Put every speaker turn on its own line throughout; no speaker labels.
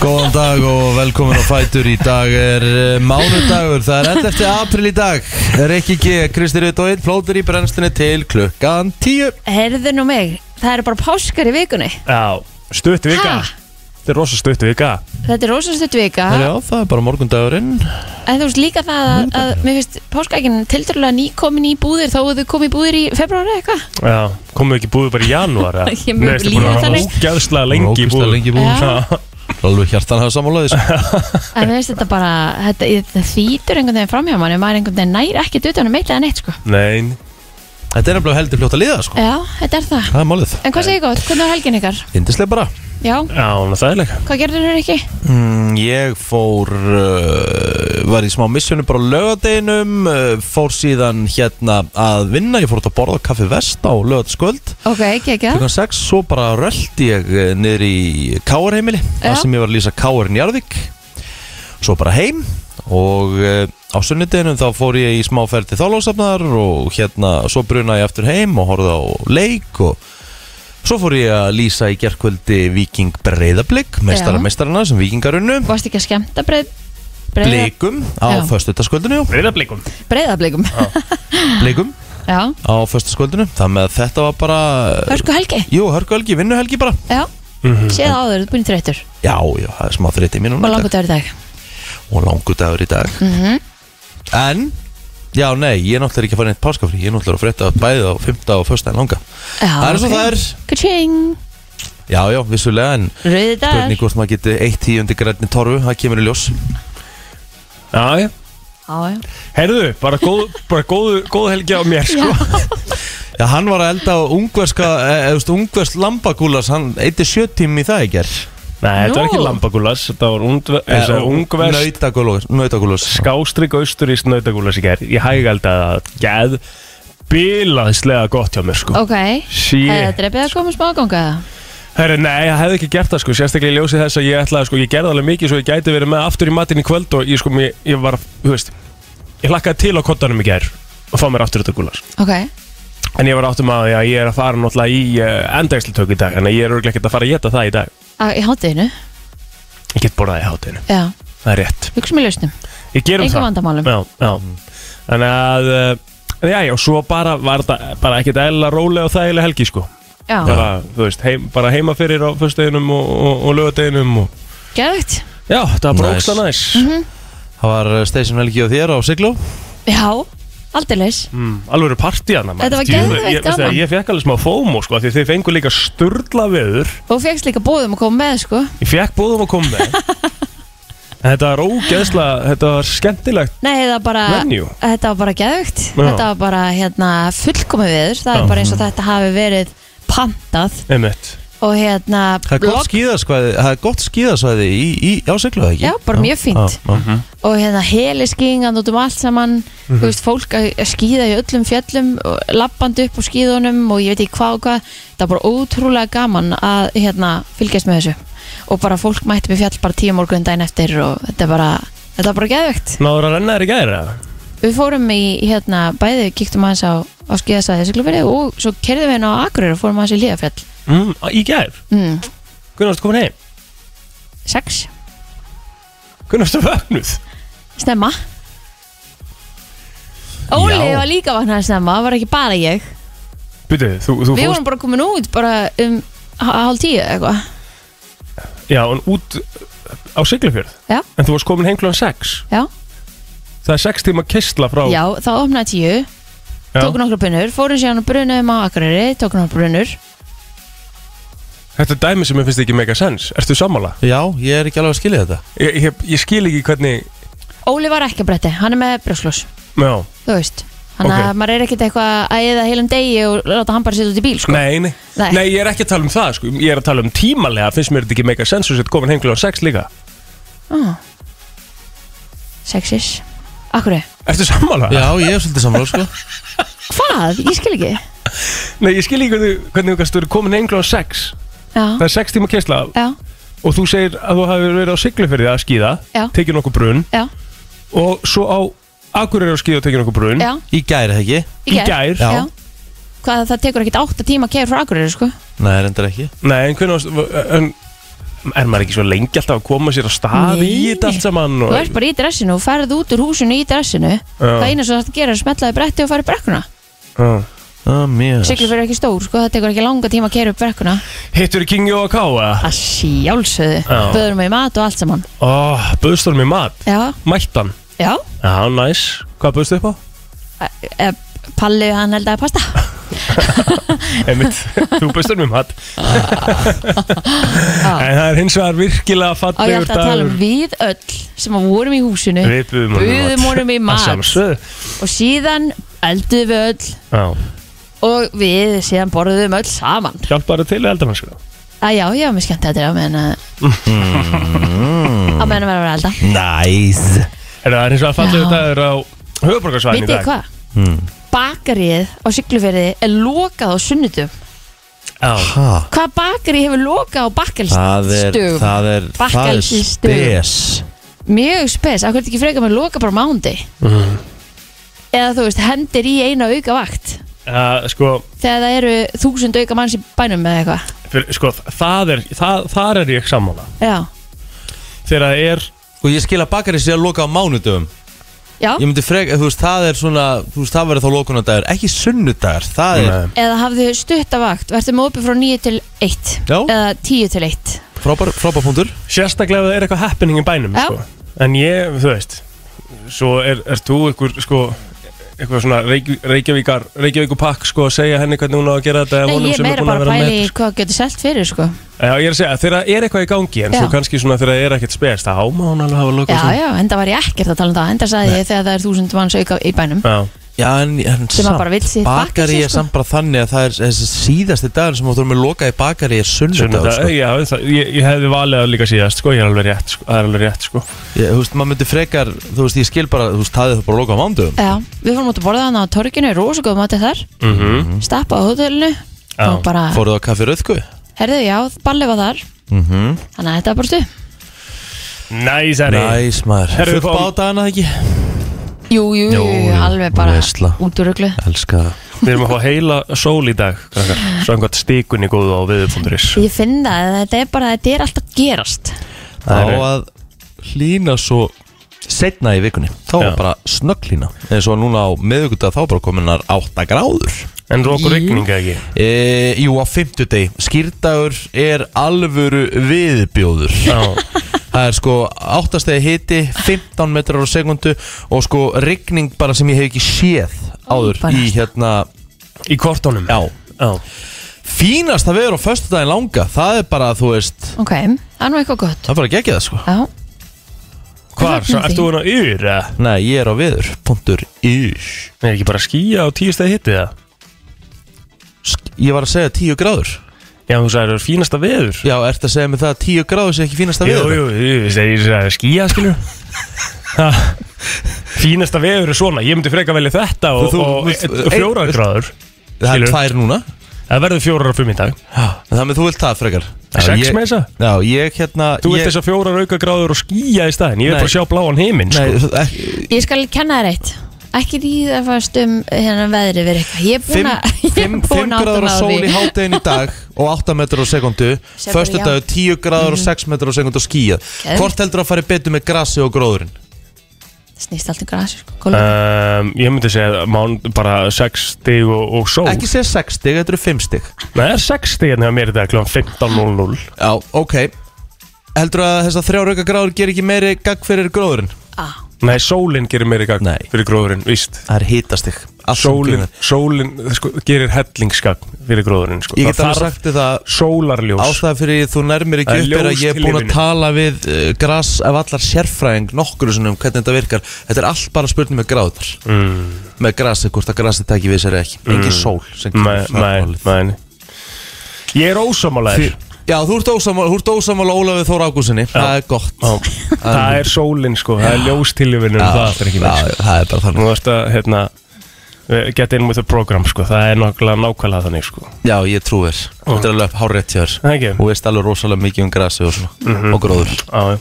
Góðan dag og velkomin á Fætur Í dag er uh, mánudagur Það er 11. april í dag Rikki G, Kristi Rutt og Eid Plótur í brennstunni til klukkan 10
Herðu nú mig, það eru bara páskar í vikunni
Já, stutt vika
Ha?
Þetta er rosa stutt vika
Þetta er rosastutt vika
Það Já, það er bara morgundagurinn
En þú veist líka það að, að
Mm.
mér finnst páskaækinn tildurlega nýkomin í búðir þá þau komið í búðir í februari eitthvað
Já, komum við ekki búið bara í janúar eða?
Ég mun
Nei, veistu,
líður
búin að
þannig.
vera Ógæðslega lengi í
Ógeðslega
búið
lengi í búðum.
Já.
Alveg hjartan hafa sko. sammálaðis
En mér finnst þetta bara, þetta, þetta þýtur einhvern veginn framhjá manni maður einhvern veginn nær ekki dutunum eitt eða neitt sko
Nein,
Þetta er nefnilega heldur fljótt að liða sko
Já, þetta er það
Það er málið
En hvað segir gott, hvernig var helgin ykkar?
Indislega bara
Já,
já, hún er þægileg
hvað gerður þér ekki?
Mm, Ég fór, uh, var í smá missjónu bara á lögadeginum uh, Fór síðan hérna að vinna Ég fór út að borða á Kaffi Vest á lögadaskvöld
Ok, ekki ekki
Klukkan 6, svo bara röldi ég eh, niður í Káar heimili
Já.
Það sem ég var að lýsa Káarinn Jarðvík Svo bara heim Og eh, á sunnudeginum þá fór ég í smáferð til þálásafnar Og hérna, svo bruna ég aftur heim og horfði á leik Og svo fór ég að lýsa í gerkvöldi Viking Breiðablík Mestara
Já.
mestarana sem vikingarunnu
Varst ekki að skemmta breið, breið,
Blikum á
Já.
föstudagskvöldinu
Reyða blikum
breiðablikum?
Blikum
Já,
á föstudagskvöldinu Það með að þetta var bara
hörku helgi
Jú, hörkuhelgi, vinnuhelgi bara
Já, séð áður, þú ert búin í þreytur
Já, já, það er smá þreytt í mínum
og langur dagur í dag Mhm.
og langur dagur í dag En, já nei, ég er náttúrulega ekki að fara neitt páskafrí Ég er náttúrulega að frétta bæðið á 5. og 1. langa
Já,
Það er svo
ok.
það er
Ka-ching,
Já, já, vissulega, en
rauði dagur
hvernig hvort maður geti eitt tíundi grænni torfu, það kemur í ljós
Já, já
Já, já,
Heyrðu, bara góð, bara góð, góð helgi á mér sko
Já, hann var að elda á ungverska, eða veist, ungversk lambagúlas Hann eitti sjö tími í Eh, það í gerð
Nei, þetta var ekki
Nú.
lambagúlas Þetta var ungve- eins og ungverst
Nautagúlas, nautagúlas
skástrík austuríst nautagúlas í gerð Ég hægælda það Geð Bilaðislega gott hjá mér sko
ok Hefði
Shit
þetta drefið að koma smá ganga
Herru, nei, ég hefði ekki gert það sko, sérstaklega í ljósi þess að ég ætlaði sko, ég gerði alveg mikið svo ég gæti verið með aftur í matinn í kvöld og ég sko, mér, ég var, þú veist, ég hlakkaði til á kottanum í gær og fá mér aftur þetta gúlas.
Ok,
En ég var aftur með að því að ég er að fara náttúrulega í uh, endægslutöku í dag, en ég er örglega ekkert að fara að geta það í dag.
Á- í hátteginu
Ég get borðað í hátinu,
Já,
það er rétt.
hugsa mér lausnum
Ég gerum
Engum
það.
vandamálum
Já, já. Þannig að, uh, já, já, svo bara var þetta bara ekkert eðla rólega og þægilega helgi sko.
Já,
Bara, þú veist, heim, bara heima fyrir á föstudeginum og, og, og lögadeginum og,
geðvægt
já, þetta var bara
Nice.
ógsta næs.
Mhm.
Það var eh, station helgi á þér á Sigló
Já, aldeilis
Mm, alveg eru partíana
Þetta var geðveikt gaman.
Ég, ég fekk alveg smá fómo sko af Því þið fengu líka sturla veður
Og fegst líka bóðum að koma með sko
Ég fekk bóðum að koma með En Þetta var ógeðslega Þetta var skemmtilegt
Nei, það var bara
Venue.
Þetta var bara geðvögt Þetta var bara hérna, fullkomi viður Það
Já.
er bara eins og þetta hafi verið pantað
Einmitt.
Og hérna
Það er gott
blogg-
skíðasvæði, það er gott skíðasvæði í, í, á Sigló, eða ekki?
Já, bara mjög fínt.
já, já.
Mhm.
Og hérna heliskýðingan út um allt saman Þú veist, fólk að að skíða í öllum fjöllum og Lappandi upp á skíðunum Og ég veit ekki hvað og hvað Það var bara ótrúlega gaman að hérna, fylgjast með þessu Og bara fólk mætti upp í fjall bara tíu morgun daginn eftir Og þetta er bara, þetta var bara geðvögt
Náður að renna þér í gæri
Við fórum í, hérna, bæði kíktum aðeins á, á skíðasæði Siglufirði og svo kerðum við inn á Akureyri og fórum aðeins í Líðafjall
mm, á- Í gæri?
mm,
Hvernig varstu komin heim?
Sex,
Hvernig varstu vögnuð?
snemma Óli
Já.
var líka vaknaði snemma, það var ekki bara ég
Býtu, þú, þú
Við
fórst
vorum bara komin út bara um há- hálf tíu eða eitthvað
Já, en út uh, á Siglufjörð
Já.
En þú varst komin heim klúan 6
Já.
Það er 6 tíma kistla frá
Já, þá opnaði tíu,
Já.
tók nokkra brunur Fórum síðan og brunum á Akureyri, tók nokkra brunur
Þetta er dæmi sem mér finnst ekki mega sens Ertu sammála?
Já, ég er ekki alveg að skilja þetta
Ég, ég, ég skil ekki hvernig
Óli var ekki að bretti, hann er með brjósklós
Já,
Þú veist, hann
Ok.
að maður er ekkert eitthvað að eða heilum degi og láta hann bara sitja út í bíl sko.
Nei, nei.
Nei.
nei, ég er ekki að tala um það sko. Ég er að tala um tímalega, finnst mér þetta ekki mega sens og sett komin heim kljóðan 6 líka
Ah. Sexis Akkurri,
Ertu sammála?
Já, ég er svolítið samráð, sko
hvað? Ég skil ekki
Nei, ég skil ekki hvernig, hvernig þú kannst verið komin heim kljóðan 6 Það
Já,
er 6 tíma kessla
Mm. já,
og þú segir að þú hafi verið á Siglufyrði að skýða
Já.
tekið nokkuð brun
já,
og svo á Akureyri að skýða og tekið nokkuð brun
já
Í gæri, ekki?
Í gær.
Já.
Já. Hvað það tekur ekkert átta tíma að kegja frá Akureyri sko
Nei, reyndar ekki
Nei, en hvernig varst, en, er maður ekki svo lengi alltaf að koma sér á stað í
Nei.
þetta allt saman
Þú
og,
ert bara í dressinu og ferð út úr húsinu í dressinu Það eina sem þetta gerir er að smetlaði bretti og fara í brekkuna
Já.
Ah, mér.
Siglufjörður er ekki stór, sko, það tekur ekki langa tíma að kera upp brekkuna
Hittur Kingi og K eða?
Að sjálfsögðu,
Já.
böður mig mat og allt saman
Ó, Böðstur með mat,
Já,
mættan
já,
Já, næs, hvað böðstu upp á?
e, Palli hann held að pasta
Einmitt, þú um böðstur með mat
Ah.
En það er hins vegar virkilega
Og ég
fallegur
ætla að tala um
dagur
við öll sem að vorum í húsinu
Við buðum honum í
buðum honum í
Að
mat
sjálfsögðu.
Og síðan elduðum við öll
Já,
Og við síðan borðuðum öll saman
hjálpar það til í eldamannsku
Að já, já, mér skemmt þetta er á meðan að
Mm.
Á meðan að vera að vera að elda
Nice.
Er það er hins vegar fallegur
Já.
dagur á höfuborgarsvæðin í
Vitið
dag
þið hvað?
Hmm.
Bakarið á Siglufjörði er lokað á sunnudum
Já,
Ha,
Hvað bakarið hefur lokað á
það er,
bakkelstugum?
það er, það er
Bakkelsisdögum.
spes.
Mjög spes, af hverju ertu ekki frekar með loka bara mándi
Mm. Hmm.
Eða þú veist, hendir í eina auka vakt
uh, sko,
Þegar það eru þúsund auka manns í bænum eða eitthvað
fyr, sko það er, það, þar er ég sammála
Já,
Þegar það er
Sko ég skil að bakari sé að loka á mánudöfum.
já
Ég myndi frek, þú veist, það er svona, þú veist, það verður þá lokunadagur, ekki sunnudagur, það er
Eða hafðu stutta vakt, verður með opið frá 9 til 1
Já.
Eða 10 til 1
frábær, frábær punktur.
Sérstaklega ef það er eitthvað happening í bænum
Já.
sko. En ég, þú veist Svo er, er þú einhver sko eitthvað svona Reykj Reykjavíkar Reykjavíkur pakk sko að segja henni hvernig hún á að gera þetta eða
Nei,
honum
ég er
sem
meira
búinn
bara
að
að
vera
pæla
með,
í
sko.
hvað getur selt fyrir sko.
Já, ég er að segja, þegar það er eitthvað í gangi en
Já.
svo kannski svona þegar það er ekkert spes þá má hún alveg hafa
Já,
lokað svona.
já, enda var ég ekkert að tala um það Enda sagði ég þegar það er þúsund manns auka í bænum
Já.
Já, en, en
Sem að bara vill sitt
bakari
bakkelsi,
er
sko.
samt bara þannig að það er þessi síðasti dagur sem þú þurfum að loka í bakari er sunnudagur,
Sunnudag,
sko.
já, það, ég, ég hefði valið að líka síðast sko, ég er alveg rétt sko, það er alveg rétt sko.
Ég, þú veist, maður myndi frekar, þú veist, ég skil bara, þú veist, það er það bara að loka á mándöfum.
Já, við fórum út að borða þannig á torginu Rósugum matið þar,
mm
stappa á hótelinu
Já.
Og Mhm. bara,
Fóruð á kaffi rauðku?
herðu, já, balli var þar
Mhm. Mm
Þannig að þetta er bara stuð
Næsari
Næs maður.
Herru,
Full
við fáum-
bát að hana ekki?
Jú, jú, jú,
Jú, jú,
alveg bara
veisla.
út úr ruglu
Elska það.
Við erum að fá heila sól í dag Svangvæmt stíkunni góðu á viðufunduris
Ég finn það, en þetta er bara, þetta er alltaf að gerast
Á
Það er-
að hlýna svo setna í vikunni. Þá
Já.
var bara snögglína. En svo núna á meðugudag þá bara kominar 8 gráður.
En rók og rigning eða ekki
E, jú, á fimmtudegi. Skýrdagur er alvöru viðbjóður.
Já,
Það er sko 8 stegi hiti, 15 metrar á sekundu og sko rigning bara sem ég hef ekki séð áður
Ó,
í hérna,
í kortónum
já,
Já.
fínasta veður á föstudaginn langa, það er bara, þú veist,
Ok, það er nú eitthvað gott
það er bara geggjað sko.
Já,
Hvar,
Ég fagna
ert
því.
þú hann á yfir eða?
Nei, ég er á viður, punktur, ís.
Er ekki bara að skýja á tíu stæði hitti það?
Sk- Ég var að segja 10 gráður.
Já, þú sagði það er fínasta veður
Já, ertu að segja mig það að 10 gráður sé ekki fínasta
Jú,
veður?
jú, jú, ég sagði skýja skilur Ha. Fínasta veður er svona Ég myndi freka velja þetta og,
Þú- þú-
og
þú-
e- fjórar
ein-
gráður
Það er
skilur.
tvær núna.
Það verður fjórar á fimm í dag
Já, en Það með þú vilt það frekar. Já,
Sex
ég-
með þessa
Já, ég hérna...
Þú
ég-
ert þess að fjórar auka gráður og skýja í staðin Ég vil
Nei.
bara sjá bláan heiminn sko.
Nei, ekki,
ég skal kenna þér eitt Ekki ríða fast um hérna veðrið við eitthvað Ég er búin að ég er
5
búin að átta
gráður
mig
á
á
sól
því.
í háttegin í dag og 8 metrar á sekundu
Sem bara
Föstu dagur 10 gráður og 6 metrar á sekundu og skýjað
Geðvikt.
Hvort heldur að fara betur með grassi og gróðurinn?
Snýst allt um grasi, sko, gólfið.
Um, ég myndi segja mán, bara 6 stig og, og sól
Ekki segja 6 stig, þetta eru 5 stig
Nei, það er 6 stig hérna hjá mér í dag kl. 15.00
Já, ok Heldur að þessar þrjár auka gráður ger ekki meiri gagg fyrir gróðurinn?
ah.
Nei, sólinn gerir mér í gang
Nei.
fyrir gróðurinn, víst
Það er hitastig allt sem
Sólinn
kemur.
sólin, sko, gerir hellingsgagn fyrir gróðurinn sko.
Ég get alveg sagt þér það
Sólarljós
Ástæða fyrir þú nærmir ekki
Það er
upp er að
ljós
ég er búin
í
að
lífinu.
tala við uh, gras af allar sérfræðing nokkru sinnum um hvernig þetta virkar Þetta er allt bara spurning með gráðar
mm,
með grasi, hvort að grasi takki við sér eða ekki engin sól sem getur
Nei,
það
nei,
málið.
nei Ég er ósamálaðir
Já, þú ert ósamála, þú ert ósamála Ólafið Þór Ágúsinni, það er gott
Það er sólinn, sko, það er ljóstiljöfinum
Já,
Það er ekki
já,
mér, sko
það er
Nú
bara þannig
ertu að, hérna eh, Get in with the program, sko, það er nákvæmlega nákvæmlega þannig, sko
Já, ég trú þér, þetta er alveg hárétt hjá þér
Það ekki? Mhm.
Þú veist alveg rosalega mikið um grasi og svona og gróður
Já, já.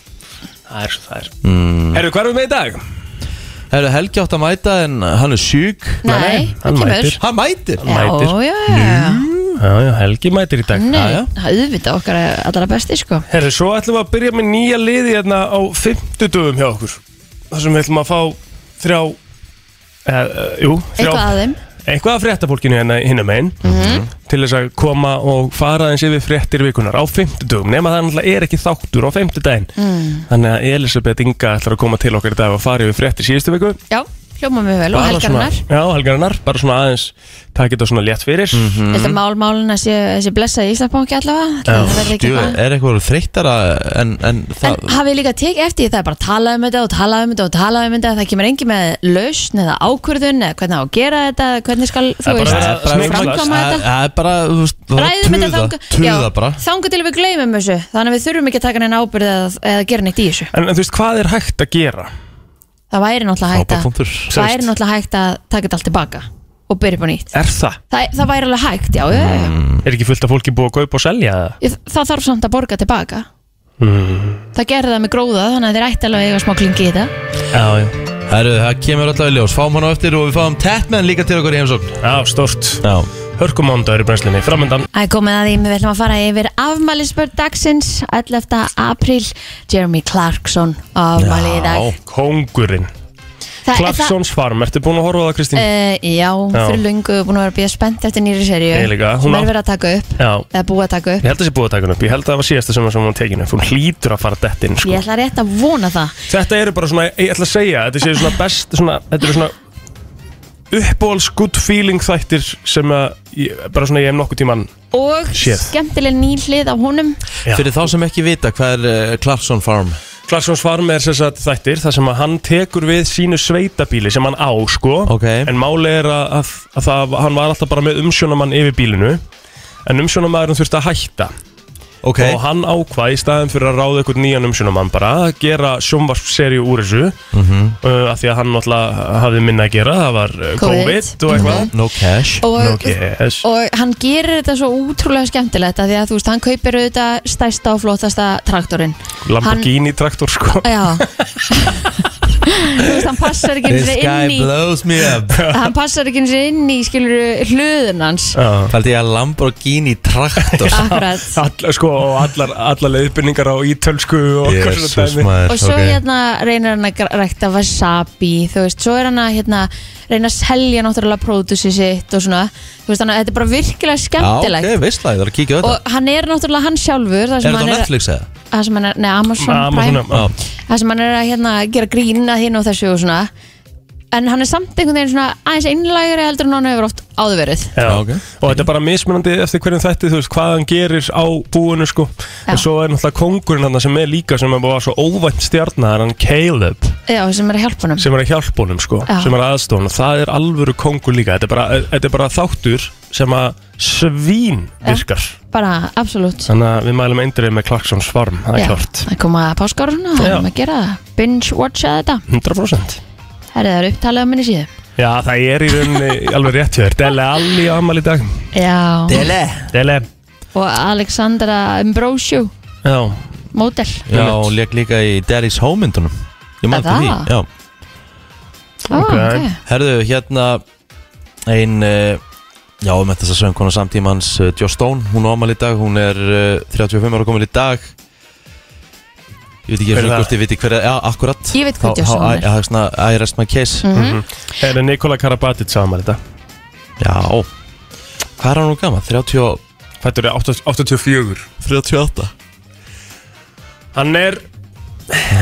það er svo það er Herru, hvað erum við með í dag?
Mm. Herru, Helgi átt að mæta en hann er sjúk
Nei,
hann
hann kemur
mætir.
Hann mætir
Já,
mætir.
já, já
Já, já, Helgi mætir í dag
Já, já.
Nei, það er auðvitað okkar allra besti sko
Herru, svo ætlum við að byrja með nýja liði hérna á 50 dögum hjá okkur þar sem við ætlum að fá þrjá eða, uh, jú, þrjá
Eitthvað að þeim Mhm.
eitthvað af fréttafólkinu hérna hinna megin til þess að koma og fara eins yfir fréttir vikunar á 50 dögum nema það náttúrulega er ekki þáttur á 50 daginn
Hmm.
þannig að Elisabeth Inga ætlar að koma til okkar í dag og fara yfir fréttir síðustu viku
Já, hljóma mjög vel og helgarinnar
svona, já, helgarinnar, bara svona aðeins taka þetta svona létt fyrir
Mm.
Þetta málmálin að sé, þessi blessaði Íslandbanki allavega
Já,
Það verður ekki
Djú,
eitthvað
er eitthvað þreyttara en, en
En
það
hafið líka tekið eftir því, það er bara að tala um þetta og tala um þetta og tala um þetta það kemur engin með lausn eða ákvörðun eða hvernig á að gera þetta, eða hvernig skal þú
Það er bara
veist,
verið að smygla-
framkvæma
Það-
þetta
það er bara, þú veist, það er
Ræðum þetta
tuða, tuða bara
þanga til við gleymum þessu þannig að við þurfum ekki að taka neina ábyrð eða, eða gera neitt í þessu
en, en þú veist, hvað er hægt að gera?
það væri náttúrulega hægt
Frábær
að
punktur.
það væri náttúrulega hægt að taka þetta allt tilbaka og byrja upp á nýtt
Er það?
það, það væri alveg hægt, já, já, já, já.
Er ekki fullt af fólki búið að kaupa og selja það?
Ég- það þarf samt að borga tilbaka það gerði það með gróða þannig að þeir ætti alveg að eiga smá klingi í þetta
Já, já
Herru, það kemur alltaf í ljós, fáum hann á eftir og við fáum Tatman líka til okkar í heimsókn
Já, stort
Já,
Hörkumándagur í brennslinni, framöndan
Það er komið að því, við ætlum að fara yfir afmælisbörn dagsins 11. apríl, Jeremy Clarkson afmæli í dag
Kóngurinn
Þa-
Clarksons Farm, ertu búin að horfa á það Kristín?
það- Eh, Já, fyrir lungu búin að vera að býja spennt eftir nýri serju
Ég líka, hún
sem
á-
er verið að taka upp
Já,
eða búið að taka upp
ég held að það sé búið að taka hún upp Ég held að það var síðasta sem hún var tekinu Hún hlýtur að fara dett inn sko.
Ég ætla rétt að vona það
Þetta eru bara svona, ég ætla að segja Þetta séu svona best, svona, þetta eru svona uppbóls good feeling þættir sem að, ég, bara svona ég hef nokkuð tíman
og
Séð.
skemmtileg ný hlið af honum
Já.
fyrir þá sem ekki vita hvað er uh, Clarkson Farm
Clarksons Farm er þess að þættir þar sem að hann tekur við sínu sveitabíli sem hann á sko
Ok.
en máli er að, að, að það, hann var alltaf bara með umsjónamann yfir bílinu en umsjónamaðurinn þurfti að hætta
Ok,
og hann ákvað í staðin fyrir að ráða eitthvað nýjan umsjónumann bara að gera sjónvarpseríu úr þessu
Mhm.
uh, af því að hann náttúrulega hafði minna að gera það var uh,
COVID.
COVID og eitthvað
Mhm. no cash
og,
Nú, yes.
og hann gerir þetta svo útrúlega skemmtilegt að því að þú veist, hann kaupir auðvitað stærsta og flottasta traktorinn
Lamborghini traktor sko
Já Þú veist, hann passar ekki einu
This
sinni
guy
inn í
blows me up
hann passar ekki eins og inn í skilur hluðun hans
Já.
Fældi ég að Lamborghini traktor
akkurat
All, sko, og allar, allar leiðbyrningar á ítölsku og eitthvað svona
Jesus
dæmi.
maður
og svo
ok.
hérna reynir hann að gr- rækta wasabi þú veist, svo er hann að hérna reyna að selja náttúrulega pródusi sitt og svona, þú veist, þannig að þetta er bara virkilega skemmtilegt
Já, ok, veistlega, ég þarf að kíkja á þetta
og hann er náttúrulega hann sjálfur þar
Er
sem
þetta á
hann er,
Netflix eða?
þar sem hann er nei, Amazon,
Amazon,
Prime
já.
þar sem hann er að hérna, gera grína hinn og þessu og svona en hann er samt einhvern veginn svona aðeins einlægri heldur en hann hefur oft áður verið
Já.
ok.
og þetta er bara mismunandi eftir hverjum þetta þú veist hvað hann gerir á búinu sko.
Já.
en svo er náttúrulega kongurinn hann sem er líka sem er bara svo óvænt stjarnar hann Caleb
já, sem er að hjálpa hann
sem er að hjálpa honum sko,
Já.
sem er aðstofan og það er alvöru kongur líka þetta er bara, þetta er bara þáttur sem að svín virkar
bara, absolutt
þannig að við mælum eindrið með Clarksons farm það
Já,
er klart,
Það koma að páskaruna og
Já.
erum að gera það Binge-watcha þetta
100%
Herrið það er upptalið á minni síðu
Já, það er í rauninni alveg rétt hjá þér Dele Alli á amal í dag
Já
Dele
Dele,
Og Alexandra Ambrosio
já,
Model
Já, hún leik líka í Daddy's Home myndunum Ég mann
Er
til því
það?
Já.
Ó,
Ok.
Ah, ok.
Herðu, hérna ein uh, Já, um þetta þess að söngkona samtímans uh, Jo Stone, hún á ámæli í dag Hún er uh, 35 ára komin í dag Ég veit ekki
Hver er
hver
það?
hvort ég veit ekki hver er, já, akkurat
Ég veit hver Jo Stone er.
Já, það er svona, I rest my case
Mhm.
Mhm.
er Nikola Karabatic á amal í dag
Já, hvað er hann nú gaman? 30, og-
Þetta eru 84
38
Hann er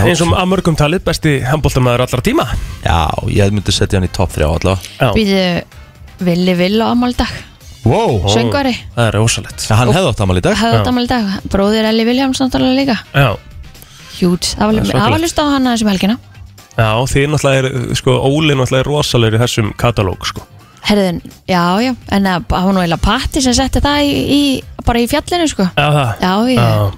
eins og að mörgum talið besti handbóltamæður allra tíma
Já, ég myndi setja hann í top 3 allavega
Já,
Býðu Villi Vill á amaldag
Wow
Söngvari
það er ósalett
Já, hann hefði átt amal í dag
Hefði átt amaldag Bróðir Elli Viljáms náttúrulega líka
Já,
Hjút Það var-
Það er
það var
svakalegt.
lust á hana þessum helgina
já þið náttúrulega er, sko, Óli náttúrulega er rosalegur í þessum katalóg, sko
Herriðin Já, já En eh, það það var nú eiginlega patti sem setti það í, í Bara í fjallinu sko
Já, það
Já, ég
Já,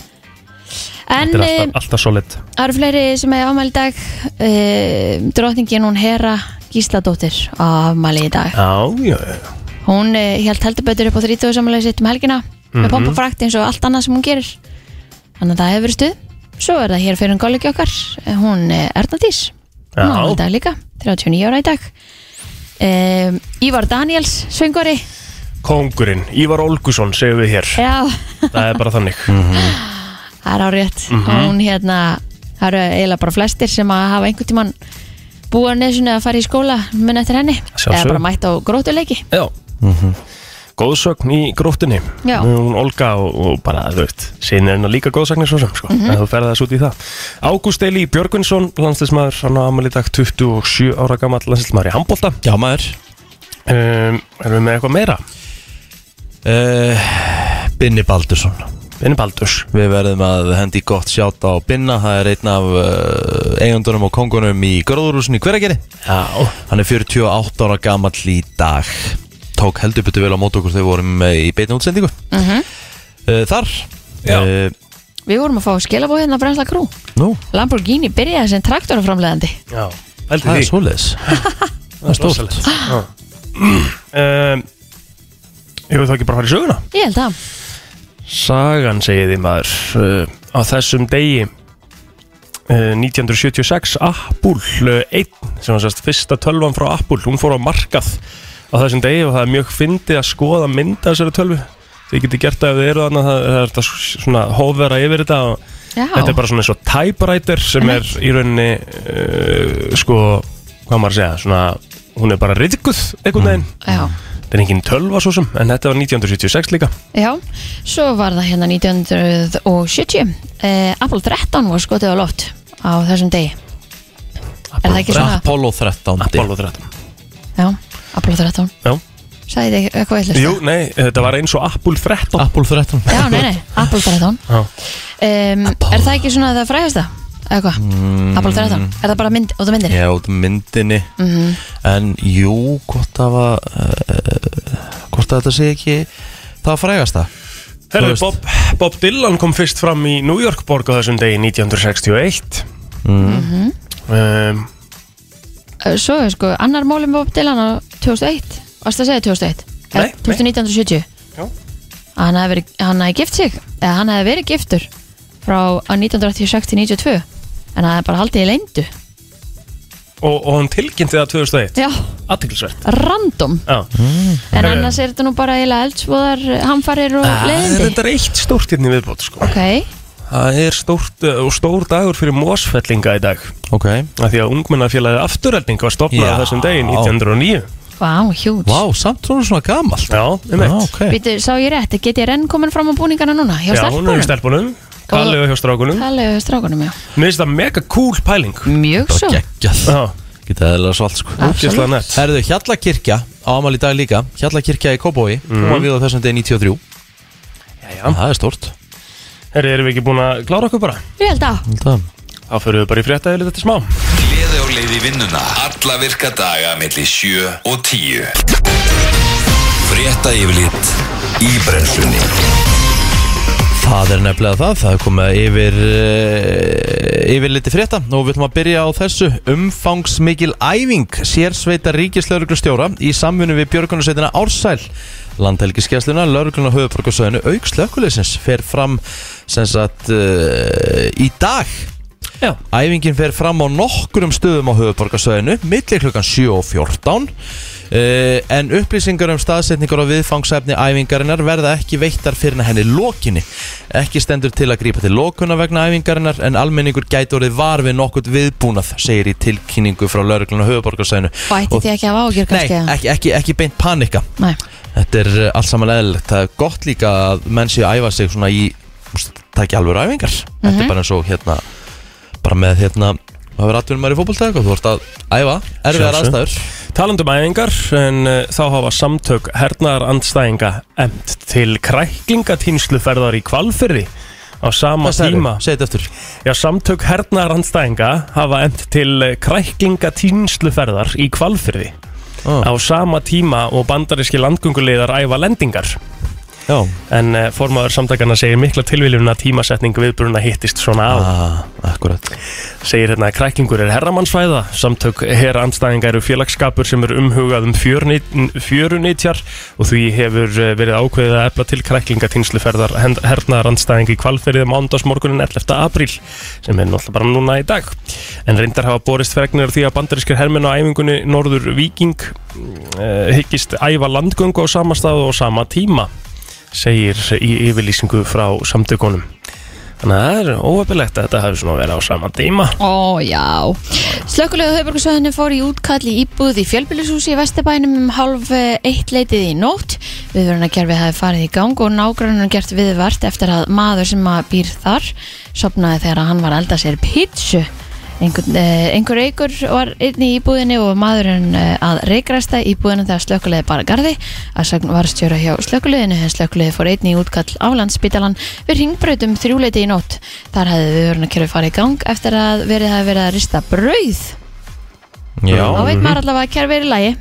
En
þetta er
eh,
alltaf, alltaf solid
Það eru fleiri sem hefur afmæli í dag uh, Drotningin hún Hera Gísladóttir á afmæli í dag
Já, já, já
Hún uh, held heldur betur upp á 30 samlega sitt um helgina
Mhm.
með pompa frakt eins og allt annað sem hún gerir Þannig að það hefur verið stuð Svo er það hér fyrir um kollegi okkar eh, hún uh, Ernadís
Já.
hún á afmæli í dag líka, 39 ára í dag um, Ívar Daniels söngari
kongurinn, Ívar Olgusson, segum við hér
Já, Mhm.
Það er bara þannig
það er á rétt
Mhm.
Hún hérna, það eru eiginlega bara flestir sem að hafa einhvern tímann búið á nesunni að fara í skóla mun eftir henni
Sjálfsögðu.
eða bara mætt á grótuleiki
Já Mhm. Góðsögn í gróttinni
Já.
Hún Olga og, og bara, þú veist Sinni hennar líka góðsögnir svo sem, sko
Mhm.
En þú ferði þessu út í það Ágúst Eli Björgvinsson, landslismæður Hann á amal í dag 27 ára gammal landslismæður í handbólta
Já maður
um, Erum við með eitthvað meira?
uh, Binni Baldursson
Vinni Baldurs
Við verðum að hendi gott sjátt á Binna Það er einn af uh, eigundunum og kongunum í Görðurúsin í Hveragerði
Já
Hann er 48 ára gamall í dag Tók heldur betur vel á mót okkur þegar við vorum eh, í beinni útsendingu
Mhm.
Eh, Þar
Já.
Eh,
Við vorum að fá skilabóð hérna að brensla krú
Nú,
Lamborghini byrjaði sem traktoraframleðandi
Já Pældi
það
því
er svoleiðis Það er stórt
um, Ég veit þá ekki bara að fara í söguna
Ég held það
Sagan segið þið maður uh, á þessum degi uh, 1976 Apple uh, 1 sem var sérst fyrsta tölvan frá Apple hún fór á markað á þessum degi og það er mjög fyndið að skoða mynda þessari tölvu þið getið gert það ef þið eru þarna það það er þetta svona hófvera yfir þetta og
Já,
þetta er bara svona eins og typewriter sem er í rauninni uh, sko, hvað maður að segja svona, hún er bara riðguð einhvern veginn
já,
þetta er engin tölva svo sem en þetta var 1976 líka
já Svo var það hérna 1970 eh, Apple 13 var skotið á loft á þessum degi Er það ekki svona?
Apollo 13
Apollo 13
Já, Apple 13
Já.
Sæði þið eitthvað eitthvað
Jú, nei, þetta var eins og Apple 13
Apollo 13
Já, nei, nei, Apple 13
Já.
um, Er það ekki svona það frægast það? Eða hvað? Apple 13 Er það bara mynd, út af myndinni?
Mm. Já, út af myndinni En jú, hvort það var uh, Hvort að þetta sé ekki Það frægast það
Herðu,
Þú
Bob, Bob Dylan kom fyrst fram í New York borg á þessum degi 1961
Mhm.
um,
Eh, Svo er sko annar málum Bob Dylan á 2001 Varst það að segja 2001? Eða
Nei, nei.
1970
Já.
Að Hann hefði verið- hann hefði gift sig eða hann hefði verið giftur frá á 1986 til 92 en hann hefði bara haldið í leyndu
og, og hann tilkynnti það 2001
Já,
Athyglisvert
random
Já.
En
Herðu.
annars er þetta nú bara eiginlega eldsvoðar eh, hamfarir og
Það er
Ah,
leiðindi
Ah, þetta eitt stórt hérna í viðbót sko.
Ok,
Það er stórt uh, og stór dagur fyrir mósfellinga í dag
Ok
af því að ungmennafélagi afturrelding var stopnað
Já.
á þessum degi 1909
vá, hjúts
Vá, samt svona svona gamalt
Já, um
Já,
eitt
Ah, ok
Býtu, sá ég rétt, get ég renn komin fram á búningana núna hjá
Já, hún er í
stelpunum?
stelpunum Kallið og hjá strákunum
Kallega hjá strákunum, já
Mér finnst það mega cool pæling
Mjög svo
Bara geggjað
Já,
Geta eðlilega svalt sko
ógeðslega nett
Herðu, Hjallakirkja á amal í dag líka Hjallakirkja í Kópói Hún var við á þessum degi
Mhm.
93
Jæja.
Það er stórt
Herri, erum við ekki búin að klára okkur bara?
Ég held að
Þá fyrir við bara í fréttaðið þetta smá
Gleði á leið í vinnuna Alla virka daga melli 7 og 10 Frétta yfirlit í brennslunni
Það er nefnilega það, það er komið yfir, uh, yfir liti frétta og við ætlum að byrja á þessu umfangsmikil æfing sérsveita ríkislauruglustjóra í samvinnu við björgunarsveitina Ársæl Landhelgiskessluna, laurugluna höfuborgarsöðinu aukslökkuleysins fer fram sem sagt uh, í dag
Já.
Æfingin fer fram á nokkurum stöðum á höfuborgarsöðinu milli klukkan 7 og 14 Uh, en upplýsingar um staðsetningar og viðfangsefni æfingarinnar verða ekki veittar fyrir en að henni lokinni. Ekki stendur til að grípa til lokuna vegna æfingarinnar en almenningur gæti orðið var við nokkurt viðbúnað, segir í tilkynningu frá lauruglun og höfuborgarsæðinu.
Bætti því ekki að hafa ágjör
Nei,
kannski eða?
ekki, ekki, ekki beint panika.
Nei,
Þetta er uh, allt saman eðlilegt. Það er gott líka að menn séu að æfa sig svona í, úst, það er ekki alveg æfingar. Þetta er bara eins og hérna, bara með hérna, það verður atvinnum maður í fótboltæk og þú ert að æfa, erfiðar
Sjálfsögðu.
aðstæður.
Talandum æfingar, en uh, þá hafa samtök hernaðar andstæðinga emt til kræklingatýnsluferðar í kvalfyrði á sama
Hvað sagðirðu?
tíma.
Segðu þetta eftir.
Já, samtök hernaðar andstæðinga hafa emt til kræklingatýnsluferðar í kvalfyrði
Ah.
á sama tíma og bandaríski landgöngulegar æfa lendingar.
Já.
en uh, formaður samtakana segir mikla tilviljun að tímasetning viðbruna hittist svona á
Ah, akkurat
segir hérna að kræklingur er herramannsfæða samtök herraandstæðinga eru félagsskapur sem er umhugað um fjörni- fjörunitjar og því hefur eh, verið ákveðið að efla til kræklingatínsluferðar hernaðarandstæðinga í kvalferðið mándagsmorgunin 11. apríl sem er náttúrulega bara núna í dag en reyndar hafa borist fregnir af því að bandarískir hermenn á æfingunni Norður Víking eh, hyggist æfa landgöngu á sama stað og á sama tíma segir í yfirlýsingu frá samtökunum Þannig að það er óöfilegt að þetta hafi svona verið á sama tíma.
Ó, já. Slökkulega höfburgarsvæðinu fór í útkall í íbúð í fjölbýlishúsi í Vesturbænum um halv eh, eitt leitið í nótt. Viðvörunarkerfið hafi farið í gang og nágrunnar gert viðvart eftir að maður sem að býr þar sopnaði þegar að hann var að elda sér pítsu. Einhver, eh, einhver eigur var inn í íbúðinni og maðurinn eh, að reikræsta íbúðinu þegar slökulegði bara garði að sagn var stjóra hjá slökulegðinu en slökulegði fór einn í útkall á landsbytalan við ringbrautum þrjúleiti í nótt þar hefði við verið að kjöru farið í gang eftir að verið hafi verið að rista brauð þá
Já,
veit maður allavega að kjær verið í lagi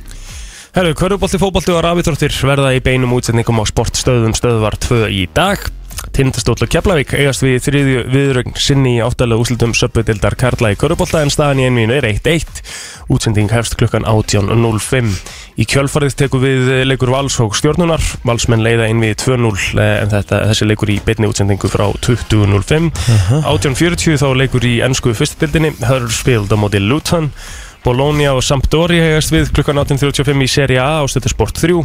Herru, körfubolti, fótbolti og rafitróttir verða í beinum útsendingum á sportstöðum stöðvar 2 í dag. Tindastóll og Keflavík eigast við í þriðju viðrögn sinni í áttalega úslutum söpudildar Karla í körfubolta en staðan í einvínu er 1-1. Útsending hefst klukkan 18.05. Í kjölfarið tekur við leikur Vals og Stjórnunar. Valsmenn leiða einvið 2-0 eh, en þetta, þessi leikur í beinni útsendingu frá 20.05. 18.40 þá leikur í ennsku fyrstudildinni Hörspild á móti Luton. Bologna og Sampdoria hegast við klukkan 18.35 í Serie A á stöðu Sport 3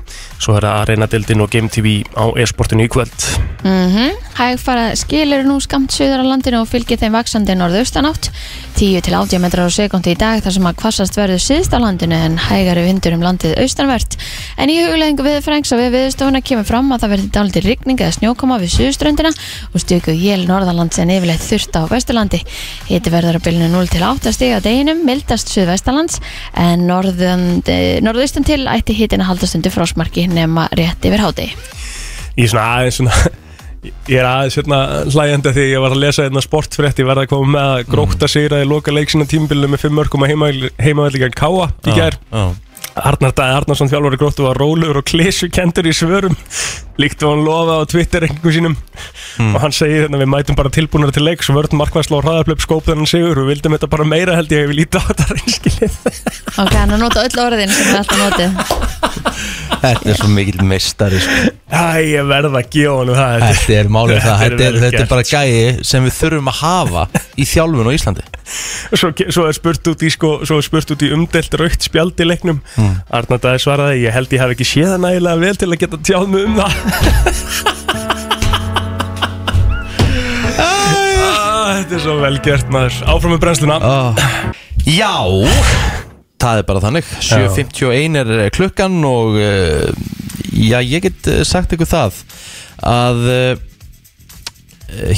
svo er það Arena-dildin og Game TV á e-sportinu í kvöld
Mm Hægfara skil eru nú skamt söður á landinu og fylgir þeim vaksandi norðaustanátt 10 til 80 metrar á sekundi í dag þar sem að hvassast verður síðst á landinu en hægari vindur um landið austanvert En í hugleðingu við frængs og við viðstofuna kemur fram að það verður dálítið rigning eða snjókoma við suðuströndina og stöku jél norðalands en yfirleitt þurft á vesturlandi Hiti verður að bylnu 0 til 8 stig á deginum, mildast suðvestalands en norðan- eh, norðaustan til ætti hitin að haldast undir frostmarki nema rétt yfir hádegi
Ég er svona aðeins svona Ég er aðeins hérna hlægjandi því ég var að lesa hérna sportfrétt, ég verði að koma með að gróta sigra í loka leiksina tímbilinu með fimm örkum að heimavellingan Káa í
Ah.
gær.
já,
Arnar Dæði Arnarsson þjálfari gróttu var rólegur og klísukendur í svörum líkt og hann lofa á Twitter einhverjum sínum
Hmm.
og hann segir hérna við mætum bara tilbúinara til leiks vörð markværsla og hraðarblöp skóp þennan sigur og vildum þetta bara meira held ég að við lítið á þetta reynskilið
Ok, hann er að nota öll orðin sem við alltaf notið
þetta er svo mikill meistari sko.
Æ, ég verð að gefa honum það þetta
Þetta er málið það,
Þetta er
þetta er,
vel
þetta er
gert.
bara gæi sem við þurfum að hafa í þjálfun á Íslandi
svo, svo er spurt út í sko, svo er spurt út í umdelt raukt spjald í leiknum
Hmm.
mm. Arnar Dæði svaraði, ég held ég hafi ekki séð það nægilega vel til að geta tjáð mig um það Æ, Ah, Þetta er svo vel gert maður Áfram með brennsluna
Ah, Já Það er bara þannig 7.51 er eh, klukkan og eh, já, ég get eh, sagt ykkur það að eh,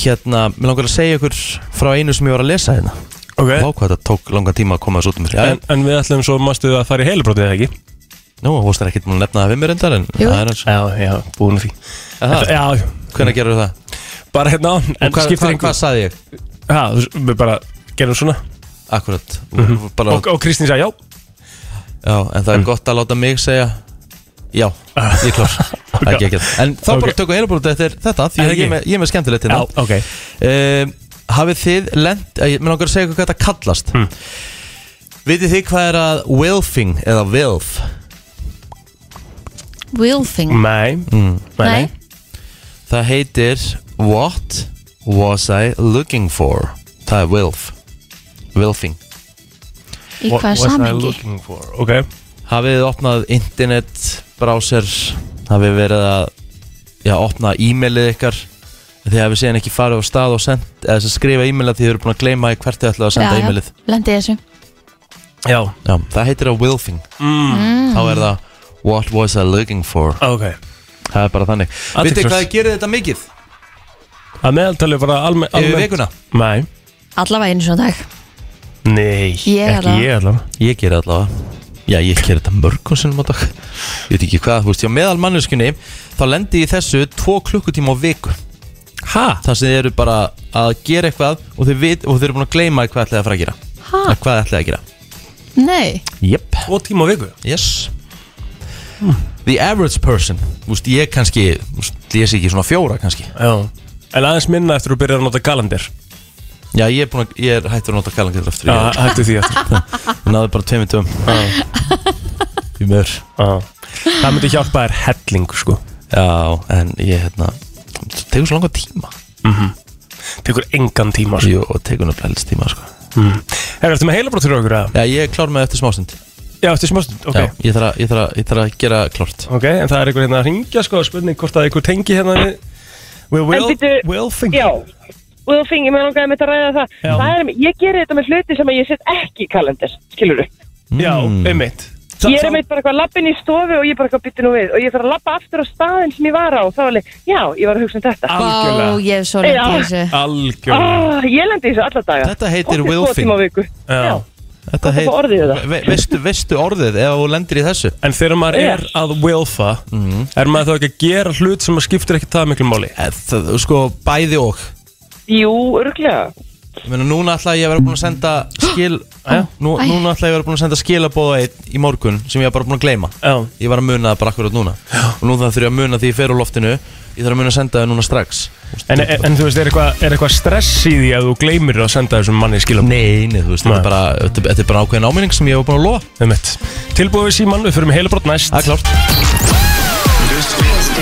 hérna, mér langar að segja ykkur frá einu sem ég var að lesa hérna
okay.
Vá hvað þetta tók langan tíma að koma þessu út um
en,
mér
en við ætlum svo mástu að fara í heilubrótið eða ekki
Nú, fórst þér ekkert búin að nefna það við mér endar en
Jú.
það er eins
Já, já, búin að því
Aha.
Já, já.
Hvernig gerur það?
bara hérna á
En
En
hvað,
skiptir
hvað,
einhver
hvað saði ég?
Já, þú- við bara gerum svona
Akkurat mm bara,
Og, og Kristín sagði já
Já, en það er gott að láta mig segja Já, ég klár Það er
Ok.
ekki En þá bara
Ok.
tökum við heilabrótið eftir þetta Því
Er
að ég
ekki?
er með, ég er með skemmtilegt hérna
ok
um, Hafið þið lent eh, Ég mér langar að segja ykkur hvað þetta kallast
Hmm.
Vitið þið hvað er að Wilfing eða Wilf
Wilfing
Nei,
Nei,
Hmm. Það heitir What was I looking for Það er Wilf Wilfing
í
What
hvaða
was I
samhengi
looking for? Ok,
Hafið þið opnað internet browser Hafið verið að Já, opna e-mailið ykkar Þið hafið síðan ekki farið á stað og send, eða sem skrifa e-mailið því þið eru búin að gleyma í hvert þið ætlaðu að senda e-mailið
lendi þessu
já
Já, það heitir að Wilfing mm. Þá er það What was I looking for
Ok
Það er bara þannig Vitið þið
Athyglisvert.
hvað þið gerir þetta mikið
Að meðaltali bara almen,
yfir vikuna?
Nei
Allavega einu svona dag
Nei,
Ég
ekki
allavega.
ég allavega
Ég gerir allavega Já, ég gerir þetta mörgum sinnum á dag Ég veit ekki hvað, þú veist, já, meðal manneskunni Þá lendi ég í þessu tvo klukkutíma á viku
Ha?
Þar sem þið eru bara að gera eitthvað Og þið, vit, og þið eru búin að gleyma hvað ætlaði að fara að gera
Ha?
Að Hvað ætlaði að gera
Nei,
Jep
Tvo tíma á viku Hm.
Yes The average person Þú veist, ég kannski þú veist, held ég sé ekki svona fjóra kannski
Já. En aðeins minna eftir að þú byrjar að nota galandir
Já, ég er, búin að, ég er hættur að nota kalandir aftur
Já,
Ég
hættu því eftir
ég náði bara tveimur töm
Já.
Í mör
Já. Það myndi hjálpa þér helling sko
Já, en ég hérna það Tekur svo langa tíma
Mhm. Tekur engan tíma sko
Jú, og tekur nefnilega helst tíma sko.
mm. Herra, ertu með heilabrótt fyrir okkur eða?
Já, ég er klár með eftir smástund
Já, eftir smástund, ok
Já, ég þarf að, ég þarf að, ég þarf að gera klárt
Ok, en það er einhver hérna að ringja sko spurning hvort að einhver tengi hérna við Við
En
Will,
bíddu-
Will Finger
Já, og þú fengið mér langaði með þetta að ræða það.
Já.
það er, ég gerir þetta með hluti sem að ég set ekki í kalender, skilur du?
Já,
Mm.
einmitt
Ég er meitt bara eitthvað lappin í stofu og ég bara eitthvað bytti nú við og ég þarf að lappa aftur á staðin sem ég var á og þá var alveg, já, ég var að hugsa um þetta.
Al-
Vá,
Algjörlega.
ég er svo lengt í
Já.
þessu
Algjörlega
Ah, ég lendi í þessu alla daga.
Þetta heitir
Oftast tvo
Wilfing.
tíma á viku. Já.
Þetta
er bara orðið þetta.
Ve veistu, veistu orðið ef þú lendir í þessu Mhm.
En þegar maður
Já.
er að willfa Er maður þá ekki að gera hlut sem maður skiptir ekki það miklu máli
Eh, Það, sko, bæði og
Jú, örglega.
Ég meina, núna ætla ég að vera búin að senda skil eh,
Jæja.
nú,
Æ.
Núna ætla ég að vera búin að senda skilabóða einn í morgun sem ég var bara búin að gleyma
Já,
Ég var að muna það bara akkurat núna Og nú það þurfi að muna því ég fer úr loftinu Ég þarf að muna að senda það núna strax
en, en, en þú veist, er eitthvað eitthva stress í því að þú gleymir að senda þessum manni skilum
Nei, nei, þú veist, þetta er bara, þetta er- þetta er bara ákveðin áminning sem ég var búin að lofa
Einmitt Tilbúið við síman, við fyrir með heilabrótt næst
Það er klárt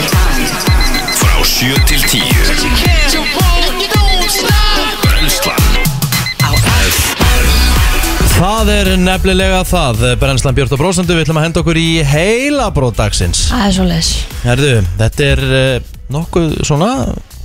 Frá 7 til 10 Brenslan
Það er nefnilega það, eh, Brennslan Björn og Brósandu, við ætlum að henda okkur í heilabrót dagsins.
Það er svo
Herðu, þetta er uh, nokkuð svona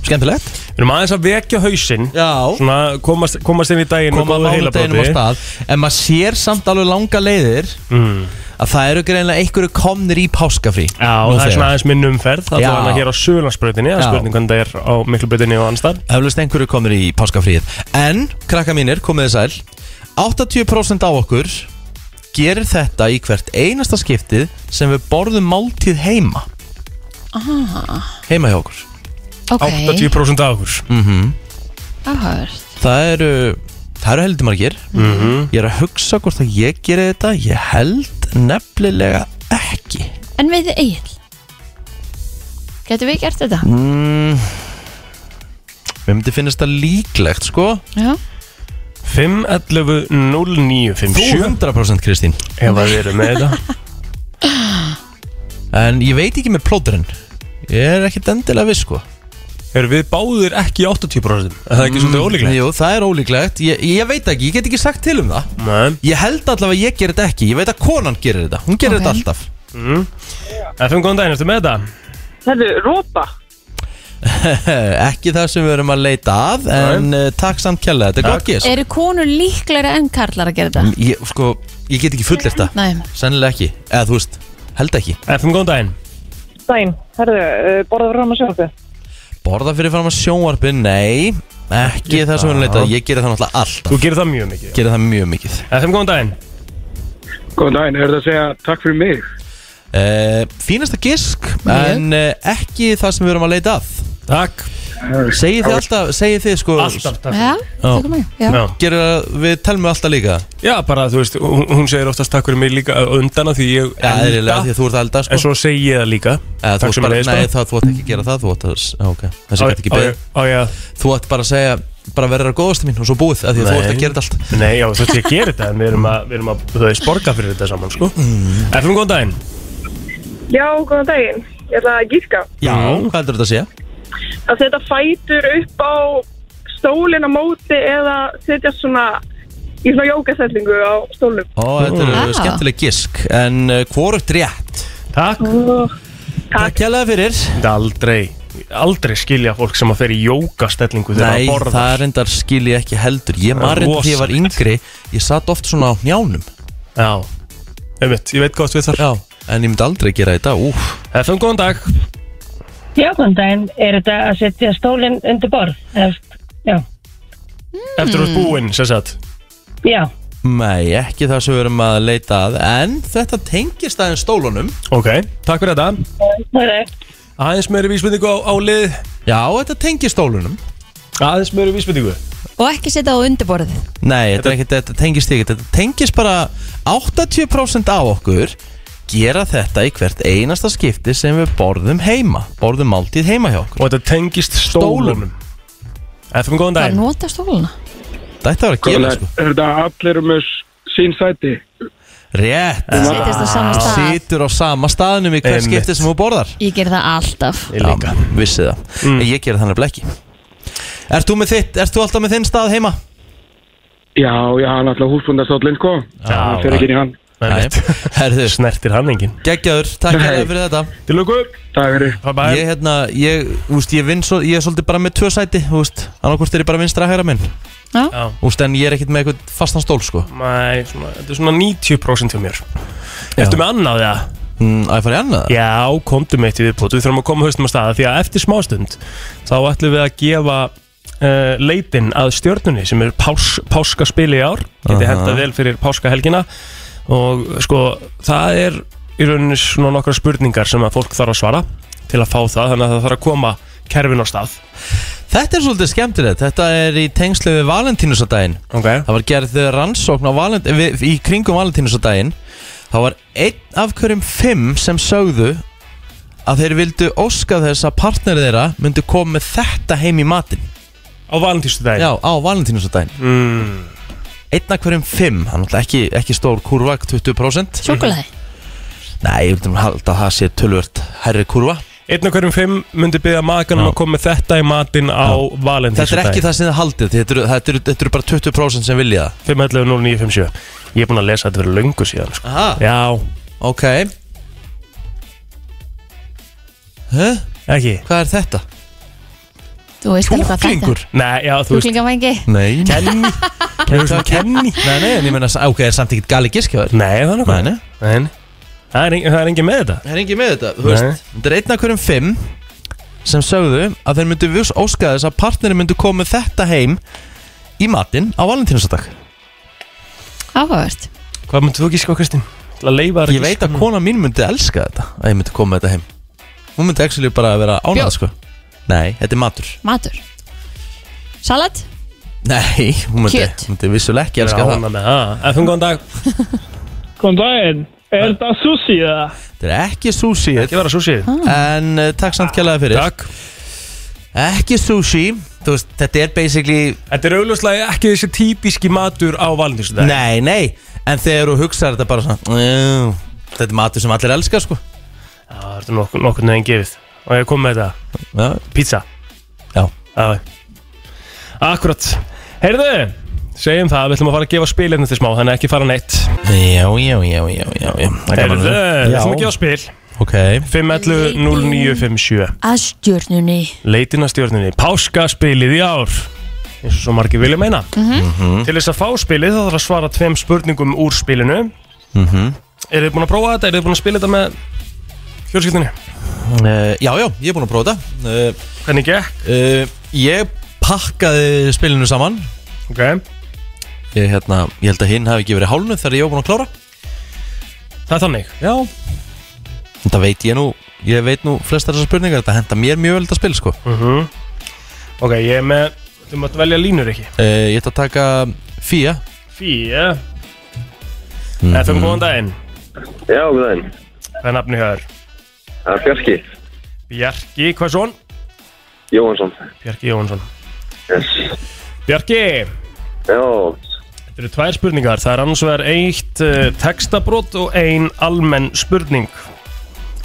skemmtilegt.
Við erum aðeins að vekja hausinn
Já.
Svona komast, komast inn í daginn
Koma mánudeginu á stað, en maður sér samt alveg langa leiðir
mm.
að það eru greinlega einhverju komnir í páskafrí.
Já, það
Nú
er
þegar.
svona aðeins minn umferð Það
Já.
er hann að hér á Suðlandsbrautinni Það er
Já.
spurning hvernig það er á Miklubrautinni og annars þar
Eflaust einhverju komnir í páskafríð. En, krakka mínir, komið þið sæl, 80% af okkur gerir þetta í hvert einasta skiptið sem við borðum máltíð heima. Heima hjá okkur.
Ah,
Mhm.
Ok,
80% af okkur
áhört
Það eru Það eru heldur margir
Mhm.
Ég er að hugsa hvort að ég geri þetta Ég held nefnilega ekki
En við eigin Getum við gert þetta?
mm. Mér myndi finnast það líklegt sko
Já
511-0957
100% Kristín
Ef að við erum með þetta
En ég veit ekki með plóturinn Ég er ekkit endilega við sko
Erum við báðir ekki í 80% Er það ekki svolítið ólíklegt?
Mm, Jú, það er ólíklegt ég, ég veit ekki, ég get ekki sagt til um það
Nei
Ég held allavega að ég gerir þetta ekki Ég veit að konan gerir þetta, hún gerir
Ok.
þetta alltaf
FM, Mm. góðan daginn, ertu með þetta?
Það er rópa.
Ekki það sem við erum að leita að En uh, takk samt kjærlega, þetta er gott gís
Eru konur líklegri enn karlar að gera
Mm,
þetta?
ég, sko, ég get ekki fullir þetta
Nei
Sennilega ekki, eða þú veist, held ekki
FM, góðan daginn
Dæn, herðu, uh, borðaður ráma sjálfu.
Borða fyrir fram að sjónvarpi, nei Ekki það sem við erum leitað, ég gerir það náttúrulega alltaf
Þú gerir það mjög mikið
Gerir það mjög mikið
FM, góðan daginn
Góðan daginn, er það að segja takk fyrir mig?
uh, Fínasta gisk, en uh, ekki það sem við erum að leita að
Takk
Segið þið alltaf, segið þið sko
Alltaf takk
Já, tökum við Já
Já.
Gerir það, við telmum alltaf líka
Já, bara þú veist, hún, hún segir oftast takk fyrir mig líka á undan af því ég
Já, eðlilega, því að þú ert að elda
En
sko
svo segi ég það líka
Eða, þú
Takk
ert
sem
bara,
leiðis
Nei,
bara
það, þú ætti ekki að gera það, þú ætti að á, okay. Þessi
Á-
gæti ekki
á-
beðið
Á ég að
Þú ætti bara að segja, bara verður að góðast mín og svo búið af Því að þú
Nei.
ert að gera þetta allt
Nei, já, þú veist ég gerir þetta en við erum að, við erum að þú veist, borga fyrir þetta saman, sko
Mm.
FM, góðan daginn
Já, góðan daginn. Ég ætla að gíska.
Já, hvað heldur þetta að sé?
Að setja fætur upp á stólinn á móti eða setja svona í svona jókastellingu á stólum.
Ó, þetta eru
Ah.
skemmtileg gisk En uh, hvorugt rétt
Takk
Takk kjærlega fyrir
Þetta aldrei, aldrei skilja fólk sem að fer í jókastellingu þegar
Nei,
að borða
það reyndar skil ég ekki heldur Ég
Það er
maður reyndar því ég var yngri Ég satt oft svona á njánum
Já, ég veit, ég veit hvað þú veit þar
Já, en ég myndi aldrei gera þetta Úf,
FM, góðan dag
Já, góðan daginn, er þetta að setja stólinn undir borð? Eft, já,
Eftir úr búinn, sér satt
já,
Hmm. nei, ekki það sem við erum að leita að En þetta tengist aðeins stólunum
Ok, takk fyrir þetta
það er það.
Aðeins meiri vísbendingu á, á lið
Já, þetta tengist stólunum
Aðeins meiri vísbendingu
Mm.
Og ekki setja á undirborðið
Nei, þetta, er ekkit, þetta tengist ekki Þetta tengist bara 80% af okkur gera þetta í hvert einasta skipti sem við borðum heima Borðum máltíð heima hjá okkur
Og þetta tengist stólunum FM,
Hvað
góðan daginn
nota stóluna?
Þetta var að
Góðan
gera
daginn.
sko
Er þetta allir um s- sín sæti?
Rétt
Sittist á sama stað
Situr á sama staðnum í hvert
Einmitt.
skipti sem þú borðar
Ég ger það alltaf
Ég líka Mm.
vissi það En Ég gera þannig ekki Ert þú með þitt, ert þú alltaf með þinn stað heima?
Já, já, hann alltaf húsbundastóllinn, sko. Já. Það fyrir ekki inn í hann.
Einmitt.
Herðu,
Snertir hann engin
geggjaður, takk
Nei.
hérna fyrir þetta
Til lukku
Takk fyrir.
Bye bye
Ég, hérna, ég, úst, ég vinn svo, ég er svolítið bara með tvö sæti, úst Annarkvort er ég bara vinstra að hægra minn
Já
Úst, en ég er ekkert með eitthvað fastan stól, sko
Mæ, svona, þetta er svona 90% hjá mér Ertu með annað það?
Mm, Að ég fara í annað?
Já, komdu með eitt í viðbútt Við þurfum að koma haustum á staða Því að eftir smástund Þá ætlum við að gefa uh, leitin að stjörnunni Sem er pás, páskaspili í ár Geti
Aha.
hendað vel fyrir páskahelgina Og sko, það er Í rauninni svona nokkra spurningar Sem að fólk þarf að svara Til að fá það Þannig að það þarf að koma kerfin á stað
Þetta er svolítið skemmtilegt, þetta er í tengslu við Valentínusadaginn
okay.
Það var gerð rannsókn á valent, við, í kringum Valentínusadaginn þá var einn af hverjum fimm sem sögðu að þeir vildu óska þess að partnerið þeirra myndu koma með þetta heim í matinn
Á valentístu dag
Já, á Valentínusadaginn
mm,
Einn af hverjum fimm, hann er náttúrulega ekki, ekki stór kurva 20%
Sjókulaði
Nei, ég vil halda að það sé tölvört herri kurva
Einn og hverjum fimm myndi byggja makanum
Já.
að koma með þetta í matinn á valentístu
Þetta er ekki það sem þið haldið, þetta eru, þetta eru, þetta eru bara 20% sem vilja það
511-0957 Ég er búinn að lesa þetta fyrir löngu síðan sko.
Aha,
Já,
ok Hæ?
ekki
Hvað er þetta?
Þú veist alveg hvað þetta er.
Nei, já, þú veist
Kjúklingavængi
Nei
Kenni Þú veist kenni
Nei, nei, en ég meina, ok, er samt ekkert gali giskjáður
Nei, það er nokkuð
Nei, nei.
nei Það er, engin, það er engin með þetta
Það er engin með þetta, þú veist Þetta er einn af hverjum fimm sem sögðu að þeir myndu vjós óska þess að partneri myndu koma með þetta heim í matinn á valentínusadag
Áhugavert
Hvað myndir þú gíska á Kristín? Til að leifa þér sko.
Ég veit að kona mín myndi elska þetta að ég myndi koma með þetta heim Hún myndi actually bara vera ánæð,
Bjór?
sko Nei, þetta er matur
Matur Salat
Nei, hún myndi,
Kjöt.
myndi vissulega ekki
ég
elska það
með það Ef þú góðan dag
Góðan daginn, er það sushi eða?
Þetta er ekki sushi
Ekki vera sushi
En uh, takk samt kjælega fyrir
Takk
Ekki sushi, þú veist, þetta er basically
Þetta er augljóslega ekki þessi típiski matur á valentínsdag
Nei, nei, en þegar þú hugsaðar þetta bara svona "Jú, Þetta er matur sem allir elska sko
Það er nokkur, nokkur neginn gefið Og ég kom með þetta
Já,
Pizza
já.
Já Akkurat Heyrðu Segjum það, við ætlum að fara að gefa spilinu til smá Þannig að ekki fara neitt
Já, já, já, já, já, já. Það er
Heyrðu,
gaman að
við
þessu.
ætlum að gefa spil
Ok
511-0957
Að stjórnunni
Leitin að stjórninni Páskaspilið í ár eins og svo margir vilja meina
Mhm.
Til þess að fá spilið þá þarf að svara tveim spurningum úr spilinu mm
Mhm.
Eru þið búin að prófa þetta? Eru þið búin að spila þetta með fjölskyldinni?
uh, Já, já, ég er búin að prófa þetta uh,
Hvernig gekk?
uh, Ég pakkaði spilinu saman
Ok
Ég, hérna, ég held að hinn hafi ekki verið hálnu þegar ég var búin að klára
Það er þannig Já
Þetta veit ég nú, ég veit nú flestar þessar spurningar Þetta henda mér mjög vel þetta spil sko uh,
Mhm. Ok, ég er með Þú mátt velja línur ekki
Eh, Ég ætla að taka Fía
Fía
Mhm.
mm -hmm. FM, góðan daginn
Já, góð daginn.
Það er nafni hér
Það er Bjarki
Bjarki, hvað er svon?
Jóhansson.
Bjarki Jónsson
Yes.
Bjarki
Já,
Þetta eru tvær spurningar, það er annars vegar eitt uh, textabrót og ein almenn spurning.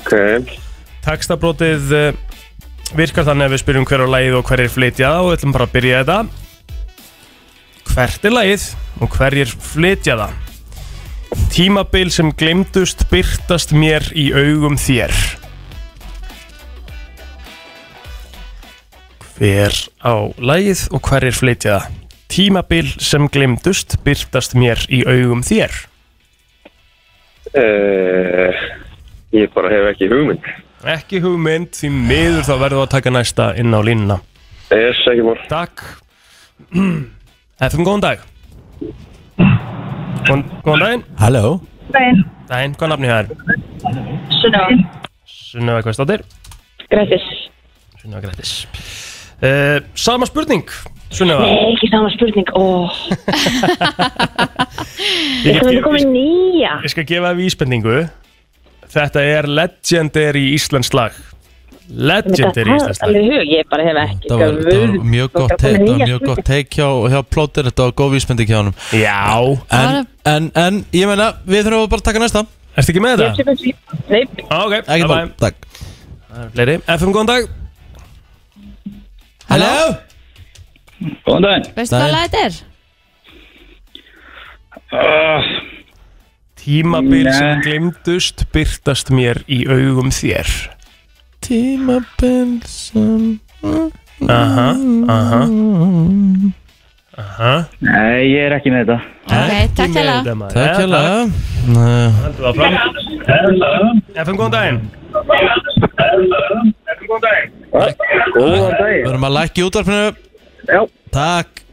ok.
Textabrótið uh, virkar þannig að við spyrjum hver á lagið og hverjir flytja það og við ætlum bara að byrja þetta. Hvert er lagið og hverjir flytja það? Tímabil sem glemdust byrtast mér í augum þér. Hver á lagið og hverjir flytja það? Tímabil sem glemdust byrtast mér í augum þér.
Uh, ég bara hef ekki hugmynd.
Ekki hugmynd, því miður þá verðum við að taka næsta inn á línuna.
Yes, ekki mór.
Takk. FM, góðan dag. Góðan, góðan daginn.
Halló
Daginn, hvað nafni það er? Sunnöfa Kvæstóttir.
Grætis.
Sunnöfa Grettis. Uh, sama spurning, Sunnöfa.
Nei, ekki sama spurning. Ó, það
Ég, get
myndi
gef-
komið
ég,
nýja.
ég skal gefa það vísbendingu. Þetta er legendary íslensk lag Legendary íslensk lag
Alveg hug, ég bara hef ekki
Þetta var, þetta var mjög
Þú
gott
ert
take,
komin í
þetta var mjög
nýja
gott take hjá, hjá plótir, þetta var góð vísmyndi hjá honum
Já
En, en, en ég meina, við þurfum bara að taka næsta
Ertu ekki með
Ég sé fyrir- Nei,
Ah, Ok,
Ekki bá,
bye-bye.
takk
Það eru Fleiri, FM, góðan dag
Hello?
Góðan daginn.
Veistu
Nei.
hvað lag þetta er?
Uh,
Tímabil sem
Nei.
glimtust byrtast mér í augum þér
Tímabil sem
Aha, aha Aha
nei, ég er ekki með þetta.
Ok,
Ekki
takk
með
hella
þetta, maður.
Takk
Ja, takk.
hérlega Eh,
Haldum áfram. FM, góðan daginn
Góðan
Við
daginn.
erum að lækja útarpinu
Já.
Takk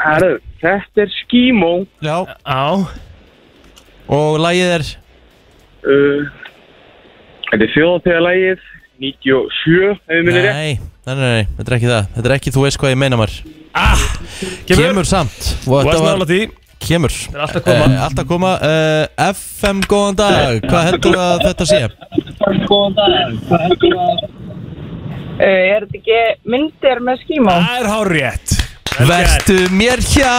Herru, þetta er Skímó.
Já
Á,
Og lægið er
Uh, þetta er þjóðategarlægið 97, ef við minnir ég.
Nei, nei, nei, nei, þetta er ekki það Þetta er ekki þú veist hvað ég meina mar
Ah, kemur
Kemur samt Og
Þú
þetta
varst
var
nála því
Kemur
er allt að koma.
Eh, Allt að koma Eh, FM, góðan dag Hvað heldur að þetta sé?
Er þetta ekki myndir með skímó?
Það er hár rétt
Vertu mér hjá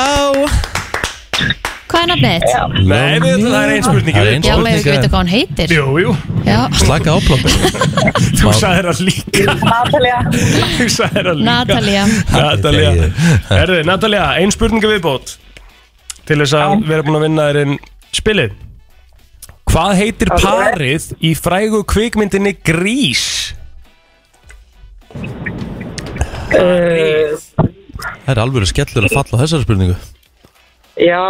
Hvað er nafnið þitt?
Nei, við ætlum- það er ein spurning, við
Það er ein
Já, maður ekki veit
spurning
hvað hann heitir
Jú, jú,
Já,
Slaka áplótt
þú sagðir það líka
Natalia
Þú sagðir það líka
Natalia
Natalia Herðu, Natalia, ein spurninga viðbót Til þess að vera búin að vinna þér inn spilið Hvað heitir parið í frægu kvikmyndinni Grís?
Uh,
Það er alveg skellur að falla á þessari spurningu
Já,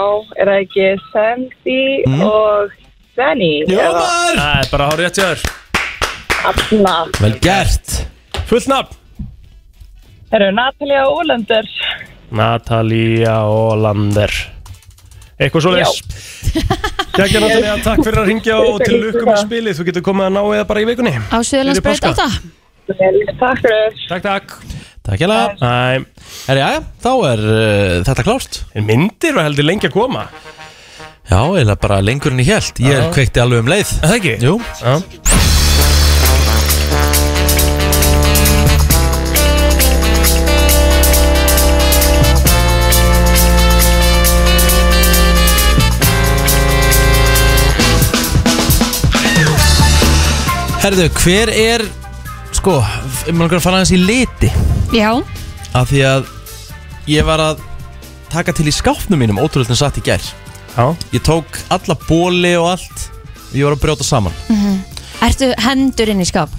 er það ekki Sandy
Mm.
og Danny?
Jómar
Það er bara hár rétt hjá þér
Afna
Vel gert
Fullt nafn
Er það Natalia og Ólandur?
Natalia Olander Eitthvað svo leis Kjækja Natalia, takk fyrir að ringja og til lukku með spilið Þú getur komið að ná eða bara í vikunni
Á Suðurlandsbreyt
Fyrir
8
páska.
Takk fyrir
Takk, takk
Takk ég lega
Æ,
Herja, þá er uh, þetta klárt
Myndir var heldur lengi að koma
Já, eiginlega bara lengur en ég held Ég kveikti alveg um leið
Er Það ekki?
Jú
Já.
Herðu, hver er Sko, ég maður að fara aðeins í liti
Já,
Af því að ég var að taka til í skápnum mínum Ótrúlega satt í gær
Já.
Ég tók alla bóli og allt Ég var að brjóta saman
Mhm. ertu hendur inn í skáp?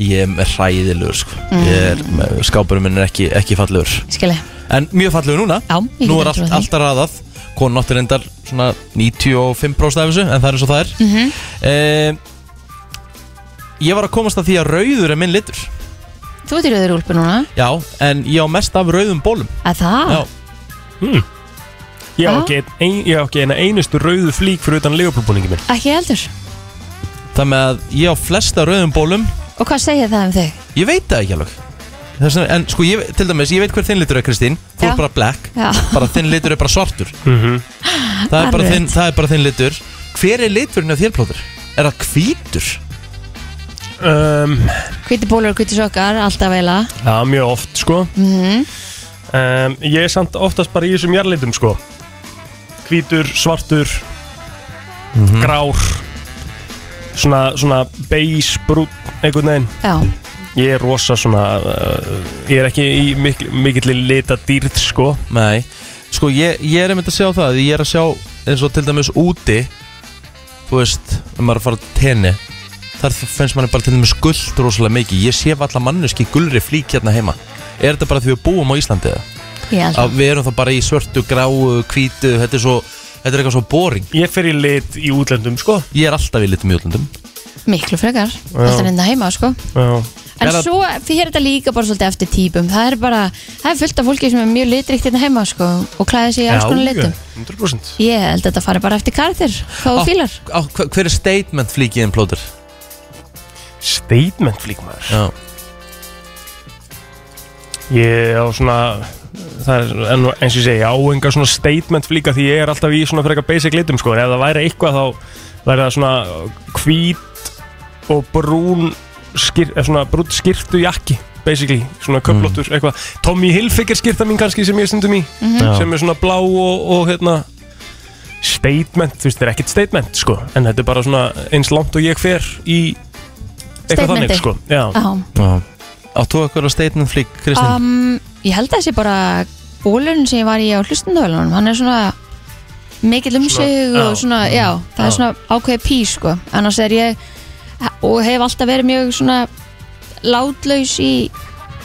Ég er ræðilegur sko. mm. Skápurum minn er ekki, ekki fallegur
Skilji,
En mjög fallegur núna
já, ég
Nú
get
er
alveg trúað
allt,
því.
allt að raðað Konan átti reyndar svona 95% af þessu En það er eins og það er mm
Mhm.
Ég var að komast að því að rauður er minn litur
Þú ert í rauður úlpu núna
Já, en ég á mest af rauðum bólum
Að það?
Já.
Ég á
Ha?
ekki, ein, ég á ekki eina einustu rauðu flík fyrir utan legjubúbúningi minn
Ekki heldur
Þannig að ég á flesta rauðum bólum
Og hvað segir það um þig?
Ég veit það ekki alveg Þess, vegna- En sko, ég, til dæmis, ég veit hver þinn litur er Kristín Þú
Já.
er bara black
Já.
Bara þinn litur er bara svartur það, er bara
Alveg.
þinn, það er bara þinn litur Hver er liturinn af þér plótur? Er það hvítur?
um,
Hvíti bólur og hvíti sokkar, alltaf Mhm. eila
Já, mjög oft sko um, Ég er samt oftast bara í þessum jarlitum sko Hvítur, svartur Grár Svona, svona beige, brún einhvern veginn
Já,
Ég er rosa svona uh, Ég er ekki í mikil, mikill lita dýrð sko
Nei Sko, ég, ég er einmitt að sjá það Ég er að sjá eins og til dæmis úti Þú veist, ef maður er að fara til tenni Þar finnst manni bara til dæmis gullt rosalega mikið Ég sé allar manneski gulri flík hérna heima Er þetta bara því við búum á Íslandi eða?
ég held
að við erum þá bara í svörtu, gráu, hvítu þetta er svo, þetta er eitthvað svo boring
Ég fer í lit í útlöndum sko
ég er alltaf í litum í útlöndum
Miklu frekar, alltaf reynda heima sko
Já
En
Er það-
svo fyrir þetta líka bara svolítið eftir típum Það er bara, það er fullt af fólki sem er mjög litrikt hérna heima sko Og klæði sig í alls konar litum
100%
Ég held að þetta fari bara eftir karakter
Ah,
Hvað þú fílar
á, hver hver er statement flíkiðin plóður?
Statement flík maður
Já.
Ég á svona Það er en, eins og ég segi, ég á enga svona statement flíka því ég er alltaf í svona frekar basic litum sko en ef það væri eitthvað þá væri það svona hvít og brún skir, eh, svona brún skirtu jakki basically, svona köflóttur eitthvað Tommy Hilfiger skirta mín kannski sem ég er stundum í
Mhm. Já.
sem er svona blá og, og hérna statement, þú veist, þetta er ekkert statement sko, en þetta er bara svona eins langt og ég fer í eitthvað þannig
Statementi.
sko Já,
Já.
Áttu okkur að statement flík, Kristín?
um, Ég held að þessi bara bólurinn sem ég var í á hlustundavælunum hann er svona mikill um sig
Svona,
og
já,
svona, já, það er
já.
svona ákveði pí sko, annars er ég og hef alltaf verið mjög svona látlaus í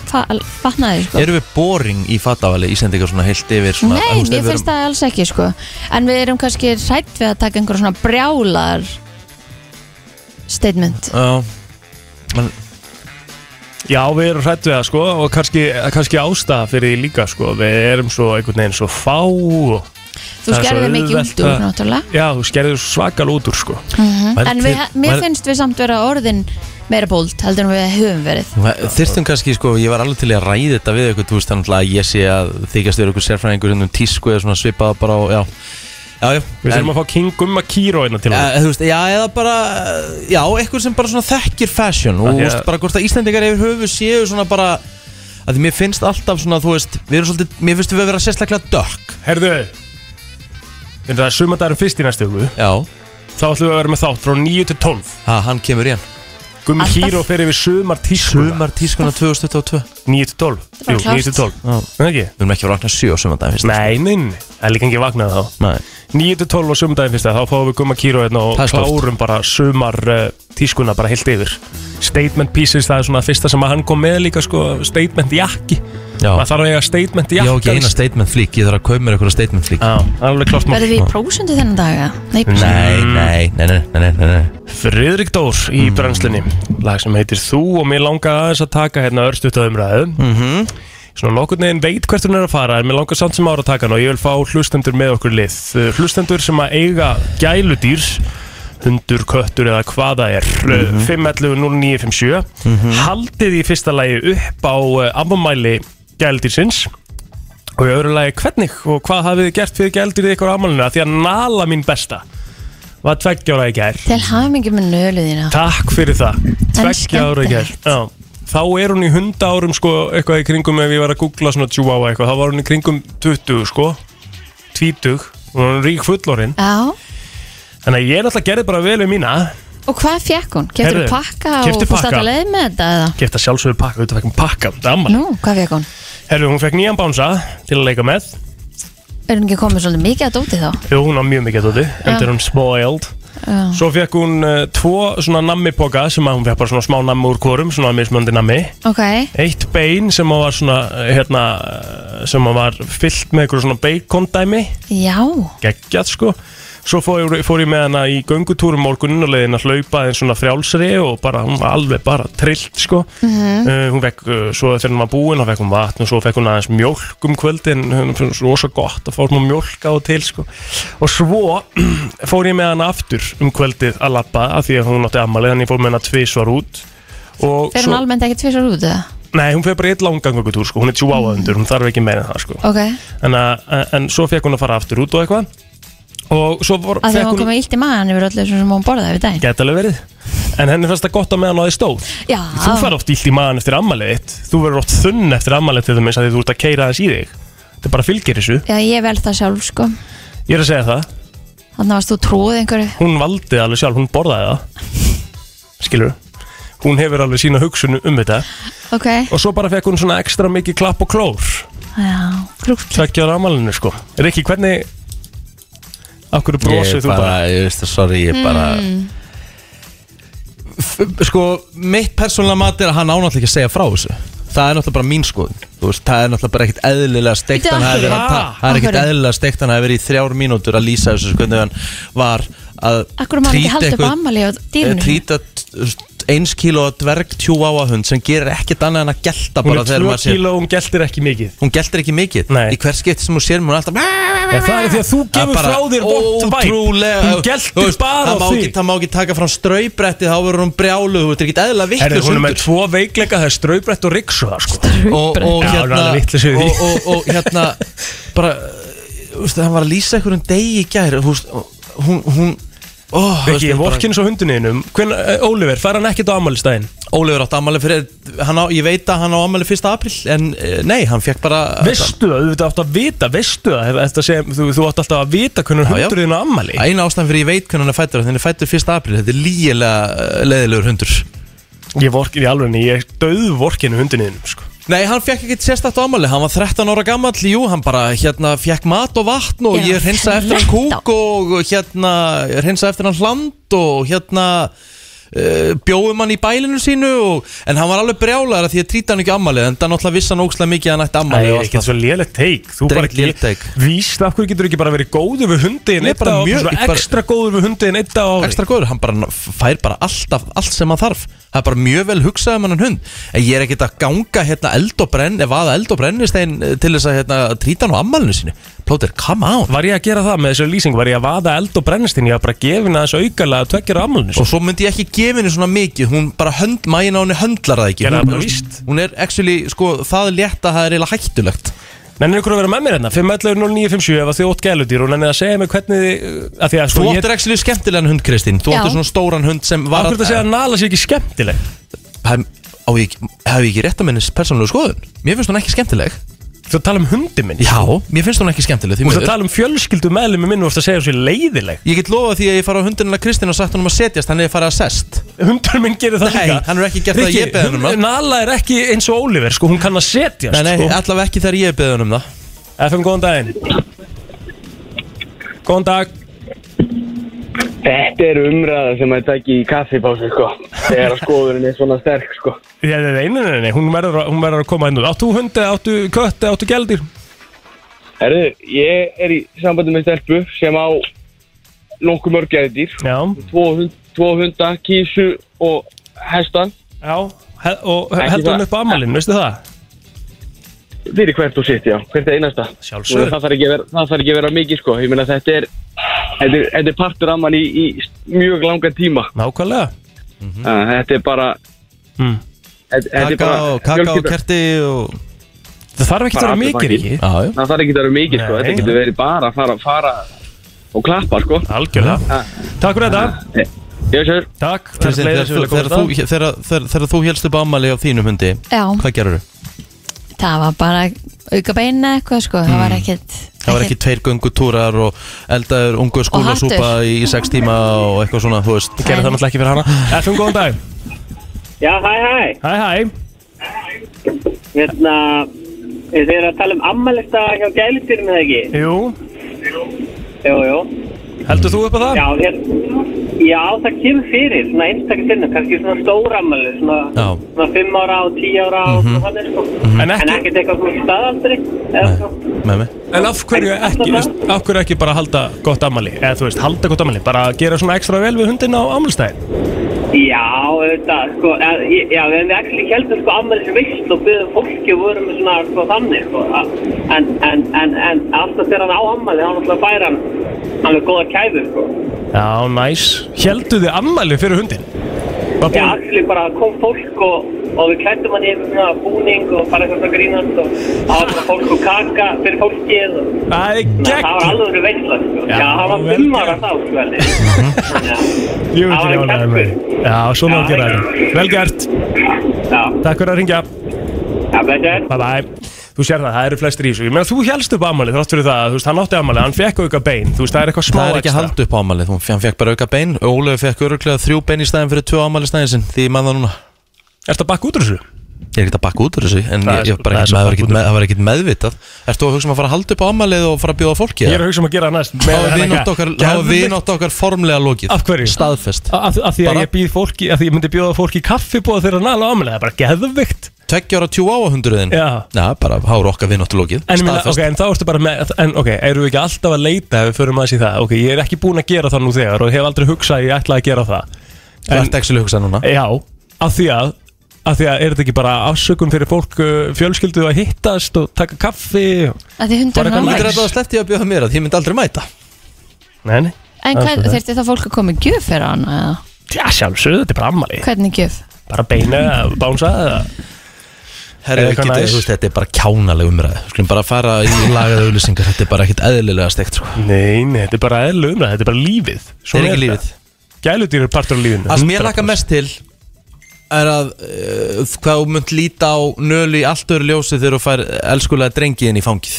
fa- fatnaði sko
Erum við boring í fatafæli Íslandingar svona heilt yfir svona,
Nei, mér
um-
finnst það alls ekki sko En við erum kannski hrætt við að taka einhver svona brjálar statement
Já, Man,
Já, við erum hrætt við það sko og kannski, kannski ástæða fyrir því líka sko við erum svo einhvern veginn svo fá og
Þú
það er svo
skerðir mikið
auðvelt
út úr,
að-
náttúrulega.
Já, þú skerðir svakal út úr sko
Mhm. En við, mér
væri-
finnst við samt vera orðin meira bólt heldur en við höfum verið
Þyrstum kannski, sko, ég var alveg til í að ræða þetta við ykkur, þú veist, þannig að ég sé að þykjast vera ykkur sérfræðingur hérna um tísku eða svona svipað bara og, já, já, já
Við þurfum að fá King Gumma Kíró einna til
Eh, þú veist, já, eða bara, já, eitthvað sem bara svona þekkir fashion og
Af
þú
því að-
veist, bara hvort að Íslendingar yfir höfu séu svona bara að því mér finnst alltaf svona, þú veist, við erum svolítið, mér finnst við að vera sérstaklega dökk
Herðu, en það er sumandagurinn fyrst í næstu hugu
Já
Þá ætlum við að vera með þátt frá 9 til 12
Ha, hann kemur í hann
Gummi Kíró fer yfir sumartískuna
Sumartískuna 2022
9 til 12
er bara
Jú, 9 til
klárt.
12 Nei, ekki?
Við erum ekki að vakna 7 á sumandaginn fyrst
Nei, nei, nei, það er líka ekki vaknað þá
Nei
9 til 12 á sumdæðin fyrst þá fáum við gumma kýra hérna og
Það er stórt.
klárum bara sumar uh, tískuna bara heilt yfir statement pieces, það er svona fyrsta sem að hann kom með líka sko, statement jakki
Já.
maður þarf að eiga statement
Ég á
jakka
ekki eina statement flík, ég þarf að kaupa mér eitthvað statement flík
Já, alveg klart
Verðum við í prósundu þennan dag? eða? Nei,
Nei, nei, nei, nei, nei, nei, nei.
Friðrik Dór í brennslunni lag sem heitir Þú og mér langar aðeins að taka hérna örstuðt að umræðu -hmm. svona nokkurn veginn veit hvert hún er að fara en mér langar samt sem ára að taka hann og ég vil fá hlustendur með okkur lið Uh, hlustendur sem að eiga gæludýr hundur, köttur eða hvaða er mm 511 0957
Mhm.
haldið í fyrsta lagi upp á uh, afmæli gæludýrsins og í öðru lagi hvernig og hvað hafið þið gert fyrir gæludýrið ykkur á afmælinu Af því að nala mín besta var tveggjóra í gær
Til hamingi með nöluðina
Takk fyrir það Tveggja ára í gær
skemmtilegt.
Já. Þá er hún í hunda árum sko eitthvað í kringum ef ég var að googla svona chihuahua eitthvað þá var hún í kringum 20 sko 20 og hún er rík fullorinn
Já,
Þannig að ég er alltaf gerði bara vel við mína
og hvað fekk hún? Keftur
Heyrðu,
pakka og
keypti
fórst
pakka.
alltaf leið með þetta eða?
Gifta sjálfsögur pakka, auðvitað fekk hún pakka Það er ammali
Nú, hvað fekk hún?
Herru, hún fekk nýjan bánsa til að leika með
Er hún ekki komið svolítið mikið að dóti þá?
Jú, hún á mjög mikið tóti En það er hún spoiled
Já.
Svo fekk hún uh, tvo svona nammipoka sem að hún fekk bara svona smá nammi úr kórum svona mismöndi nammi
Ok,
eitt bein sem að var svona hérna, sem að var fyllt með einhverju svona beikondæmi
já
geggjað sko svo fór ég, fór ég með hana í göngutúrum morgunin og leiðin að hlaupa þeim svona frjálsri og bara, hún var alveg bara trillt sko
Mhm.
uh, hún fekk, uh, svo þegar hún var búin þá fekk hún vatn og svo fekk hún aðeins mjólk um kvöldin hún finnst rosa gott að fá hún mjólk á og til sko og svo fór ég með hana aftur um kvöldið að labba af því að hún átti ammalið en ég fór með hana tvisvar út og
fer hún almennt ekki tvisar út eða?
Nei, hún fyrir bara eitt langangökutúr sko, hún er chihuahua undur, hún þarf ekki meira en það sko
Ok,
en, að- en svo fekk hún að fara aftur út og eitthvað Og svo vor,
að því að hún
hún
komið illt í maðan yfir öllu sem hún borðaði við daginn
Gæti alveg verið En henni fannst það gott að meðan á því stóð
Já,
Þú fær oft illt í maðan eftir ammalið þitt Þú verður oft þunn eftir ammalið til þess að þú ert að keira þess í þig Þetta bara fylgir þessu
já ég vel það sjálf sko
Ég er að segja það,
Þannig varst þú trúið einhverju
hún valdi alveg sjálf, hún borðaði það Skilur Hún hefur alveg sína hugsun um þetta
Ok,
Og svo bara fekk hún svona ekstra mikið klapp og klór
já, krúkt
Tveggja ára amalinu sko Rikki, hvernig Akkur brosið
Ég
þú bara
bara, ég veist það, sorry, ég bara
Mm.
F- Sko, mitt persónulega mat er að hann ánáttúrulega ekki að segja frá þessu Það er náttúrulega bara mín skoðun Þú veist, það er náttúrulega bara ekkit eðlilega steikt
Bíddu,
hann
af
hafi verið að
hverju?
ta- Það er
Af
ekkit
hverju?
eðlilega steikt hann hafi verið í þrjár mínútur að lýsa þessu hvernig hann var að
Akkur maður ekki
treata
haldið upp
eitthvað-
ammali á
eh,
dýrinu
Trýta eins kíló dverg tjú áa hund sem gerir ekkit annað en að gelta
Hún
bara
er
þegar
2
maður sér
kíló, hún geltir ekki mikið
Hún geltir ekki mikið Nei. Í hver skipti sem hún sér mér hún er alltaf
ja, Það er því að þú
Það
gefur
bara
frá þér vont væp
ótrúlega-
Hún
Þú
geltir
veist,
bara
það
á
má
því
ekki- Það má ekki taka fram straubretti Þá verður hún brjálu Þú veitir ekki eðla
Herri,
vittlust
hún er með tvo veikleika, það er straubrett og riksuða sko.
og, og
Já, hún er
hérna
alveg vitlaus yfir því.
og, og, og hérna bara, uh, þú veist, hann var að lýsa einhverjum degi í gær þú veist, og hún, hún oh,
Ekki, ég vorkin svo hundunniðinum eh, Oliver, fær hann ekkert á ammælistæðin?
Oliver átti ammæli fyrir hann á, Ég veit að hann á ammæli 1. april En eh, nei, hann fekk bara
Veistu það, þú veit átt að vita, veistu það þetta sem, þú, þú átt alltaf að vita hvernig
já.
hundurinn á ammæli
Einu ástæðan fyrir ég veit hvernig hann er fættur Þannig er fættur 1. april Þetta er lígilega leðilegur hundur
Ég vorkin í alveg, ég döð vorkinu hundunniðinum sko.
Nei, hann fekk ekkert sérstakt ámæli Hann var 13 ára gammal Jú, hann bara hérna fekk mat og vatn Og
Já,
ég hreinsa eftir hann kúk Og hérna, hreinsa eftir hann hland Og hérna uh, Bjóðum hann í bælinu sínu og, En hann var alveg brjálæður að því að trýta hann ekki ámæli En það náttúrulega vissi hann ókslega mikið að hann ætti
Það
ámæli
er ekkert svo lélegt teik Þú
Þetta er
bara
ekkert lélegt take.
Víst, af hverju getur þú ekki bara verið góður við hundin
Nei,
Eitt á,
bara mjög-
mjög,
ég bara-
ekstra góður við hundin Eitt á ári
ekstra góður, hann bara fær bara alltaf allt sem hann þarf, það er bara mjög vel hugsað um hann hund, en ég er ekkert að ganga hérna eld og brenn, eða aða eld og brennistein eh, til þess að hérna trýta hann á ammælinu sínu plótir, come on
Var ég að gera það með þessu lýsing Var ég að vaða eld og brennstinn Ég var bara gefin að þessu aukala að tveggjara ammálinu
og svo myndi ég ekki gefa henni svona mikið hún bara hönd, mæina henni höndlar það ekki
Gerði það bara
hún,
víst.
hún er actually, sko, það létt að það er eiginlega hættulegt
Nenni ykkur að vera með mér hérna 5.11.09.57 ef að þið ótt gæludýr og nenni að segja mig hvernig þið að Því að
þú
sko ég
áttir actually skemmtilegan hund, Kristín þú
Já.
áttir svona stóran hund sem var
Akkur þetta segja að Nala sé ekki skemmtileg
Hef- á ég ekki- hef ég ekki rétt að minni persónulegu skoðun mér finnst hún ekki skemmtileg
Þú tala um hundi minn
já, mér finnst hún ekki skemmtileg því
Þú
miður.
tala um fjölskyldu meðlum minn og þú ert að segja um þessu leiðileg
Ég get lofað því að ég fara á hundunina Kristinn og sagt honum að setjast, hann er farið að sest
Hundur minn gerir það
Nei,
líka
hann um hefur ekki gert það að
Rikki,
ég beðið honum
hund-
það
Nala er ekki eins og Oliver sko, hún kann að setjast
Nei, nei,
sko.
allavega ekki þegar ég er beðið honum það
FM, góðan daginn Góðan dag
Þetta er umræða sem maður takk í kaffipásu, sko. Þegar að skoðurinn er svona sterk, sko.
Já, nei, nei, nei, nei, nei, hún verður, að- hún verður að koma inn og Áttu hundi, áttu kötti, áttu gældir
Herðu, ég er í sambandi með stelpu sem á nokkuð mörg gæðdýr.
Já,
Tvo, hund, tvo hunda, kísu og hestan.
já he Og
Ekki
heldur
það.
hún upp á amalinn, veistu það?
Fyrir hvert og sitt, já. Hvert einasta. Og
Sjálfsög
Það þarf ekki að vera, það þarf ekki að vera mikið, sko. Ég meina þetta er, þetta er, þetta er partur af mann í, í mjög langan tíma.
Nákvæmlega
Mm. Þetta er bara...
Mm.
Þetta, þetta er
Kaka
bara...
og, kaka og
fjölskylda-
kerti og...
Það þarf ekki að vera
Bara
mikið
allir
ekki
Já, já
Það þarf ekki að vera mikið sko,
Nei.
þetta getur verið bara að fara, fara og klappa sko.
Algjörlega Takk fyrir þetta
Ég sér,
Takk
Kristín,
Fleiri
þegar
sem
þú-
vilja komast að.
þegar þú- þegar- þegar- þegar þú helst upp ammali á þínum hundi
Já,
Hvað gerur þú?
það var bara auka beina eitthvað sko, það var ekkert
Hmm. Það var ekki tveir göngutúrar og eldaður ungu skúlasúpa
hattur.
í sex tíma og eitthvað svona, þú veist
Gerði það náttúrulega ekki fyrir hana FM, góðan dag
Já, hæ, hæ.
Hæ, hæ
Hérna, þið eru að tala um ammalista hjá gælutýrum eða ekki?
Jú
Jú, jú.
Heldur þú upp á það?
Já, hér, já, það kemur fyrir, svona einstakir sinnum, kannski svona stór ammali, svona,
Já.
svona 5 ára og 10 ára og svona þannig, sko.
Mhm. En ekki-
En ekkert eitthvað svona staðaldri, eða
Nei,
svo.
með mig
En af hverju ekki, veist, af hverju ekki bara halda gott ammali? Eða þú veist, halda gott ammali, bara gera svona ekstra vel við hundin á ammalstæðin
Já, auðvitað, sko, eð, já, við hefum ekki heldur sko ammælis veist og byggðum fólki og vorum með svona, sko, þannig, sko, að- en, en, en, en alltaf þegar hann á ammæli, hann alltaf fær hann, hann er góða kæðu, sko.
Já, næs Heldu þið ammali fyrir hundin? Var
Já,
búin,
allir bara kom fólk og, og við klættum hann yfir svona búning og bara eitthvað svona grínast og það var bara fólk og kaka fyrir fólkið og
það er
það var
gegn
alveg veitla, sko.
Já,
Já, hann var
vel
fimm ára
gert.
þá, sko, heldur. Já,
Jú,
það
ekki
var
rjánaði
kjarkur.
með Já, svona á að gera þetta Vel gert,
já,
takk fyrir að ringja
já, þetta er.
Bye bye Þú sér það, það eru flestir í þessu Ég meina, þú helst upp ammali þrátt fyrir það Þú veist, hann átti ammali, hann fekk auka bein Þú veist, það er eitthvað smá
Það er ekki
extra.
að halda upp ámalið, hún hann fekk bara auka bein Ólegu fekk öruglega þrjú bein í stæðin fyrir tvö ámalið stæðin sinn Því ég man það núna
Ertu að bakka út úr þessu?
Ég er ekkert að bakka út úr þessu En
Það
ég,
er
ég
svo-
bara
það er svo
ekkert með, það var
bakka
ekkert
út úr
með, það var ekkert meðvitað Ertu að hugsa um að fara að halda upp á ammælið og fara að bjóða fólki?
Ég er að hugsa um að gera það næst
Þá er vinátt okkar, þá er vinátt okkar formlega lokið
Af hverju?
Staðfest
Af af því að
Bara-
ég býð fólki, af því ég myndi bjóða fólki kaffibóð þegar hann alveg ámæli, það er bara geðvikt
Tveggjára tjú á hundruðin
Já
Já, bara hára okkar vináttu lokið
En, ég meina, ok,
Staðfest
en þá ertu bara með, en ok, eru við ekki alltaf að leita ef við förum aðeins í það, ok, ég er ekki búin að gera það nú þegar og hef aldrei hugsað að ég ætla að gera það
Þú ert ekki að hugsa núna
Já, af því að, af því að er þetta ekki bara afsökun fyrir fólk uh, fjölskyldu að hittast og taka kaffi og...
Að því
Bara
hundur
Þú
eitthvað
hann
myndir
Nice.
þetta að sleppti að bjóða mér að ég myndi aldrei mæta
Nei, nei,
En
Það er
hvað,
svo
þurfti það fólk að koma í gjöf fyrir hann eða?
já sjálfsögðu, þetta er bara
Eh.
ammali,
Hvernig gjöf?
bara beina eða bánsa eða Eða
Herri, við
eitthvað
getum-
næs.
þú veist, Þetta er bara kjánaleg umræð Við Skulum bara fara í lagaða auðlýsingar Þetta er bara ekkert eðlilega steikt sko.
Nei, nei, þetta er bara eðlum, þetta er bara lífið
Þetta er ekki lífið
Gæludýr er partur á lífinu
Það sem ég laka mest til er að uh, hvað þú munt líta á nölu í allt öru ljósi þegar þú fær elskulega drengiðin í fangið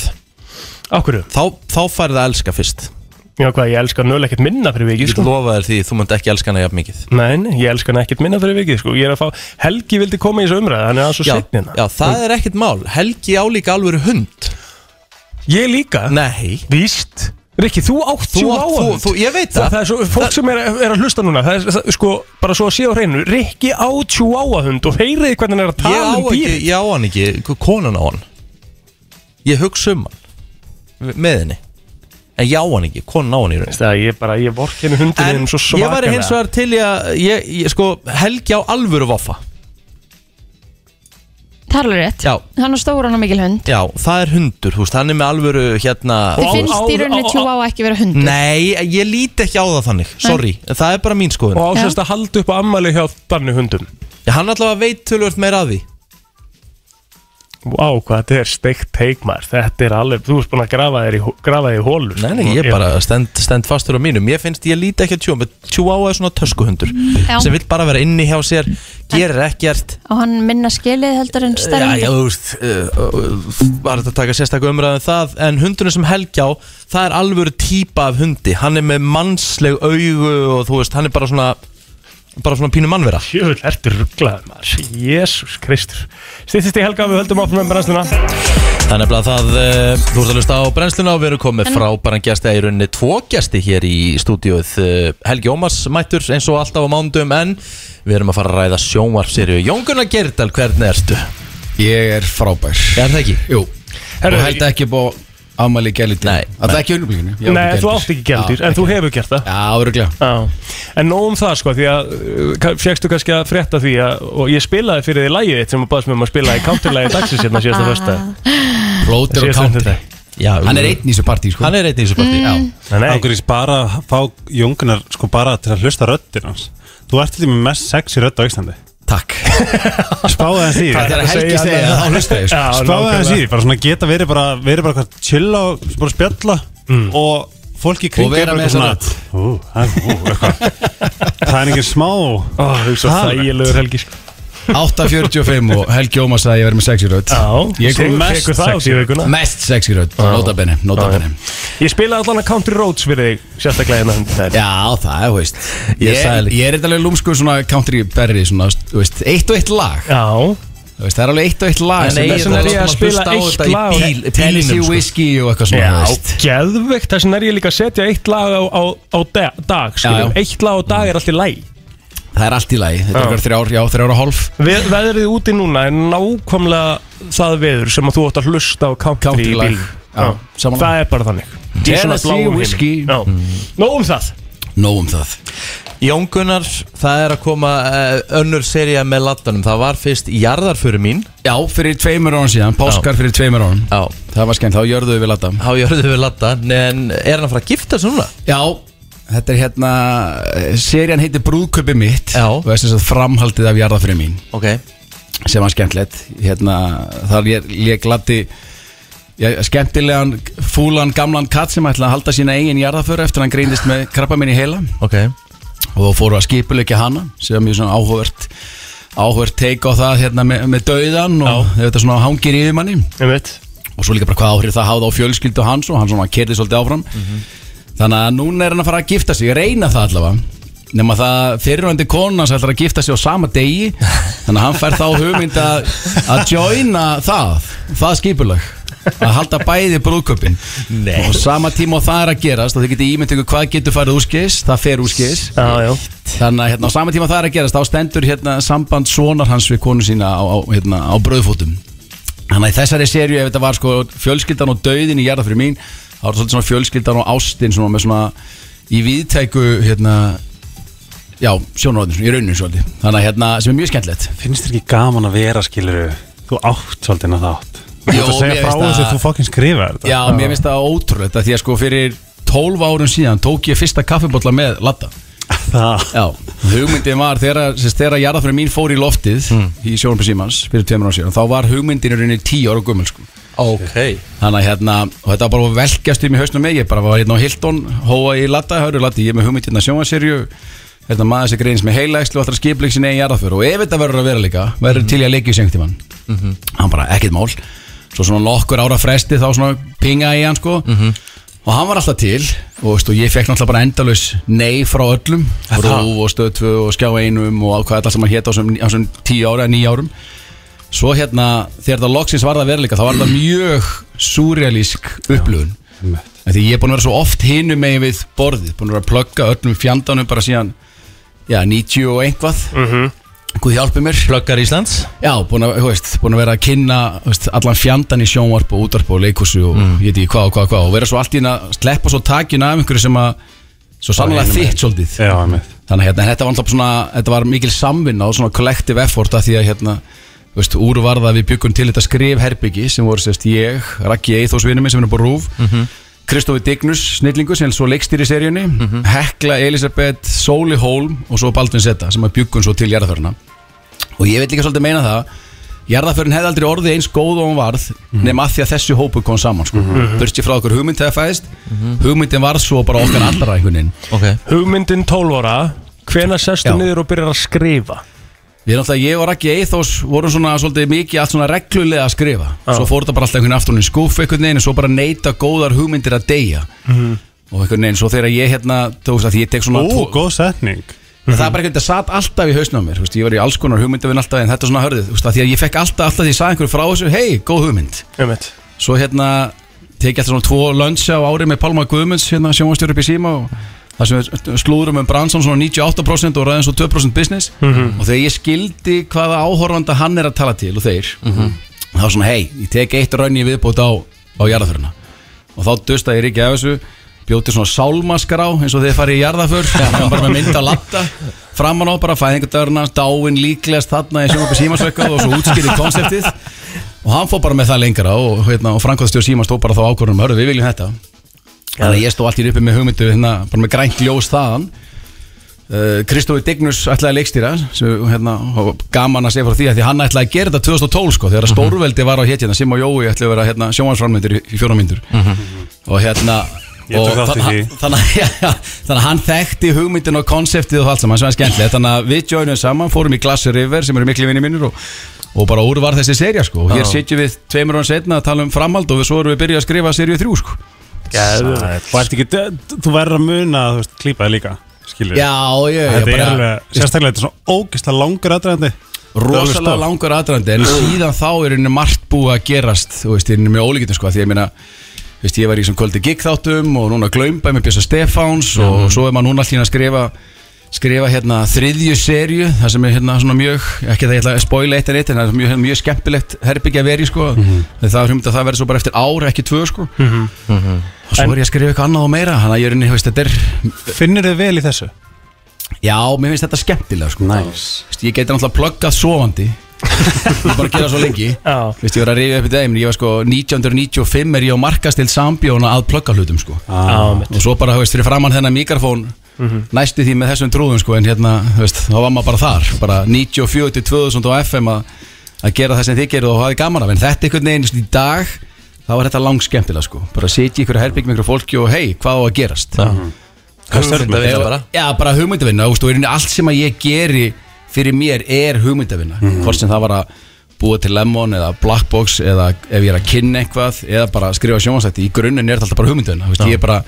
Akkur
Þá, þá fær það að elska fyrst
Já hvað, ég elska nölu ekkert minna fyrir vikið sko.
Ég lofa þér því, þú munt ekki elska hana jafn mikið
Nei, nei, ég elska hann ekkert minna fyrir vikið sko. Ég er að fá, Helgi vildi koma í þessu umræð Hann er aðeins hérna. og setnina
Já, það er ekkert mál, Helgi álíka alveg hund
Ég líka?
Nei
Víst Rikki, þú átt
Þú
svo
átt-
á
þú-
hund.
þú- ég veit
það
það.
Það er svo, fólk sem er, er að hlusta núna Það er það, sko, bara svo að sé á hreinu Rikki á tjúáahund og heyriði hvernig hann er að
Ég
tala
á,
um
ekki,
dýr
ég á hann ekki, k- konan á hann Ég hugsa um hann Með henni En ég á hann ekki, konan á hann í raun
Það ég bara, ég vork henni hundin
En
þínum svo
ég var hins
svakalega.
vegar til í að ég, ég, sko, Helgi á alvöru vaffa
Það er alveg rétt
Já.
Hann á stóran og mikil hund
Já, það er hundur, húst, hann er með alvöru hérna
Þið finnst í rauninni tjú á ekki vera hundur
Nei, ég líti ekki á það þannig, sorry Það er bara mín skoðun
Og á sérst að halda upp á ammali hjá þannig hundum
Já, hann allavega veit tölvöld meira að því
Vá, hvað þetta er steikt teikmar Þetta er alveg, þú ert búin að grafa þér í, hó- grafa þér í sko. hólu
Nei, nei, ég bara stend, stend fastur á mínum Ég finnst, ég líti ekki að tjúa Tjúa er svona töskuhundur
Já.
Sem vill bara vera inni hjá sér Gerir ekkert
Og hann minna skilið heldur en
Já,
stærri
já,
hundur
þú veist uh, uh, Var þetta að taka sérstakku umræðum það En hundurinn sem Helgi á Það er alvöru típa af hundi Hann er með mannsleg augu Og þú veist, hann er bara svona Bara svona pínu mannvera
Jöfull, ertu rugglaður maður Jésús Kristur Stýttist í helga, við höldum áfram með brennsluna
Það er nefnilega það, uh, þú ert að hlusta á brennsluna og við erum komið
En-
frábæran gæsti í rauninni tvo gæsti hér í stúdíóið uh, Helgi Ómars mættur eins og alltaf á mándum en við erum að fara að ræða sjónvarpsýrju Jón Gunnar Gerdal, hvernig ertu?
Ég er frábær
Er það ekki?
Jú, og held ekki upp á afmæli gæludýr Nei Það er ekki unnumlíkinu
Nei, þú átt ekki gældur, en þú hefur gert það
Já, öruglega
En nóg um það sko, því að Fjækstu kannski að frétta því að Og ég spilaði fyrir því lagið þitt sem að baðast mér um að spila í counterlagið dagsins hérna
Ah.
síðasta fyrsta
Plóter og country.
Já,
Hann er einn í þessu partí sko
Hann er einn í þessu partí
Já
Ángurís bara að fá Jóngunar sko bara til að hlusta röddir hans Þú ert til því með mest sexy rödd á Íslandi
Takk
Spáðu hans í því.
Það er að Helgi segja það, þá hlusta ég, sko. Já,
Spáðu hans í
nákvæmlega.
því, bara svona geta verið bara verið bara hvað chill á, bara spjalla
Mm.
og fólk í kring
Og vera með þessa
Ú, það ú, eitthvað Það er engin smá Ó,
hugsa þægilegur
Helgi sko
8.45 og Helgi Ómar sagði að ég verið með sexy rödd
Já,
Ég
þú
kom
tekur það út í vikuna.
Mest sexy rödd, nota bene, nota bene
Ég spilaði allan að Country Roads fyrir þig Sérstaklega hérna undir þær
Já, það er, þú veist Ég,
Ég sagði
ég,
líka.
er þetta alveg lúmskur svona country berri svona, þú veist, eitt og eitt lag
Já
Þú veist, það er alveg eitt og eitt lag
En
sem-
nei,
þess vegna
það er að hlusta á þetta í bíl- bílnum,
Tennessee
sko.
Whiskey og eitthvað svona, þú veist
Já, geðveikt, þess vegna er ég líka að setja eitt lag á, á, á da- dag
Já,
skiljum.
já.
Eitt lag á dag er allt í læg
Það er allt í lagi, þetta
Já.
er okkar þrjár, já, þrjár og hálf
Ve veðrið úti núna er nákvæmlega það veður sem að þú átt að hlusta á country,
Country
í
lag.
bíl
Já, samanlega.
Það er bara þannig Í svona
Tennessee
bláum
whiskey.
himni. Já. Nóg um það
Mm. Nóg um það
Jón Gunnar, það er að koma uh, önnur serja með laddanum Það var fyrst jarðar fyrir mín
Já, fyrir tveimur árum síðan, páskar fyrir tveimur árum
Já
Það var skemmt, þá jörðuðu við ladda
Há jörðu við ladda, en er hann að fara að gifta sig núna?
Já, þetta er hérna Serían heitir Brúðköpi mitt Já. Og þess að framhaldið af jarðafrið mín
okay.
Sem var skemmtilegt hérna, Þar ég, ég gladdi ég, Skemmtilegan, fúlan, gamlan katt Sem ætlaði að halda sína eigin jarðaför Eftir að hann greindist með krabba minn í heila
okay.
Og þá fóru að skipuleikja hana Sem var mjög svona áhugvert Áhugvert teik á það hérna, með, með dauðan Og þetta svona hangir yfir manni Og svo líka bara hvað áhrif það háði á fjölskyldu hans Og hann svona kerði svolítið áfram
Mhm.
Þannig að núna er hann að fara að gifta sig, reyna það allavega Nefn að það fyrirvændi konan hans ætlar að gifta sig á sama degi Þannig að hann fær þá hugmynd að, að joina það, það skipulag Að halda bæði brúðköpin
Nei.
Og sama tíma og það er að gerast Og þið getið ímynd ykkur hvað getur farið úrskis Það fer úrskis
já, já.
Þannig að hérna, á sama tíma og það er að gerast Þá stendur hérna, samband sonar hans við konu sína á, á, hérna, á bröðfótum Þannig að í þessari serju ef þetta var sko fjölskyldan og dauðin í jarða fyrir mín þá var þetta svolítið svona fjölskyldan og ástin svona með svona í viðtæku hérna já, sjónaröðin svona í rauninu svolítið þannig að hérna sem er mjög skemmtilegt
Finnst þér ekki gaman að vera skiluru Þú átt svolítið en að það átt Þú
Jó,
ert að segja
mér
frá
finnst
þessu
það-
þú fokkin skrifa þetta
Já, mér finnst það ótrúlegt að því að sko fyrir 12 árum síðan tók ég fyrsta kaffibotla með Latta
Það
Já, hugmyndin var þegar, sérst, þegar jarðafræðin mín fór í loftið í sjónarpið símans fyrir tveimur ára síðan þá var hugmyndin í rauninni 10 ára gömul sko.
Ok
Þannig að hérna, og þetta var bara að velkjast um í hausnum mig, ég bara var hérna á Hilton, hóa í Latta, hörru Latti, ég er með hugmyndina sjónarserju, Þetta maður sem greins með heilægslu og alltaf skipleik sinni eigin jarðaför og ef þetta verður að vera líka verður til í að leikja í sengtíman hann bara ekkert mál svo svona nokkur ára fresti þá svona pinga í hann sko og hann var alltaf til og, veist, og ég fekk náttúrulega bara endalaus nei frá öllum
Er það?
rúf og stöðtvö og skjá einum og hvað þetta sem hann hétt á þessum- á þessum tíu ára eða níu árum svo hérna þegar þetta loksins varða að vera líka þá var þetta mjög súrealísk upplöfun En Því ég er búin að vera svo oft hinum megin við borðið Búin að vera að plugga öllum fjandanum bara síðan Já, 90 og einhvað Guð hjálpi mér
Pluggar Íslands
Já, búin að, þú veist, búin að vera að kynna þú veist, Allan fjandan í sjónvarp og útvarp og leikhúsi Og ég veit ekki hvað og hvað og hvað Og vera svo allt í hérna að Sleppa svo takina af einhverju sem að Svo sannlega
hinum
þitt svolítið Já, Þannig að hérna, en þetta var alltaf svona Þetta var mikil samvinna og svona collective effort að Því að hérna þú Veist, úrvarða við byggum til þetta skrifherbyggi sem voru sérst ég, Raggi Eithósvinni minn sem er upp á rúf Kristofi Dignus, snillingu sem svo leikstýri í seríunni Hekla Elisabeth, Sóli Hólm og svo Baldvin Zeta sem að bjuggun svo til jarðaförna og ég vil líka svolítið meina það jarðaförin hefði aldrei orðið eins góð og hún varð nema að því að þessi hópu kom saman sko. mm
Mhm.
burtið frá okkur hugmynd þegar fæðist hugmyndin varð svo bara okkar allra einhvern veginn
okay.
Hugmyndin 12 ára Hvena sestu niður og byrjar að skrifa?
Við erum alltaf, ég og Raggi Eithós vorum svona svolítið mikið allt svona reglulega að skrifa Svo fór þetta bara alltaf einhvern afturinn í skúf einhvern veginn og svo bara neyta góðar hugmyndir að deyja Og einhvern veginn, svo þegar ég hérna, þú veist að ég tek svona
Ó,
góð setning Það er bara einhvern veginn, það satt alltaf í hausnum á mér, þú veist, ég var í alls konar hugmyndavinn alltaf En þetta er svona hörðið, þú veist, að því að ég fekk alltaf, alltaf því ég sagði einhverju frá þessu, hei, góð hugmynd
Einmitt.
Svo hérna, tek ég alltaf svona tvo lönnsja á ári með Palma Guðmunds, hérna sjónvastjóri upp í síma og Það sem við slúðurum um bransan svona 98% og ræðum svo 2% business
Mhm.
og þegar ég skildi hvaða áhorfanda hann er að tala til og þeir þá var svona hei, ég tek eitt raun í viðbót á, á jarðaföruna og þá dusta ég ríkið af þessu bjóti svona sálmaskrá eins og þeir farið í jarðaför hann bara með mynd að latta framan á bara fæðingadörna, dáin líklegast þarna í sjónvapið símasvekka og svo útskýrið konseptið og hann fór bara með það lengra og, hérna, og frankvæðstjóð símas tók bara þá ákvörðunum hörðu við viljum þetta þannig að ég stóð allt í uppi með hugmyndu hérna, bara með grænt ljós þaðan Uh, Kristofi Dignus ætlaði að leikstýra sem, hérna, og gaman að segja frá því að því hann ætlaði að gera þetta 2012 sko, þegar stórveldi var á hétjana Sim og Jói ætlaði að vera hérna, sjónvansframöndir í, í fjóra myndur og hérna
Ég
og
tók þátt í
þann-
því.
þannig að- já, já, þannig að hann þekkti hugmyndin og konseptið og allt saman sem var skemmtilegt þannig að við joinum saman, fórum í Glass River sem eru miklu vinni mínir og, og bara úr var þessi serja sko og hér
Já.
sitjum við tveimur án setna að tala um framhald og við svo erum við byrjað að skrifa serju 3 sko
Geðveikt. Og ertu ekki, þú verður að muna að þú veist, klípa þig líka, skilur
Já, ég- ég
Þetta er
bara-
alveg, sérstaklega þetta er svona ógeðslega langur aðdraðandi
rosalega langur aðdrandi en síðan þá er henni margt búið að gerast þú veist, henni með ólíkitum sko því ég meina þú veist, ég var í sem kvöldi gig þáttum og núna glömba með Bjösa Stefáns og svo er maður núna allir að skrifa skrifa hérna þriðju serju það sem er hérna svona mjög, ekki það ég ætla að spoila eitt en eitt en það er mjög, mjög skemmtilegt herbyggja veri sko, mm -hmm. það er hrumt að það verður svo bara eftir ár ekki tvö sko
Mhm,
og svo er ég að skrifa eitthvað annað og meira þannig að ég er henni, veist, þetta er
Finnur þið vel í þessu?
Já, mér finnst þetta skemmtilega sko. nice. Vist, Ég geti náttúrulega pluggað sofandi Ég er bara að gera það svo lengi Vist, Ég var að rifja upp í daginn Ég var sko 1995 er ég á markastild sambjóna að plugga hlutum sko.
Ah, mitt.
Og svo bara, þú veist, fyrir framann þennan mikrofón
Mhm.
Næstu því með þessum trúðum sko, En hérna, þú veist, þá var maður bara þar Bara 94 til 2000 á FM að, að gera það sem þið gerðu og hafi gaman af En þetta einhvern veginn þú veist, í dag Þá er þetta langt skemmtilega sko Bara sitja ykkur að herbygg með ykkur fólki og hei, hvað á að gerast
Hugmyndavinna bara.
Já, bara hugmyndavinna þú veist, og í rauninni allt sem að ég geri fyrir mér er hugmyndavinna hvort sem það var að búa til Lemon eða Black Box eða ef ég er að kynna eitthvað eða bara skrifa sjónvansætti í grunninn er þetta alltaf bara hugmyndavinna þú veist,
Já.
ég er bara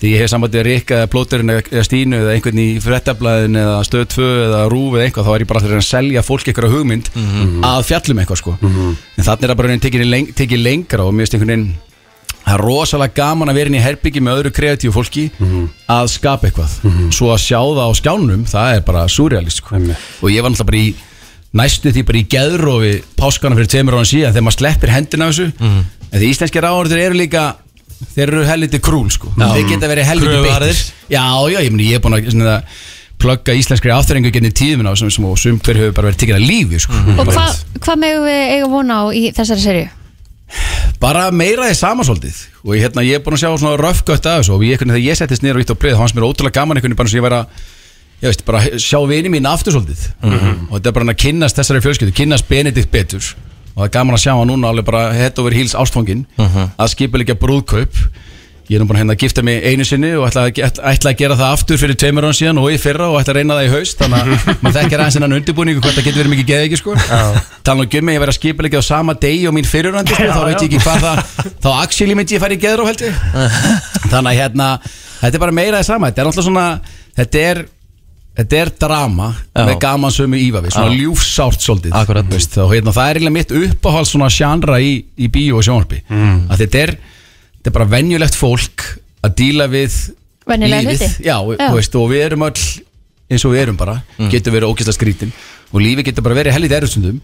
Þegar ég hef sambandið að Rikka eða Plóterinn eða eða Stínu eða einhvern í frettablaðin eða Stöð 2 eða Rúf eða eitthvað þá er ég bara að reyna að selja fólki eitthvað hugmynd
Mhm.
Mhm.
að fjallum eitthvað sko en þannig er það bara einhvern veginn tekið leng, tekið lengra og mér finnst einhvern veginn það er rosalega gaman að vera inn í herbyggi með öðru kreatíu fólki
Mhm.
að skapa eitthvað svo að sjá það á skjánum það er bara surrealist sko. og ég var náttúrulega bara í næstu því bara í geðrófi páskana fyrir tveimur ára síðan þegar maður sleppir hendina af þessu
Mhm.
en því íslenski ráðurður eru líka þeir eru helviti krúl sko
Já.
þeir geta verið helviti
Kröfuharðir.
beittir já, já, ég, meni, ég er búin að svona, plugga íslenskri afturrengu genið tíðum sem, sem, og sum hver hefur bara verið tekinn að lífi sko.
Og hvað hva megum við eiga vona á í þessari serju?
bara meira því sama svolítið og ég, hérna, ég er búin að sjá svona röfgött að þessu og ég, hvernig, þegar ég settist niður og ítt á plöð þá fannst mér ótrúlega gaman einhvern veginn bara eins og ég væri að ég veist, bara sjá vini mín aftur svolítið og þetta er bara hann að kynnast þessari fjölskyldu kynnast Benedikt betur
Mhm.
og það er gaman að sjá hann núna alveg bara hett over heels ástfangin að skipa líka brúðkaup Ég er nú búin að hérna að gifta mig einu sinni og ætla, að- ætla, ætla að gera það aftur fyrir tveimur án síðan og í fyrra og ætla að reyna það í haust þannig að maður þekkir aðeins hennan undirbúningu hvort það getur verið mikið geðið ekki sko tala nú ekki um að ég verið að skipa á sama degi og mín fyrirrandi sko,
Já,
þá veit ég ekki
já.
hvað það þá axili myndi ég fara í geðró held ég þannig að hérna þetta er bara meira það sama þetta er alltaf svona þetta er Þetta er drama
Já.
með gaman sömu ífa við, svona
Já.
ljúfsárt svolítið Akkurat veist, þá, hérna, Það er eiginlega mitt uppáhald svona sjandra í, í bíó og sjónarbi mm. að þetta er, þetta er bara venjulegt fólk að díla við
Venjulega
lífið
hluti.
Já,
Já.
þú Veist, og við erum öll eins og við erum bara, getur verið ókysla skrítin og lífið getur bara verið helgið erfstundum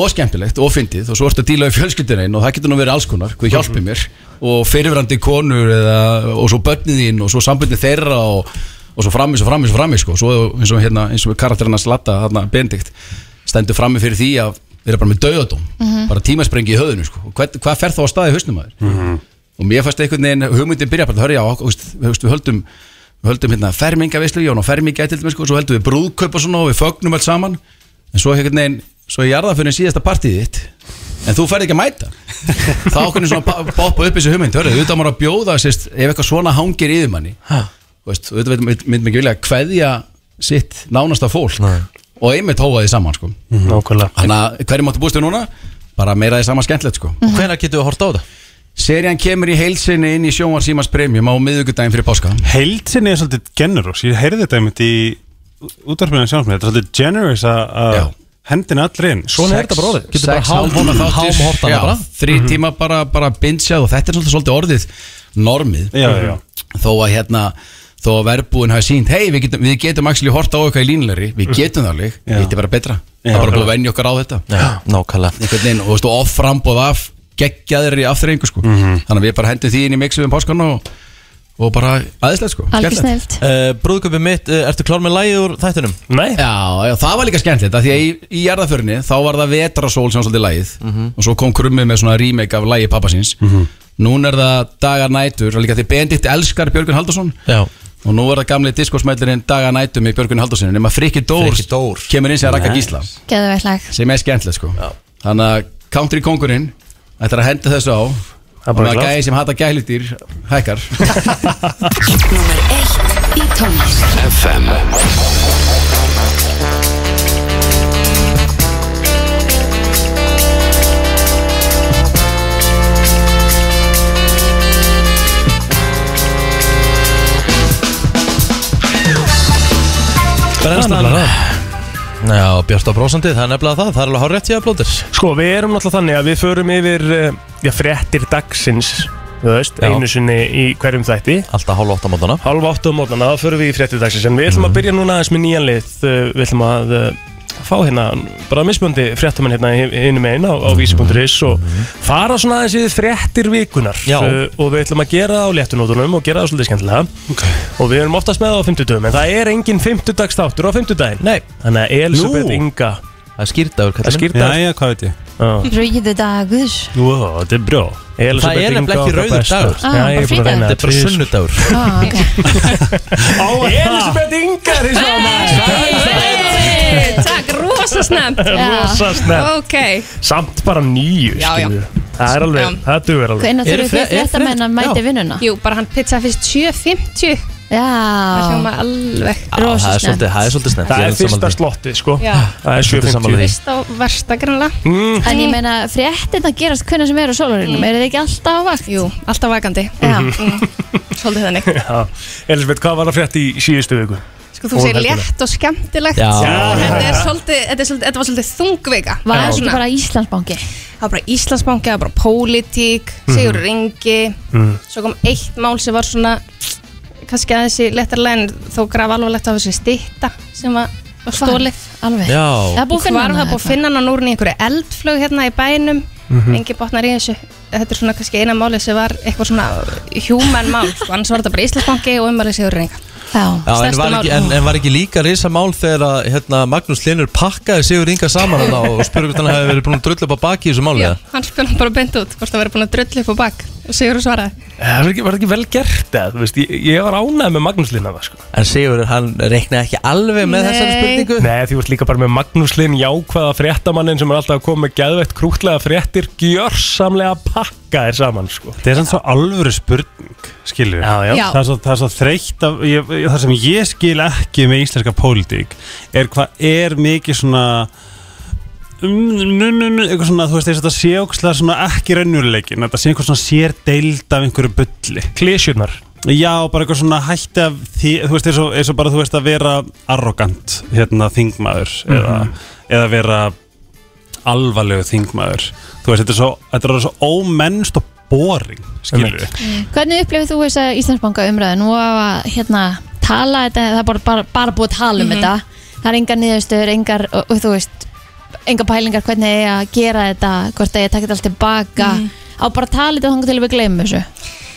og skemmtilegt og fyndið og svo ertu að díla við fjölskyldina einn og það getur nú verið alls konar hvað hjálpi mér og fyrirverandi konur eða, og svo börnið þín og svo sambundið þeirra og, og svo framis og framis og framis sko. svo eins og, hérna, eins og karakterina slatta þarna Benedikt stendur frammi fyrir því að vera bara með dauðadóm
Mhm.
bara tímasprengi í höðinu sko. Og hvað, hvað fer þá að staði hausnum aður
Mhm.
og mér fannst einhvern veginn hugmyndin byrja bara, hörja, og, veist, við, veist, við höldum við höldum hérna fermingavislu, Jón og fermingja til dæmis, sko, svo höldum við brúðkaup og svona og við fögnum allt saman, en svo einhvern veginn svo ég jarða fyrir síðasta partíð þitt en þú færð ekki að mæta þá okkur svona pa- poppa upp þessi hugmynd hörðu, auðvitað á maður að bjóða, sérst, ef eitthvað svona hangir yfir manni, Þú veist, auðvitað veit- mynd mynd mig ekki vilja að kveðja sitt nánasta fólk og einmitt hóa því saman, sko
Mhm.
Nákvæmlega
þannig að hverju máttu búist við núna? bara meira því saman skemmtilegt, sko
Mhm. Hvenær getum við horta á þetta?
Serían kemur í heilsinni inn í sjónvar símans premium á miðugudaginn fyrir páska
Heildsinni er svolítið generous Ég heyrði þetta einmitt í útvarpinu sjálf mér Þetta er svolítið generous að- að hendin allir inn
Getur bara hálfhóna þáttir Já, Þrý
Mhm.
Mhm.
tíma bara, bara bindsjað og þetta er svolítið, svolítið orðið normið
Já, já, já.
Þó að hérna þó að verbúin hafi sínt hei við getum, við getum actually horta á eitthvað í línulegri við getum það alveg,
Mhm. Já.
þetta er bara betra það
Já.
er bara búið að venja okkar á þetta
Nákvæmlega
einhvern veginn og þú veist, og off frambóð af geggjaðir í afturrengu sko
Mhm.
þannig að við bara hendum því inn í mixið um páskan og, og bara aðeinslega sko Skemmtilegt.
uh, Brúðköpi mitt, uh, ertu klár með lægið úr þættinum?
Nei
Já, já, það var líka skemmtilegt af Því að í, í jarðaförinni þá var það vetrasól sem var svolítið lægið
Mhm.
Og svo kom krummið með svona remake af lægi pappasins mm Nún er það dagar nætur og Líka því Benedikt elskar Björgun Haldarsson
Já
Og nú er það gamli diskosmælurinn dagar nætur með Björgun Haldarssoni Nefna Frikki Dór,
Frikki Dór.
kemur inn sem að rakka
Nice.
gísla
Geðu veitt lag
Sem er skemmtilegt sko já. Þannig að country kongurinn Ætlar að henda þessu á Og
bara
með
klárt.
gæði sem hata gælutýr hækkar
Í tónlist
FM
Brennslan Já, Björst á brósandi, það er nefnilega það, það er alveg hár rétt ég að blóðir
Sko, við erum náttúrulega þannig að við förum yfir eh, já, fréttir dagsins þú veist,
Já.
einu sinni í hverjum þætti
Alltaf hálf átta mótana
Hálf átta mótana, þá förum við í fréttir dagsins en við ætlum
Mm.
að byrja núna aðeins með nýjan lið eh, við ætlum að eh, fá hérna bara mismöndi fréttamenn hérna einu megin á, á
Mm.
vísi.is og fara svona aðeins í fréttir vikunar
Já.
Eh, og við ætlum að gera það á léttunótunum og gera það svolítið skemmtilega okay. og við erum oftast með það á 50 dögum en það er engin 50 á 50
Nei.
þannig að Elisabeth
Nú.
Inga
Það er skýrdagur, kallinn
Það er
minn.
skýrdagur
Jæja,
hvað veit ég
Rauði dagur
Wow, þetta er brjó
Það er nefnilega ekki rauður dagur
Ah, Já, ég er bara búin að reyna
Þetta er bara
tvisvar.
sunnudagur
ah, okay.
Elisabeth Ingar í svona
Takk, rosa snemt
Rosa snemmt.
Ok
Samt bara nýju
Já, já.
skilju. Það er alveg, það dugur alveg
Hvenær þurfum þið fréttamenn að mæta í vinnuna?
Jú, bara hann pizza fyrst 7.50
Já
Það hljóma alveg
Það er svolítið, það er svolítið snemmt ég
Það er fyrsta
sammála því.
slottið, sko.
Já.
Það er
Svolítið sammála því.
Fyrst á versta grannlega
Mm.
En ég meina, fréttina gerast hvernig sem er á sólarinum, mm. er þið ekki alltaf á vakt?
Jú, alltaf vakandi
Já,
Svolítið þannig
Já. Elisabeth, hvað var að frétta í síðustu viku?
Sko, þú segir létt og skemmtilegt
Já.
en
Já.
Þetta er svolítið, þetta er svolítið, þetta var svolítið þungveika
Var þetta ekki
bara
Íslandsbanki?
Það var bara Íslandsbanki, það var bara pólitík,
Mhm.
Sigur Ringi
Mhm.
Svo kom eitt mál sem var svona kannski aðeins í lettarlega en þó graf alvarlegt af þessi stitta sem var, var stólið
alveg
Já.
Það er búið að finna hana hérna. Það er búið að finna hana núr í einhverju eldflög hérna í bænum
Mhm.
Engi botnar í þessu Þetta er svona kannski eina málið sem var eitthvað svona human mál sko. annars var þetta bara Íslandsbanki og umvalið Sigur Ringa
Já, en
Stærsta
var, ekki,
mál.
en, en var ekki líka risamál þegar að, hérna, Magnús Linur pakkaði Sigur Inga saman hana og spurði hvort hann hefði verið búin að drulla upp á baki í þessu máli eða?
Hann spilum bara beint út hvort það verið búin að drullu upp á bak og Sigur svaraði
Eh, Það var ekki, var ekki vel gert eða, þú veist, ég, ég var ánægð með Magnús Linn að það, sko.
En Sigur, hann reiknaði ekki alveg með þessari
Nei.
spurningu
Nei, því varst líka bara með Magnús Linn jákvæða fréttamannin sem er alltaf að koma með geðveitt krútlega fréttir gjörsamlega pakkaðir saman, sko.
Það er sann svo alvöru spurning skilur
Já, já. Já.
Það, er svo, það er svo þreytt af, ég, ég- það sem ég skil ekki með íslenska pólitík er hvað er mikið svona mm, nu, nu, nu, eitthvað svona, þú veist, þess að þetta sé ókslega svona ekki raunurleikin, þetta sé einhver svona sér deild af einhverju bulli
Klesjurnar
Já, bara eitthvað svona hætti af því, þú veist, eins og, eins og bara þú veist að vera arrogant, hérna, þingmaður eða, eða vera alvarlegu þingmaður þú veist, þetta er svo, þetta er svo ómennst og boring, skilur
Hvernig upplifir þú þess að Íslandsbanka umræðu? Nú á að hérna, tala þetta, það er bara, bara, bara búið að tala um
Mhm.
þetta Það er engar niðurstöður, engar, og, og, þú veist, engar pælingar hvernig eigi að gera þetta Hvort eigi að taka þetta allt tilbaka
Mhm.
Á bara að tala þetta þangar til að við gleymum þessu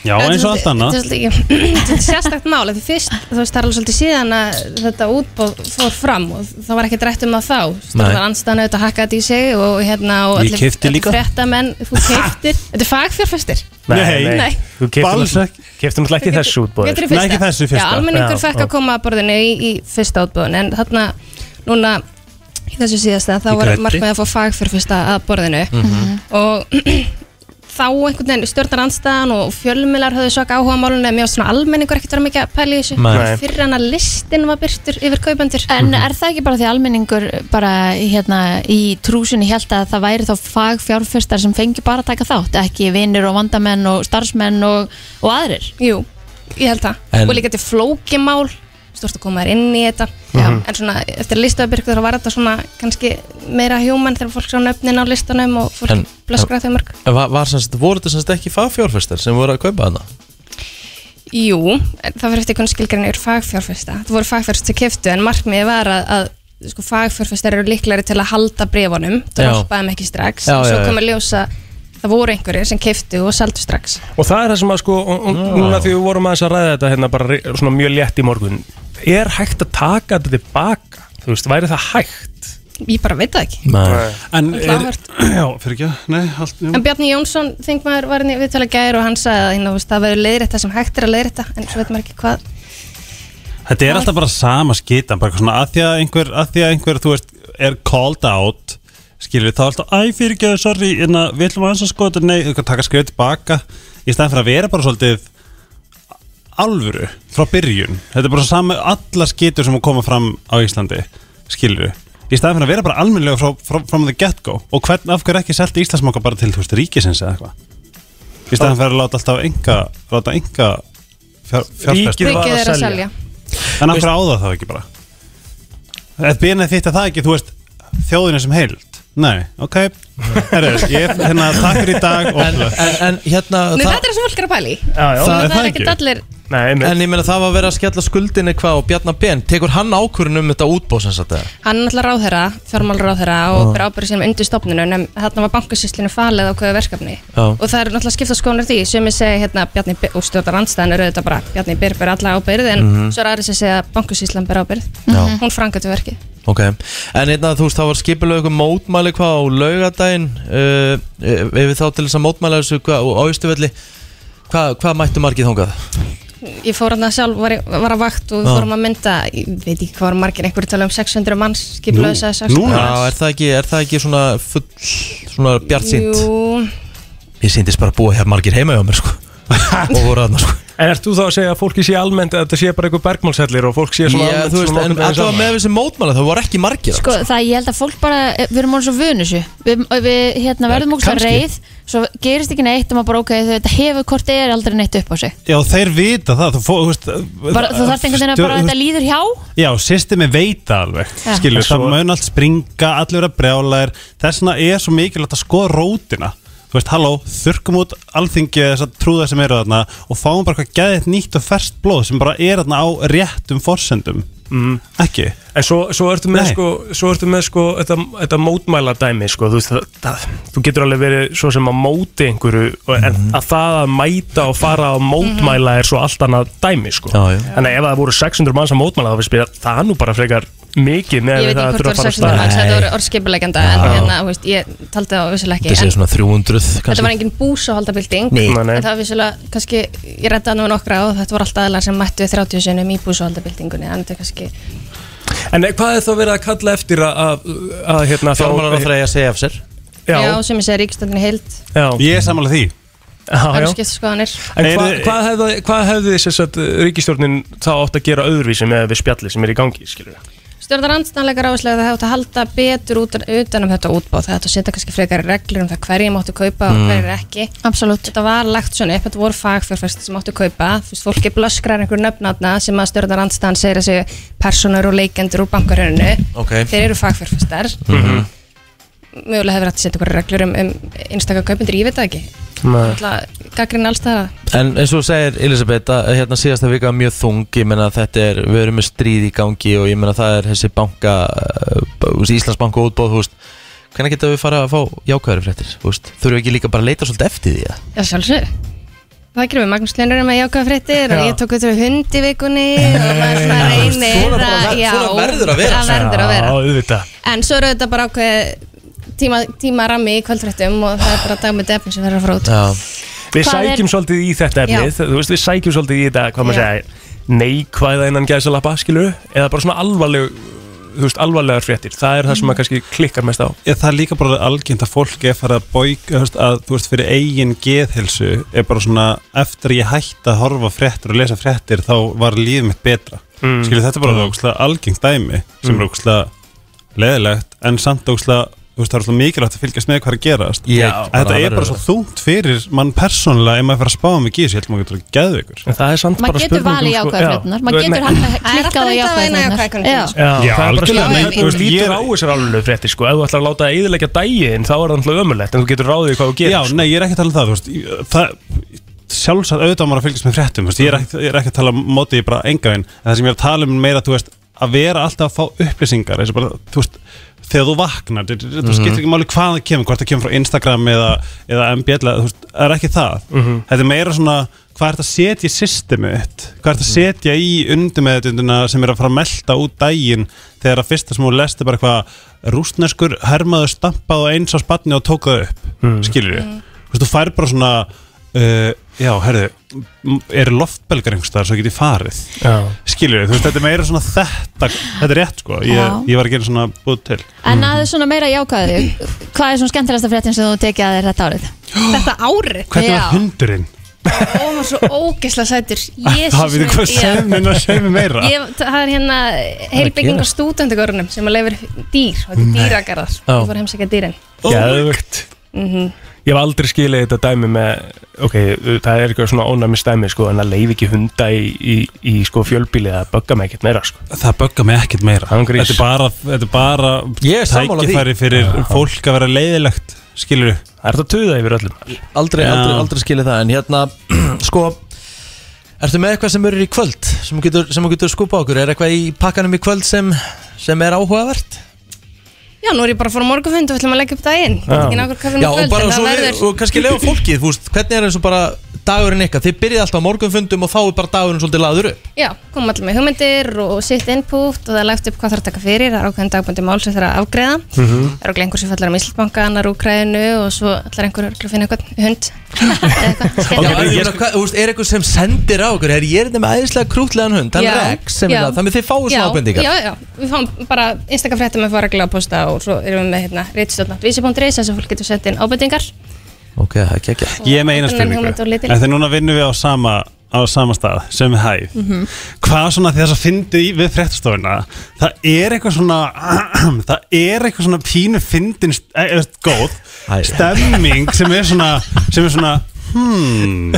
Já, eins og allt annað
Þetta er svolítið- þetta er sérstakt mál af því fyrst, þú veist, það er alveg svolítið síðan að þetta útbóð fór fram og það var ekkert rætt um það þá
Nei.
stjórnar anstæðan auðvitað hakka þetta í sig og hérna og
Ég keypti líka.
fréttamenn, þú keiftir þetta er fagfjárfestir Nei.
Þú keftir
Alls
náttúrulega keyptir náttúrulega ekki þessu útbóð
Getur í fyrsta. Já, almenningur fekk að koma að borðinu í, í fyrsta útbóðinu en þarna, núna í þessu síðasta, þá
Í
var
grænni.
markmið að fá fagfjörfyrsta að borðinu
Mm.
Mhm.
og þá einhvern veginn stjórnar anstæðan og fjölmilar höfðu svo áhuga á málunum en mér var svona almenningur ekkert vera mikið að pæla í þessu
Nei.
fyrir hann að listin var byrtur yfir kaupendur
En er það ekki bara því almenningur bara hérna í trúsunni held að það væri þá fagfjárfestar sem fengi bara að taka þátt, ekki vinnir og vandamenn og starfsmenn og, og aðrir?
Jú, ég held það
En-
og líka til flókimál stort að koma þér inn í þetta
Já.
en svona eftir listaðabyrg þá var þetta svona kannski meira human þegar fólk sá nöfnin á listanum og fólk
En-
blöskra þau mörg
En var, var semst, voru þetta semst ekki fagfjárfestar sem voru að kaupa hana?
Jú, en það fyrir eftir hvernig skilgreinir fagfjárfesta það voru fagfjárfesta sem keftu en markmiðið var að, að sko, fagfjárfestar eru líklari til að halda brefunum
Já.
droppa þeim ekki strax
Já,
og svo
já, já.
komið ljósa það voru einhverjir sem keftu og seldu strax
Og það er það sem að sko, og- og núna því við vorum aðeins að ræða þetta hérna bara re- svona mjög létt í morgun Er hægt að taka þetta tilbaka? Þú veist, væri það hægt?
ég bara veit það ekki
Nei.
En
Það er
er,
klárt.
já, fyrir ekki að, nei, allt
En Bjarni Jónsson, þingmaður, var hérna henni viðtala gæri og hann sagði að hérna, þú veist, það verður leiðrætt það sem hægt er að leiðrætt en svo veit maður ekki hvað
Þetta er alltaf bara sama skita bara eitthvað svona að því að einhver, að því að einhver þú veist, er called out skilur þá er alltaf, æ fyrir ekki að sorry inna, við ætlum aðeins að skoða þetta, nei, eitthvað taka skrið tilbaka í stæðan fyrir að vera bara svolítið alvöru frá byrjun, þetta er bara sama alla skitur sem koma fram á Íslandi skilur í stæðan fyrir að vera bara almennilega frá, frá, from the get go og hvern af hverju ekki selta Íslandsmáka bara til, þú veist, ríkisins eða eitthvað í stæðan fyrir að láta alltaf enga, láta enga fjár, fjárfesta.
Ríkið var að er að selja. selja.
En af hverju á það þá ekki bara? Ef byrnað þitt að það ekki, þú veist þjóðinu sem heild Nei, ok Herru, ég hérna takk fyrir í dag og
En, en, en hérna
Nei,
það-
þetta er sem fólk er að pæli
Já, já. Það er
það
það
er ekkert
ekki.
allir
Nei,
en ég meina það var verið að skella skuldinni hvað og Bjarnar Ben, tekur hann ákvörun um þetta útbóð sem sagt eða?
Hann er náttúrulega ráðherra, fjármál ráðherra og
Já.
ber ábyrgð sínum undir stopnunum en þarna var bankasýslinu falið ákveðu verkefni
Já.
og það er náttúrulega skipta skoðanir því sem ég segi hérna Bjarni Be- og stjórnar andstæðan eru þetta bara Bjarni Byr ber alla ábyrð en
Mhm.
svo er aðri sem segja að bankasýslan ber ábyrð
Já.
hún frangaði verkið
Ok, en hérna þú veist, það var skipulega eitthvað mótmæli hvað á laugadaginn uh, ef við þá til þess að mótmæla þessu hvað, á Ístuvelli hvað, hvað mættu margið þangað?
Ég fór hann að sjálf, var, í- var að vakt og við
Já.
fórum að mynda, ég veit ekki hvað var margir, einhverju tala um 600 manns, skiplaðu þess að 600
Já, er það ekki, er það ekki svona full, svona bjart sínt?
Jú,
Ég síndist bara að búa hér margir heima hjá mér sko og voru aðna sko
En ert þú þá að segja að fólki sé almennt að þetta sé bara einhver bergmálshellir og fólk sé svona
Já, þú veist, en allavega með þessi mótmæla það voru ekki margir
Sko,
þarna,
það ég held að fólk bara, eh, við erum alveg svo vönu þessu Við, við hérna, verðum okkur svo
kannski.
reið Svo gerist ekki neitt og maður bara, ok, þetta hefur hvort eð er aldrei neitt upp á sig
Já, þeir vita það Þú, fó, þú veist
bara, Þú þarft einhvern veginn að bara, þetta líður hjá
Já, systemi veita alveg
Já.
Skilur,
En svo-
það mun allt springa, allir vera brjálæðir Þess vegna er svo mikilvægt að skoða rótina Þú veist, halló, þurrkum út alþingi þess að trúða sem eru þarna og fáum bara hvað geðið nýtt og ferskt blóð sem bara er þarna á réttum forsendum mm. Ekki
En svo, svo ertu með
Nei.
sko, svo ertu með sko þetta, þetta mótmæla dæmi sko, þú, veist, það, það, þú getur alveg verið svo sem að móti einhverju og- en
Mhm.
að það að mæta og fara og mótmæla er svo allt annað dæmi sko.
Já, já.
Þannig að ef það voru 600 manns að mótmæla þá finnst mér að það er nú bara frekar mikið með
ég veit ekki
það að
hvort það
þurfa
voru
að fara
600 manns, þetta voru
stað
orðskipulegenda, en
Já.
hérna, þú veist, ég taldi það vissulega ekki.
Þetta sé
En
svona 300
Þetta var
kannski
engin búsáhaldabilding,
Nei. Nei, nei.
en það var vissulega, kannski, ég reddaði nú nokkra og þetta voru alltaf aðlar sem mættu 30 sinum í búsáhaldabildingunni, en þetta er kannski,
En hvað er þá verið að kalla eftir að, að, að hérna,
Fjármálaráðherra eigi að segja af sér
já, sem ég segi, ríkistöndinni heilt.
Já.
Ég er sammála því
Já, já.
Alveg skipta skoðanir
En hva, hvað, hefði, hvað hefði þið sérst að ríkistjórnin þá átt að gera öðruvísi með við spjalli sem er í gangi, skilur
Stjórnar andstæðanleikar áherslega það átt að halda betur út, utan um þetta útbóð það átt að setja kannski frekar reglur um það hverjir máttu kaupa
Mm.
og hverjir ekki
Absolutt.
Þetta var lagt svona upp, þetta voru fagfjörfæst sem máttu kaupa Þú veist, fólki blöskrar einhver nöfnatna sem að stjórnar andstæðan segir að séu personur og leikendur úr bankarhörinu
Ok. Mhm.
Þeir eru fagfjörfæstar Mögulega hefur hægt að setja einhverjar reglur um, um einstaka kaupendur, ég veit það
Nei.
ekki Gaggrinn alls það
En eins og þú segir Elisabeth að hérna síðasta vika var mjög þung ég meina þetta er, við erum með stríð í gangi og ég meina það er þessi banka uh, Íslandsbanka útbóð þú veist, hvernig getum við fara að fá jákvæður fréttir, þú veist, þurfum við ekki líka bara að leita svolítið eftir því að
Já, sjálfsög. Það gerum við Magnús Lennur með jákvæða fréttir og
Já.
ég tók þetta við hund í vikunni og maður svona reynir
Svona bara ver-
já,
svona verður að vera
það verður að vera.
Já, auðvitað
En svo eru þetta bara ákveð tíma, tíma rammi í kvöldfréttum og það er bara dagmynd efni sem verður að fara út.
Við
Hvað er-
sækjum svolítið í þetta efnið
Já.
Þú veist, við sækjum svolítið í þetta, hvað maður
Já.
segja neikvæða innan gæðsalappa, skilur eða bara svona alvarleg þú veist, alvarlegar fréttir, það er það sem maður kannski klikkar mest á
Mm. Já, það er líka bara algjönd að fólk er farið að bóika að þú veist fyrir eigin geðhilsu er bara svona eftir að ég hætti að horfa á fréttir og lesa fréttir þá var lífið mitt betra
Mm.
mm. þetta er bara mm. algjönd dæmi sem
Mm.
er ógustlega leðilegt en samt ógustlega þú veist það er alltaf mikilvægt að fylgjast með hvað er að gerast
Ég-
Að þetta
bara
er bara
verður
svo þungt fyrir mann persónulega ef maður fyrir að spá mikið í þessu, ég held maður getur að geða ykkur
En það er samt um,
Maður getur valið
sko,
sko,
jákvæða fréttunar Maður getur hann að klikka á jákvæða
Já,
fréttunar
Já,
það er bara
algjörlega,
spurning,
nei,
þú veist,
ég-
lítur á þessar alveg fréttir sko, ef þú ætlar að láta það eðilegja daginn þá er það náttúrulega ömurlegt en þú getur ráðið hvað þú gerir sko.
Já, nei, ég er ekki að tala um það, þú veist ég- það, Sjálfsagt auðvitað á maður að fylgjast með fréttum þú veist, ég, er ekki, ég er ekki að tala um móti bara enga veginn en það sem ég er að tala um er meira, þú veist að vera alltaf að fá upplýsingar eins og bara, þú veist, þegar þú vaknar þú veist,
Mhm.
það skiptir ekki máli hvað það kemur, hvort það kemur frá Instagram eða, eða MBL eða, þú veist, það er ekki það
Mhm.
þetta er meira svona, hvað er þetta að setja í systemið þitt? hvað
Mhm.
er þetta að setja í undirmeðutunduna sem er að fara að melta út daginn þegar að fyrsta sem hún lest er bara hvað rústneskur hermaður stampað og eins á spanni og tók það upp
Mhm.
mm. skilur
Mhm.
ég, þú veist, þú fær bara svona uh, já, herðu m- eru loftbelgar einhvers staðar svo get ég farið
Já.
skilur ég, þú veist, þetta er meira svona þetta, þetta er rétt sko
Já.
ég, ég var að gera svona búið til
Mm.
En að þau svona meira jákvæði Hvað er svona skemmtilegasta fréttin sem þú tekið að þér þetta árið?
Þetta árið?
hvernig var hundurinn?
Ó, hann var svo ógeðslega sætur.
það við hvað sem en að segja meira
Ég, það er hérna heilbygging á
gerast?
stúdendugörunum sem að leifir dýr og þetta er
Nei.
dýragarðar.
Já.
Þú fór að heimsækja dýrin.
Geðvögt
Mhm.
Ég hef aldrei skilið þetta dæmi með ok, það er eitthvað svona ónæmis dæmi sko, en að leif ekki hunda í, í, í sko, fjölbíli það bögga mig ekkert meira sko.
Það bögga mig ekkert meira
Angrís.
Þetta er bara, þetta er bara
Ég er sammála því.
tækifæri fyrir
Já.
fólk að vera leiðilegt skilur Það
er þetta tuða yfir öllum
Aldrei,
Já.
aldrei, aldrei skilja það en hérna, sko Ertu með eitthvað sem eru í kvöld sem þú getur, sem þú getur skupa okkur, er eitthvað í pakkanum í kvöld sem, sem er áhugavert?
Já, nú er ég bara að fóra morgunfund og við ætlum að leggja upp daginn. Ég get ekki nákvæmlega hvað við erum
Já,
í
og
kvöld,
bara
en það
svo við,
verður-
og kannski lefa fólkið, þú veist, hvernig er eins og bara dagurinn ykkar, þið byrjið alltaf á morgunfundum og þá er bara dagurinn svolítið laður upp
Já, komum allir með hugmyndir og sitt input og það er lagt upp hvað þarf að taka fyrir, það er ákveðin dagbændi mál sem þarf að afgreða.
Mhm.
Það er okkur einhver sem fallar um Íslandbanka, annar Úkræðinu og svo allar einhver örugglega að finna einhvern hund.
Já, en ég meina, hvað- þú veist, er eitthvað sem sendir á okkur, er ég er þetta með æðislega krútlegan hund, þannig
Já,
Rex, sem
já.
er það, þannig þið fáið svona
Já,
ábendingar
Já, já, við fáum bara einstakar fréttum að fara að glæða posta og svo erum við með hérna reitstjórnartvísi.is þess að fólk getur sendt inn ábendingar.
Ok, það er ekki ekki
Ég er með eina
Þannig
spurningu
hugmynd og litir.
En þegar núna vinnum við á sama, á sama stað sem við hæf
Mhm.
Hvað svona þess að fyndi í- við fréttastofuna Það er eitthvað svona Það er eitthvað svona pínu fyndin eh, eh, góð Stemming sem er svona sem er svona Hmm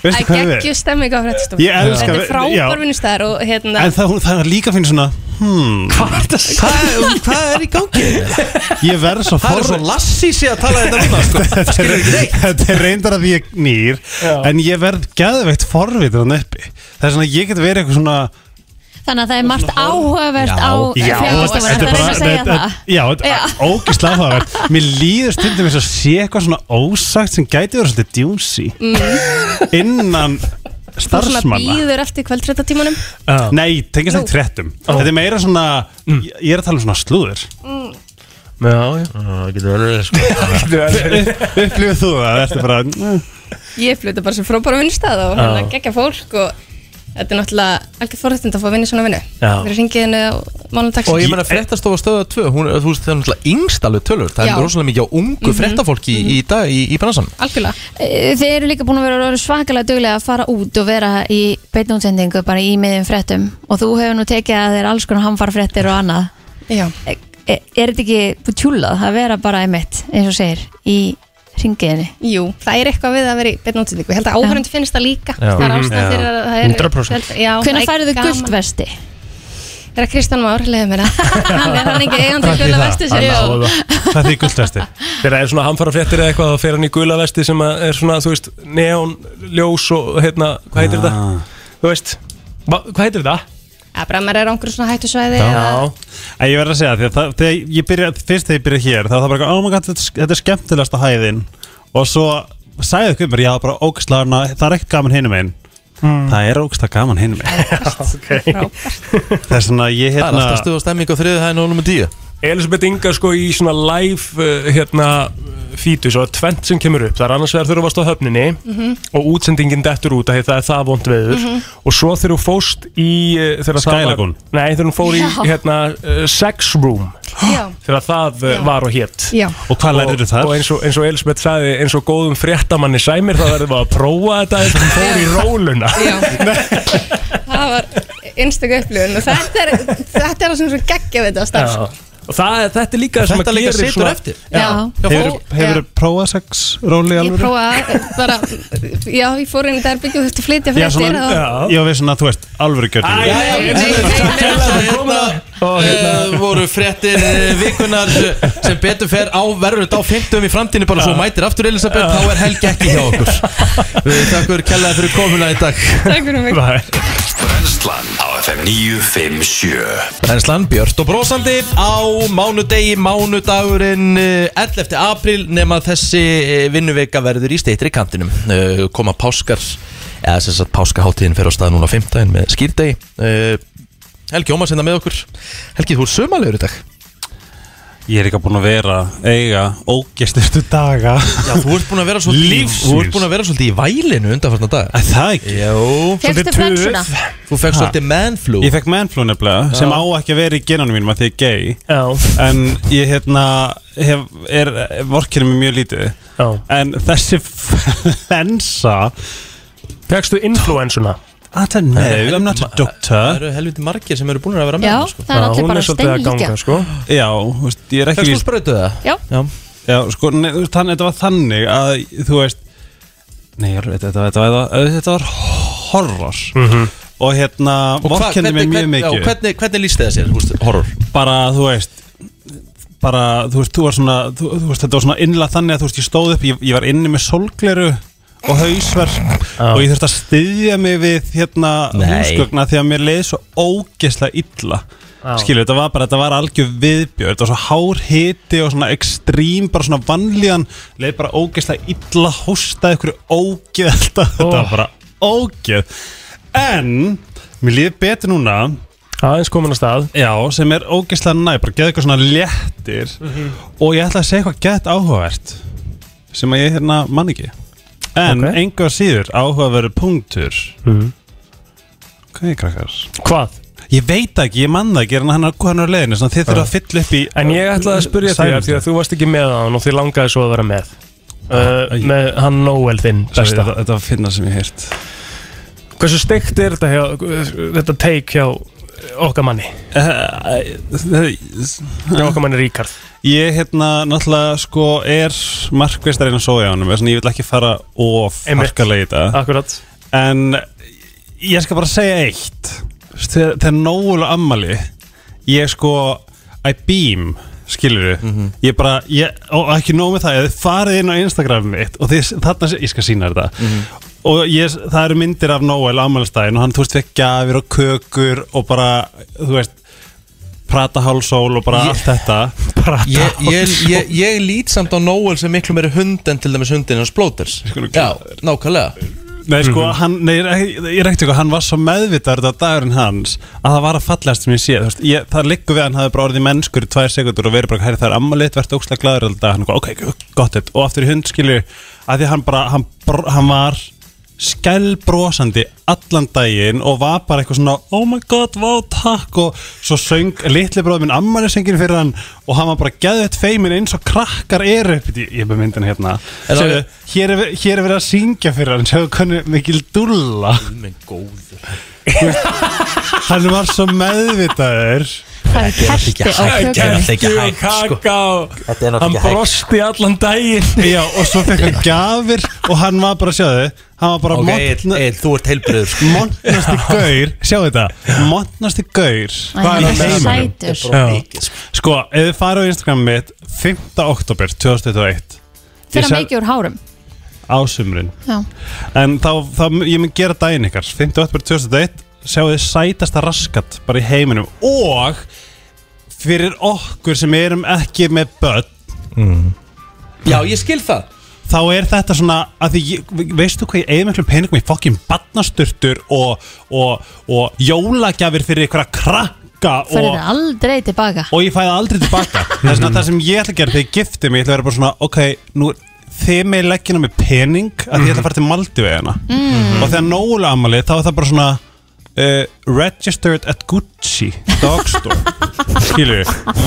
Veistu hvað
Það
við
er
er?
geggjur stemming á fréttastofun.
Ég elska
Þetta er
við- já.
frábær vinnustæðar og hérna...
En það, hún- það er líka fyrir svona hmm, Hvað er
það? Hvað, er í gangi?
Ég verð svo
Það er svo lassi sé að tala þetta núna, sko
Þetta er- þetta er reyndar að ég nýr En ég verð gæðveitt forvitið hann uppi Það er svona að ég get verið eitthvað svona
Þannig að það er margt áhugavert á
já,
fréttastofur
þetta
Þetta er
er
að segja
bara
það
Já, þetta er ógislega áhugavert Mér líður stundum eins og sé eitthvað svona ósagt sem gæti verið svolítið djúsi
Mm.
innan
Þú svona
starfsmanna
býður eftir kvöldfréttatímanum.
Nei, tengist
Nú.
ekki trettum Þetta er meira svona, ég ég er að tala um svona slúður
Mm.
Mm. Já, já
Það getur verið sko
Upplifið þú það, þetta er bara
Ég fluta bara sem frábæra vinnstæð og
Já.
hérna geggja fólk og Þetta er náttúrulega algjör forrættind að fá að vinna í svona vinnu
Já.
Þeir ringið henni á mánundags
Og ég meina fréttastofa stöða 2 hún, er- Þú veist, það er náttúrulega yngst alveg tölur Það
Já.
er rosalega mikið á ungu
Mhm.
fréttafólki í, í dag í, í bransan
Algjörlega
Eh, Þið eru líka búin að vera orðin svakalega duglega að fara út og vera í beinútsendingu bara í miðjum fréttum og þú hefur nú tekið að þér alls konar hamfarfréttir og annað
Já
Er, er þetta ekki tjúlað að vera bara einmitt, eins og segir, í ringiðinni?
Jú, það er eitthvað við að vera í beinn útsendingu Ég held að áhörund finnst það líka Það er ástæð fyrir að það er
100%.
Já, það
Mhm. Hvenær
er
færðu
gaman.
gult vesti?
Þegar Kristján Már leiði mér það Hann er hann ekki eigandi
Takk fyrir
gula
það.
vestu
Hann
sér
náði það.
Hvað því gullvesti?
Þegar það er svona hamfara fréttir eða eitthvað þá fer hann í gula vesti sem að er svona, þú veist, neón, ljós og hérna, hvað heitir þetta?
Ah.
Þú veist, hva- hvað heitir þetta?
Já, bara maður er á einhverju svona hættusvæði eða-
Já, en ég verð að segja því að það, þegar ég byrja, fyrst þegar ég byrja hér þá var það bara, eitthvað, oh my god, þetta, er- þetta er skemmtilegasta hæðin og svo sagði þau mér, já, bara ógslaðurna, það er ekkert gaman hinum einn það er ógslag gaman hinum einn Það er svona, ég
Það er
hérna
alltaf stöða stemming á þriðu hæðin og nummer 10
Elisabeth Inga sko í svona live uh, hérna fítu, svo tvent sem kemur upp, það er annars vegar þurfa að varst á höfninni
Mhm.
og útsendingin dettur út að það er það vond veður
Mhm.
og svo þegar þú fóst í uh, þegar það var-
Skylagoon.
Nei, þegar hún fór í
Já.
hérna uh, sex room
Já.
þegar það uh, var og hétt
Já.
Og hvað læriðu þar?
Og eins og, eins og Elisabeth sagði, eins og góðum fréttamanni sæmir þá verðum við að prófa þetta þegar hún fór í róluna
Það var einstak upplifun og þetta er, þetta er það sem svo geggja við þetta starf
Já. Og það, þetta er líka
Og
það sem
þetta
að
líka
gerir
situr
svona-
eftir.
Já. Já,
Hefur,
fólk-
hefur prófað sex róli
Ég
alveg?
prófaði bara, já, ég fór inn í dærbyggjum og þurfti að flytja
Já,
fyrir
svona, já, við svona, um þú veist, alvöru gjöldin
Það Eh, voru fréttir eh, vikunar eh, sem betur fer á verður þetta á 50 í framtíðinu bara svo mætir aftur Elisabeth þá er Helgi ekki hjá okkur Við takkur kellaði fyrir komuna í dag
Takk fyrir mig
Brennslan á FM 957
Brennslan Björst og brósandi á mánudegi, mánudagurinn eh, 11. apríl nema þessi eh, vinnuvika verður í steitri kantinum Eh, koma páskar eða sem sagt páskaháttíðin fer á stað núna 15 með skýrdegi Eh, Helgi Ómars hérna með okkur Helgi, þú er sömalegur í dag
Ég er ekki búin að vera, eiga, ógestistu daga
Já, þú ert búin að vera svolítið í-
Lífsins.
Þú ert búin að vera svolítið í vælinu undanfarnar dag
Að það ekki?
Jó
Fékkstu Svolítið flensuna? töf.
Þú fekkst svolítið mennflú
Ég fekk mennflú nefnilega,
Já.
sem á ekki að vera í genanum mínum að því ég er gay
Já.
En ég hérna, hef, er, vorkinu mér mjög lítið
Já.
En þessi flensa
Fekstu influensuna?
Ah, Þetta er nei, I'm not a
Það
doctor
eru helviti margir sem eru búin að vera með
Já,
hana, sko.
það er Já, allir hún er bara svolítið að steinlíkja. ganga, sko.
Já, þú veist, ég er ekki
Fékkst þú
lýst-
sprautu það?
Já.
Já.
Já, sko, nei, þú veist, þannig, þetta var þannig að, þú veist Nei, alveg, þetta, þetta, þetta, þetta var horror Og hérna,
Mhm. Og hvað-
vorkenni mér
hvernig-
mjög
hvernig- já,
mikið
Hvernig, hvernig líst það sér, húst, horror?
bara, þú veist bara, þú veist, þú var svona þú, þú veist, þetta var svona innlega þannig að þú veist, ég stóð upp ég, ég var inni með solgleru og hausverk og ég þurfti að styðja mig við hérna
Nei.
húsgögna því að mér leiði svo ógesla illa
Já.
skilu, þetta var bara, þetta var algjör viðbjör þetta var svo hár hiti og svona ekstrím, bara svona vanlíðan leiði bara ógesla illa, hóstaði ykkur ógeð alltaf, þetta var bara ógeð, en mér líði betur núna
aðeins komin að stað
já, sem er ógeðslega næ, bara geða eitthvað svona léttir
Mhm.
og ég ætla að segja eitthvað gett áhugavert sem að ég hérna man ekki en okay. engu að síður áhugaveru punktur
Mhm.
hvað er krakkar?
Hvað?
Ég veit það ekki, ég man það ekki en hann er hann er á leiðinu, svona, þið þurfa að fylla upp í
En ég ætlaði að spyrja þig af því að þú varst ekki með hann og þið langaði svo að vera með uh, Með hann Noel þinn besta
Ah, Sorry, Þetta var finna sem ég heirt
Hversu steikt er þetta, hjá, uh, þetta take hjá okkar manni?
Já,
okkar manni Ríkard
Eh, Ég hérna náttúrulega sko er markvistarinn að sója á honum Þannig ég vil ekki fara of
Einmitt.
harkalega í þetta
Akkurat
En ég skal bara segja eitt Þegar, þegar nógulega ammali Ég sko I beam skilur þú
Mhm.
Ég bara, ég, og ekki nóg með það Ég farið inn á Instagram mitt Og þið, þarna, sé- ég skal sína þetta Og ég, það eru myndir af Noel ammælstæðin og hann, þú veist, fekk gafir og kökur og bara, þú veist, prata hálsól og bara
Ég-
allt þetta. Prata
Ég, ég, ég, ég lít samt á Noel sem miklu meiri hund en til dæmis hundin hans Blóters Já, nákvæmlega
Nei, sko, hann, nei, ég er ekki- ég er ekkert eitthvað, hann var svo meðvitaður þetta dagurinn hans að það var að fallegast sem ég sé, þú veist, ég, það liggur við að hann hafi bara orðið mennskur í tvær sekundur og verið bara, hæri, það er ammalit, verður ógslag glæður alltaf, hann er bara, ok, gott þetta, og aftur í hund, skilju, að því hann bara, hann, br- hann var skælbrosandi allan daginn og var bara eitthvað svona oh my god, vá, takk og svo söng litli bróður minn ammælisengin fyrir hann og hann var bara geðvett feimin eins og krakkar eru upp í ég er með myndin hérna
Er það-
Sérðu, hér, er, hér er verið að syngja fyrir hann sjáðu hvernig mikil dulla
Minn góður
hann var svo meðvitaður
Það er kerti á kökunni
Ekki
sko. Þetta er
hann brosti allan daginn Já, og svo fekk hann gjafir og hann var bara, sjáðu hann var bara
Ok,
okay,
Egill, Egill, þú ert sko. heilbriður
montnasti gaur sjáðu þetta, montnasti gaur
Æ, hann er
með
svo
heiminum?
sætur. Þetta er bara
Já.
mikið,
sko, ef þið farið á Instagram mitt 5. oktober 2021
Fyrir að mikið úr hárum
ásumrun
Já.
en þá, þá, ég mun gera daginn ykkar 5. oktober 2001, sjáðu þið sætasta raskat bara í heiminum og fyrir okkur sem erum ekki með börn
Mm.
Já, ég skil það
Þá er þetta svona að því, ég- veistu hvað ég eigið miklum peningum í fokkin batnasturtur og, og, og jólagjafir fyrir ykkur að krakka
Færðu
og,
það aldrei tilbaka
og ég fæði aldrei tilbaka þess að það sem ég ætla að gera þegar ég gifti mig ég ætla að vera bara svona, ok, nú þið með leggina með pening að ég ætla að fara til Maldivegina
Mhm.
og þegar nógulega ammali þá er það bara svona uh, registered at Gucci dogstore skilju,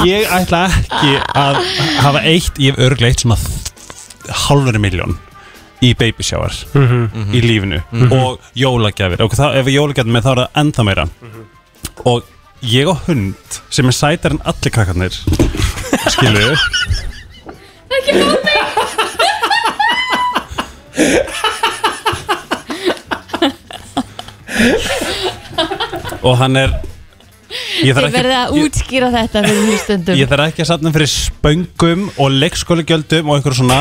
ég ætla ekki að hafa eitt, ég hef örgleitt svona halveri miljón í baby shower í lífinu og jólagjafir og það, ef jólagjafir með þá er það ennþá meira
Mhm.
og ég og hund sem er sætar en allir krakkarnir skilju
Ekki hómi
og hann er ég
Þið
þarf
verðið að
ekki,
útskýra þetta fyrir
ég,
hlustundum
ég þarf ekki að satna fyrir spöngum og leikskólagjöldum og einhver svona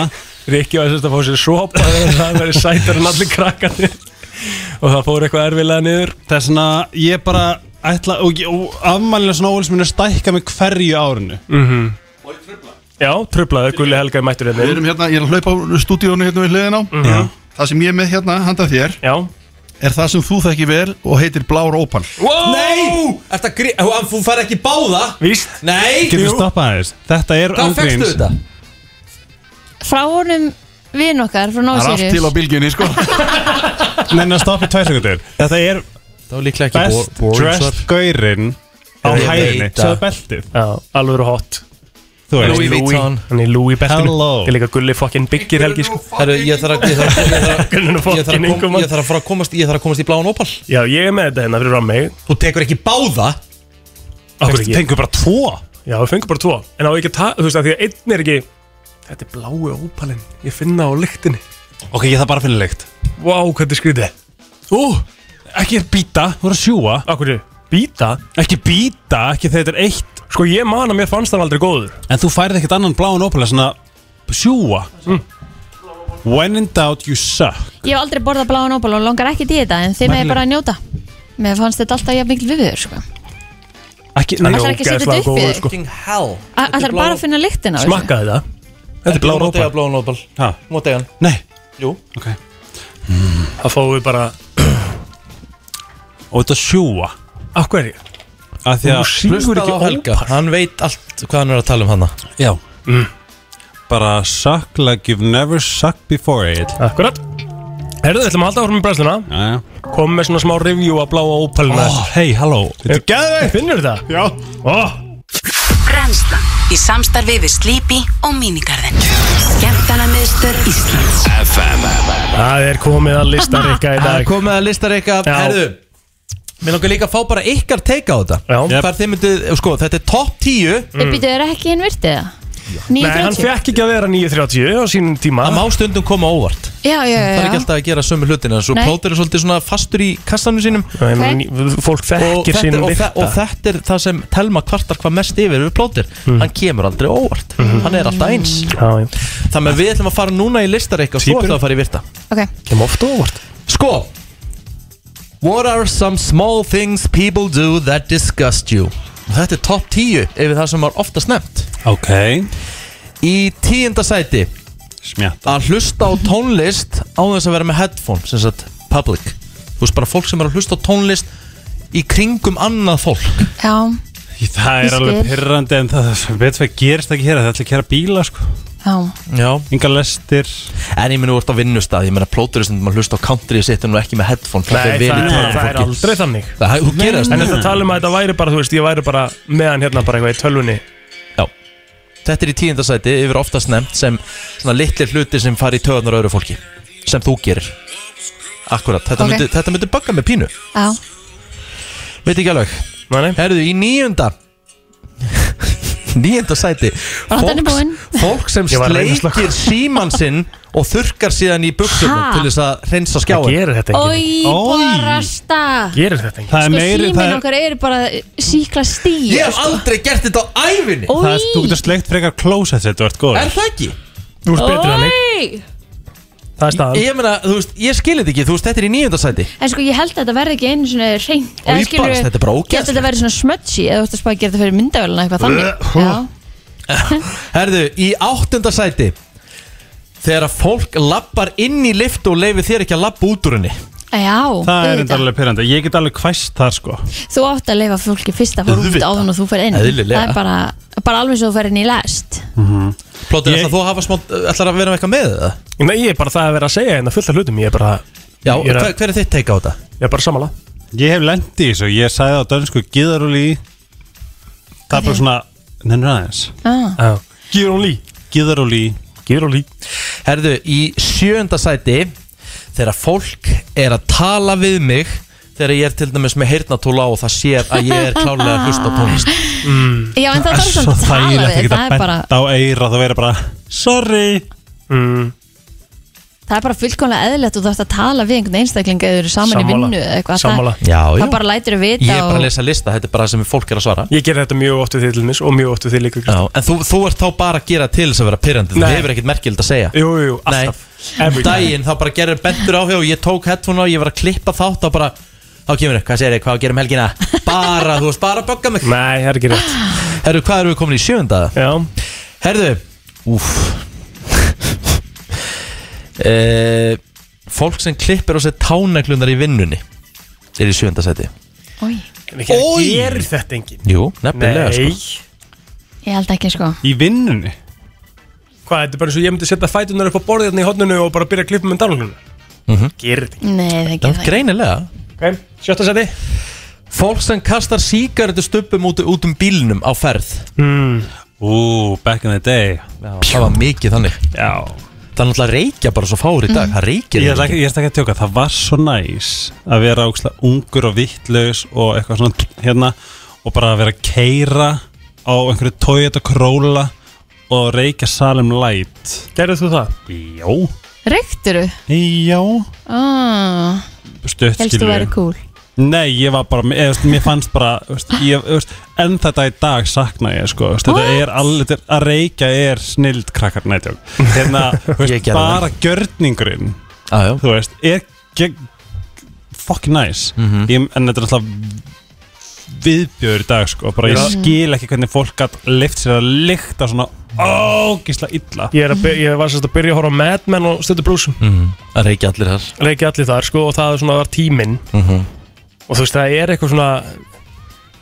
Rikki var sérst að fá sér sopa þegar hann verið sætar en allir krakkanir
og það fór eitthvað erfilega niður þess vegna ég bara ætla og, ég- og afmælilega svona óvils minn er stækka með hverju árinu
mm -hmm. Já, tröflaði, Gulli Helga er mættur hérna Mhm.
Við erum hérna, ég er að hlaupa á stúdíónu hérna við hliðin á Það sem ég er með hérna, handa þér
Já.
Er það sem þú þekki vel og heitir Blár Opal
wow! Nei, þetta grí... Hann þú fær ekki báða
Víst
Nei
getur við stoppað þess þetta er
Hvað fékkstu
ángríns
þetta?
Frá honum vinn okkar frá
Það er allt til á
Nósirius
bylginni sko
Nei, nei, stoppa í tvær sekundur Þetta er
Það var líklega
ekki
best
bo- boring
dressed
svar.
gaurinn á
Ég
hæðinni
veit
Sjáðu
það.
beltið
Já, alveg eru hot
Þú veist. Louis Vuitton.
Hann er Louis beltinu
Hello.
Ég líka Gulli fucking byggir Helgi sko
Herru, ég þarf að ég þarf að- ég þarf að- ég þarf að kom- ég þarf að fara að komast ég þarf að komast í bláan opal
Já, ég er með þetta hérna fyrir rammi
Þú tekur ekki báða
Okkur ekki
Fengur bara tvo
Já, við fengum bara tvo En á ekki að ta- þú veist að því að einn er ekki Þetta er blái ópalinn Ég finna á lyktinni
Ok, ég þarf bara að finna lykt
Vá, wow, hvernig skrítið Ú, ekki að býta
Þú voru að sjúa
Akkur, býta?
Ekki býta, ekki þegar þetta er eitt
Sko, ég man að mér fannst það aldrei góður
En þú færið ekkert annan bláan opala svona sjúa
Mm.
When in doubt you suck
Ég hef aldrei borðað bláan óból og langar ekki í þetta En þið meði
Merkilegt.
bara að njóta Mér fannst þetta alltaf jafn mikil viður sko.
Ekki,
Ætlar ekki að setja þetta upp í þig?
sko.
Fucking hell
A- Ætlar bara að finna lyktina á þessu?
þetta
Þetta er
blár
bláan opal
ópal.
Bláan opal
Ha?
Móta eigan
Nei
Jú
Ok
Það fáum við bara
Og þetta sjúa
Akkur er ég?
Af því að
Hlustaðu á Helga Hann veit allt hvað hann er að tala um hana
Já mm. Bara suck like you've never sucked before Egil
Akkurat Herðu, við ætlum að halda áfram í brennsluna
Jæja
Komum með svona smá review að bláa ópalina
oh, Hei, halló Þetta er
gæðið Finnur þetta? Já oh.
Brenslan í samstarfi við Sleepy og Minigarðin Skemmtana miðstöð Íslands
FM
Það er komið að listareika í dag
Það er komið að listareika
Já.
Herðu Mér langar líka að fá bara ykkar teika á þetta
Já. Mm.
Hvar þið myndið Sko, þetta er topp 10
Mm.
Við býtum þér ekki hinn virtið það?
Nei, hann
9.30?
fekk ekki að vera 9.30 á sínum tíma
Það má stundum koma óvart
Já, já,
Það er
já,
ekki
já.
alltaf að gera sömu hlutina Svo
Nei.
plóter er svolítið svona fastur í kastanum sínum
Nei, menn, Ok. fólk þekkir
Og þetta-
sinn
og þe-
virta.
Og þetta er það sem Telma kvartar hvað mest yfir við plóter Hann kemur aldrei óvart Hann er alltaf eins
Mm. Mhm. já, já.
Þannig að við ætlum að fara núna í listareik Og svo
Tvíburum.
ætlum við að fara í virta
Ok
Kem ofta óvart
Sko What are some small things people do that disgust you? Og Þetta er topp 10 yfir það sem var oftast nefnt
Ok
Í tíunda sæti
Smjatt
Að hlusta á tónlist á þess að vera með headphone sem sagt public Þú veist bara fólk sem er að hlusta á tónlist í kringum annað fólk
Já
Það
Ég
er alveg
skil.
pyrrandi en það veit hvað gerist ekki hér Það ætla að kæra bíla sko
Já.
Já Inga lestir En ég minn, þú ert á vinnustað Ég meina, plóturist maður hlusta á country Sittur nú ekki með headphone
Nei, það, er, það er aldrei þannig
Það, þú gerir það
En þetta tala um að þetta væri bara, þú veist, ég væri bara meðan hérna bara eitthvað í tölvunni
Já Þetta er í tíundasæti Yfir oftast nefnt sem Svona litlir hluti sem fari í töðunar öðru fólki Sem þú gerir Akkurat Þetta
Ok.
myndi, þetta myndi bugga með pínu
Já.
Veit ekki alveg Nei Herðu, í níunda Níunda sæti
Rottan er búinn.
fólk sem
Ég var að reyna að
sleikir
slökkva.
síman sinn Og þurkar síðan í buksunum
Ha?
Til þess að hreinsa skjáin Það gerir
Ói, barasta
Gerir þetta
Það er
Sko
meiri,
síminn
það er,
okkar er bara síkla sko. stí
Ég hef aldrei gert þetta á ævinni
það er, þú getur sleikt frekar klósett þegar þú ert góður.
Er það ekki?
Þú
mig
Það er staðan
Ég, ég meina, þú veist, ég skil þetta ekki Þú veist, þetta er í níunda sæti
En sko ég held að þetta verði ekki einu svona reynd
Og ég barst, þetta er bara ógeðslegt.
Þetta verði svona smudgy eða þú ætti að spá að gera þetta fyrir myndavöluna eitthvað þannig
Ugh.
Já,
Herðu, í áttunda sæti Þegar að fólk lappar inn í lift og leifir þér ekki að lappa út úr henni
já
Það er
auðvitað.
enda alveg pyrrandi. Ég get alveg hvæst þar sko.
Þú átt að leifa fólki fyrst að fara út
Auðvitað.
áðun og þú fer inn
Eðlilega.
Það er bara, bara alveg svo þú fer inn í lest
Plótið, ég... ætlar þú að hafa smá Ætlar að vera með eitthvað með það?
Nei, ég er bara það að vera að segja hérna fullt af hlutum Ég er bara
Já,
ég
hver- er þitt teika á þetta?
Ég er bara samala
Ég hef lendið í þessu. Ég sagði á dansku gíðarúli í. Það er bara svona, nennur aðeins.
ah.
Gíðarúli í. Gíðarúli í.
Gíðarúli í.
Herðu, í sjönda sæti Þegar fólk er að tala við mig Þegar ég er til dæmis með heyrnatóla og það sér að ég er klálega að hlusta á tónlist mm.
Já, en það er
svo
samt tala við,
þægilegt að geta
það er
bent
bara-
á eira og það vera bara Sorry mm.
Það er bara fullkomlega eðlilegt og þú ætti að tala við einhvern einstakling eða þú eru saman
Sammála.
í vinnu eða eitthvað
Sammála.
það,
Já, já.
það bara lætir að
Ég
vita
er bara
og
að lesa lista, þetta er bara það sem fólk er að svara
Ég gerir þetta mjög oft við þig til mis og mjög oft við þig líka
Já, En þú, þú ert þá bara að gera til þess að vera pyrrandi Þú
Nei.
hefur ekkert merkild að segja
Jú, jú, jú, alltaf
Nei, Um daginn þá bara gerir bendur á hjá og Ég tók headphone á, ég var að klippa þátt og bara Þá kemur þau, hvað segir þau, hvað gerum helgina Bara, þú veist, bara að bögga mig
Nei, það er ekki rétt
Herru, hvað erum við komin í sjönda?
Já
Herru, úf uh, Fólk sem klippir á sér tánæklunar í vinnunni Er í sjönda seti
Ói,
Ói Gerir þetta enginn
Jú, nefnilega
Nei.
sko.
ég held ekki sko
Í vinnunni?
Hvað, þetta er bara eins og ég myndi setja fætunar upp á borðið hérna í hodninu og bara byrja að klippa með dálunum
mm -hmm.
Gerir þetta
Nei, það
Það er
ekki
greinilega
okay. Sjötta seti
Fólk sem kastar sígaretu stöppum út, út um bílnum á ferð
mm.
Ú, back in the day
Já, Það var mikið þannig
Já
Það er náttúrulega reykja bara svo fáur í dag
Mm.
Það reykir
Ég er ekki- ég er ekki að tjóka, það var svo næs að vera ógslag ungur og vittlaus og eitthvað svona hérna og bara að vera að keira á einhverju tóið og króla og reykja salum light
Gerðu þú það?
Jó,
Reyktiru?
Já
ah.
stutt
Helst þú
skilurðu.
væri cool
Nei, ég var bara, eða, veist, mér fannst bara veist, ég, veist, En þetta í dag sakna ég sko, veist, Þetta er allir, þetta er- að reykja er snild krakkar nætjók Hérna, veist,
gerði
bara gjörningurinn
ah,
Þú veist, er gegn- fucking nice
Mhm.
ég, En þetta er alltaf viðbjör í dag sko, bara, Ég
Já.
skil ekki hvernig fólk gætt lift sér að lykta svona ógísla illa
Ég, er að by- ég var sérst að byrja að horfa á Mad Men og stötu brúsum
Mm. Það reykja allir þar
Reykja allir þar sko og það er svona var tíminn
Mhm.
og þú veist það er eitthvað svona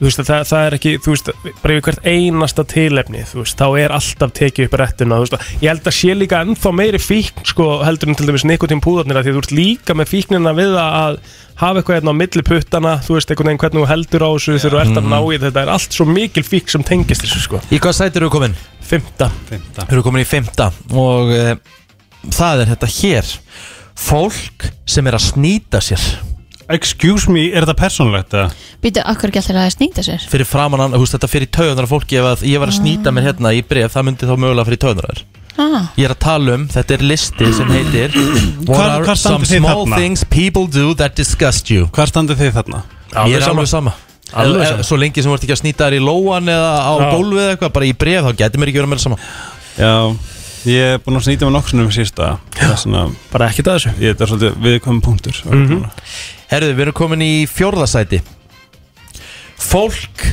þú veist það, það er ekki þú veist bara yfir hvert einasta tilefni þú veist þá er alltaf tekið upp réttina þú veist ég held að sé líka ennþá meiri fíkn sko heldur en til dæmis nikotín púðarnir af því að þú ert líka með fíknina við að- að hafa eitthvað hérna á milli puttana þú veist einhvern veginn hvernig þú heldur á þessu þegar þú ert
Mhm.
að ná í þetta er allt svo mikil fíkn sem tengist þessu sko
Í hvað sæti eru komin?
Fymta
Fymta
Eru komin í fymta Og uh, það er þetta hér Fólk sem er að snýta sér
Excuse me, er þetta persónulegt eða?
Býtu, akkur ekki alltaf að snýta sér
Fyrir framan hann, þú veist þetta fyrir taugunar fólki Ef að ég var að snýta mér hérna í bref Það myndi þá mögulega fyrir taugunar
ah.
Ég er að tala um, þetta er listi sem heitir What
Hvar-
are
hvar
some
standið þið
small
þarna?
things people do that disgust you
Hvað standið þið þarna?
Ég er alveg sama
Alveg
Ef-
sama.
ef- Svo lengi sem þú ert ekki að snýta þér í lóan eða á
Já.
gólfið eða eitthvað, bara í bref þá getur mér ekki verið meira sama
Já, ég er búin að snýta með nokksunum sísta svona,
Bara ekkert að þessu
Ég þetta er svolítið viðkvæmum punktur mm -hmm.
Mhm. Herðu, við erum komin í fjórðasæti Fólk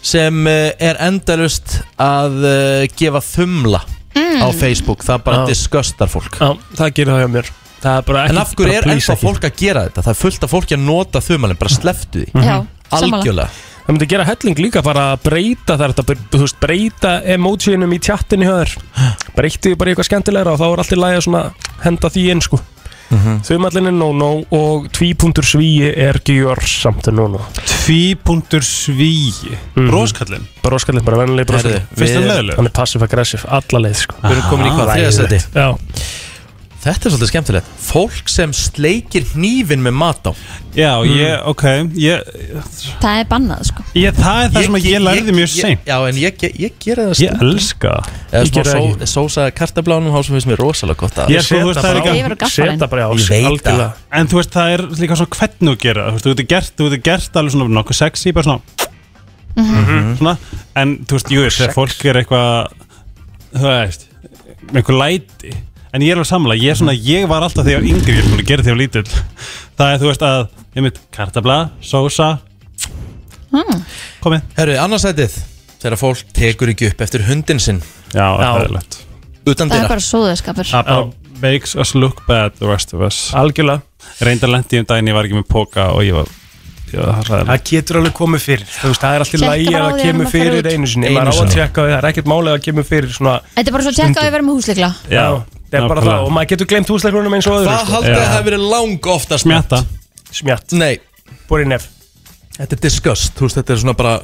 sem eh, er endalust að eh, gefa þumla
Mm.
á Facebook Það bara
Já.
disgustar fólk
Já, það gerir það hjá mér Það er bara ekki
En af hverju
bara
er
please
ennþá
ekki.
fólk að gera þetta? Það er fullt af fólki að nota þumalinn, bara sleftu því
Mhm.
Mhm.
Já, sammála.
Algjörlega
Þú Það myndi gera helling líka bara að breyta þar þetta, þú veist, breyta emotionum í tjattinu höður Breytið bara í eitthvað skemmtilegra og þá er allt í lagi að svona henda því inn sko
Mhm.
Þumallin er no-no og tvípunktur svíi er gjör samt en no-no
Tvípunktur svíi Bróskallinn
Bróskallinn, bara vennileg bróskallinn
Herðu, Finnst hann við- leiðilegur?
Hann er passive-aggressive, alla leið sko
Við erum komin í hvað, þriðja sæti?
Já
Þetta er svolítið skemmtilegt Fólk sem sleikir hnífin með mat á
Já, ég, ok ég,
Það er bannað sko
ég, Það er það sem ég lærði mjög seint
Já, en ég, ég, ég gera það
Ég elska það.
Eða
Ég
smá
gera það
só, sósa kartablánum Há sem finnst mér rosalega gott að-
Ég sko, þú veist, það er
bara á-
líka
Ég veit það
En þú veist, það er líka svona hvernig þú gera það, Þú veist, þú getur gert, þú getur gert alveg svona nokkuð sexy, bara svona,
Mhm.
svona En þú veist, jú, þegar fólk er eitthvað Þú veist, með einhver læti En ég er alveg samlega, ég er
Mhm.
svona, ég var alltaf þegar ég var yngri, ég er svona að gera þegar ég var lítill Það er, þú veist, að, ég mynd, kartabla, sósa
Mm.
Komið
Herru, annarsætið Þegar fólk tekur ekki upp eftir hundin sinn
Já,
Já.
það er lett
Utan
Það er
dýra
bara sóðaskapur
Það bara makes us look bad, the rest of us
Algjörlega
Reyndar lendi um daginn, ég var ekki með póka og ég var, ég var hræðileg.
Það getur alveg komið fyrir, þú veist, það er alltaf
Tékka
lægi
bara á
að það
því áður
kemur
en maður fer
fyrir
út.
einu sinni,
Einu
maður á að
sinni.
tjekka á því, það er ekkert málið að kemur fyrir svona
Þetta er bara svo að tjekka að við verðum húsleikla
Já, það er bara það og maður getur glemt húsleikunum eins og öðru sko.
Hvað haldið að hafi verið lang oftast Smjatta
Smjatt
Nei
Bori nef
Þetta er disgust, þú veist, þetta er svona bara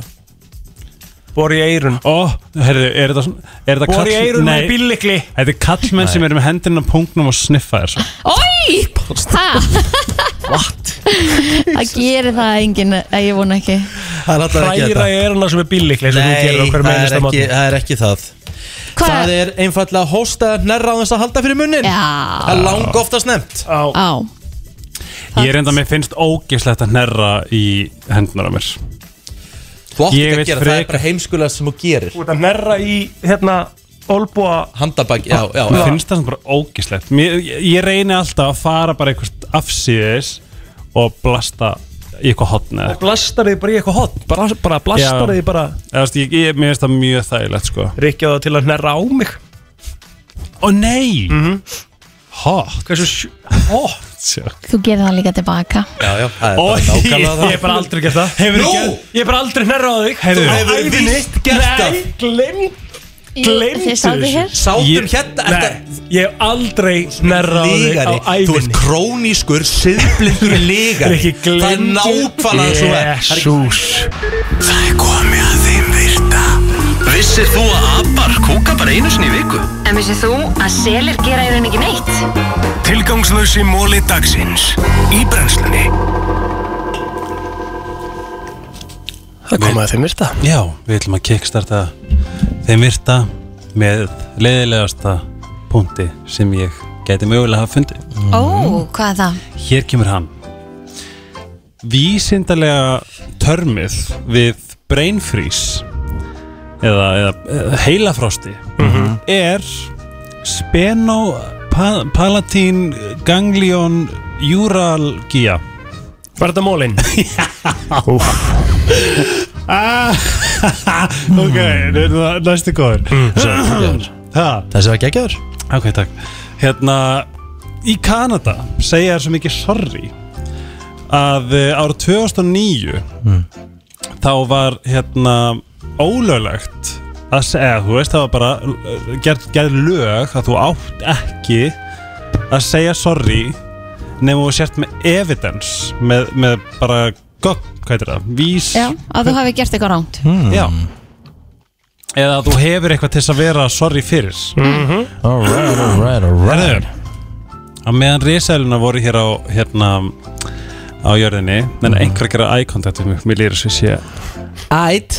Bori í eirun
Ó, herðu, er þetta svona er þetta
Bor í
kall-
eyrun
Nei.
með bíllikli.
Þetta er kallmenn sem eru með hendina á punktnum og sniffa þér sko. svo
Ói! Það Það gerir það enginn að ég vona ekki
Það er alltaf ekki
Hræra
þetta
í eiruna sem er bíllikli eins og þú gerir
Nei,
okkur
það
með
er,
einasta
ekki,
móti
það er ekki það
Hvað?
Það er einfallega hósta nærra á þess að halda fyrir munnin Já Það er lang oftast nefnt
Á
Ég er enda, mér finnst ógeðslegt að hnerra í hendunar á mér
Þú átt
Ég vil
ekki að gera, það er
frekar-
bara heimskulega sem þú gerir
Þú ert að merra í, hérna, olbúa
Handabæk, já, já,
Ah, Mér
já.
finnst það sem bara ógeðslegt mér, ég, ég reyni alltaf að fara bara eitthvað afsíðis og blasta í eitthvað hotn eða
og blastar þig bara í eitthvað hot bara, bara
Já.
blastar þig bara
Eða, veist, ég, ég, mér finnst það mjög þægilegt sko
Rikja það til að hnerra á mig
Ó nei mm -hmm. Hot
Mhm. Hversu sj- Hot
Þú gerir það líka tilbaka
Já, já, það er
Ó,
bara
ég
nákvæmlega það
ég hef bara aldrei gert það
Hefurðu
Nú!
gert-
Ég hef bara aldrei hnerra á þig
Hefurðu-
Þú á
Hefurðu
ævinni-
víst gert það?
Nei, glemt Gleymdu
Þið sáðu hér
Sátum hérna
Nei, ég hef aldrei hnerra á þig á
Lígari, þú ert
ævinni
krónískur, siðblindur lígari
Rikki,
Það er
gleymdu-
nákvæmlega svo það er. Það er ekki-
Jesús
Það er komið að þeim virta Vissir þú að abar kúka bara einu sinni í viku?
En vissið þú að selir gera í raun ekki neitt?
Tilgangslösi móli dagsins Í brennslunni
Það kom að þeim virta
Já, við ætlum að kickstarta þeim virta með leiðilegasta punkti sem ég gæti mögulega hafa fundið.
Ó, hvað er það?
Hér kemur hann. Vísindalega törmið við brain freeze eða, eða, eða heilafrosti er spenopalatín ganglion juralgia.
Var þetta mólinn?
Ah, ok, næstu góður.
Mm,
Það.
Þessi var geggjaður
Ok, takk Hérna, í Kanada segja þér svo mikið sorry að eh, árið 2009
Mm.
þá var hérna ólöglegt að segja, þú veist, það var bara eh, gerð gerð lög að þú átt ekki að segja sorry nema þú sért með evidence með, með bara gögn, hvað heitir það, vís
Já, að þú hafi gert eitthvað ránt
Já Eða að þú hefur eitthvað til þess að vera sorry fyrir
Alright, alright, alright
Herður Að meðan risaðluna voru hér á hérna á jörðinni en einhver að gera eye contact við mig, mér lýður svo sé
Ætt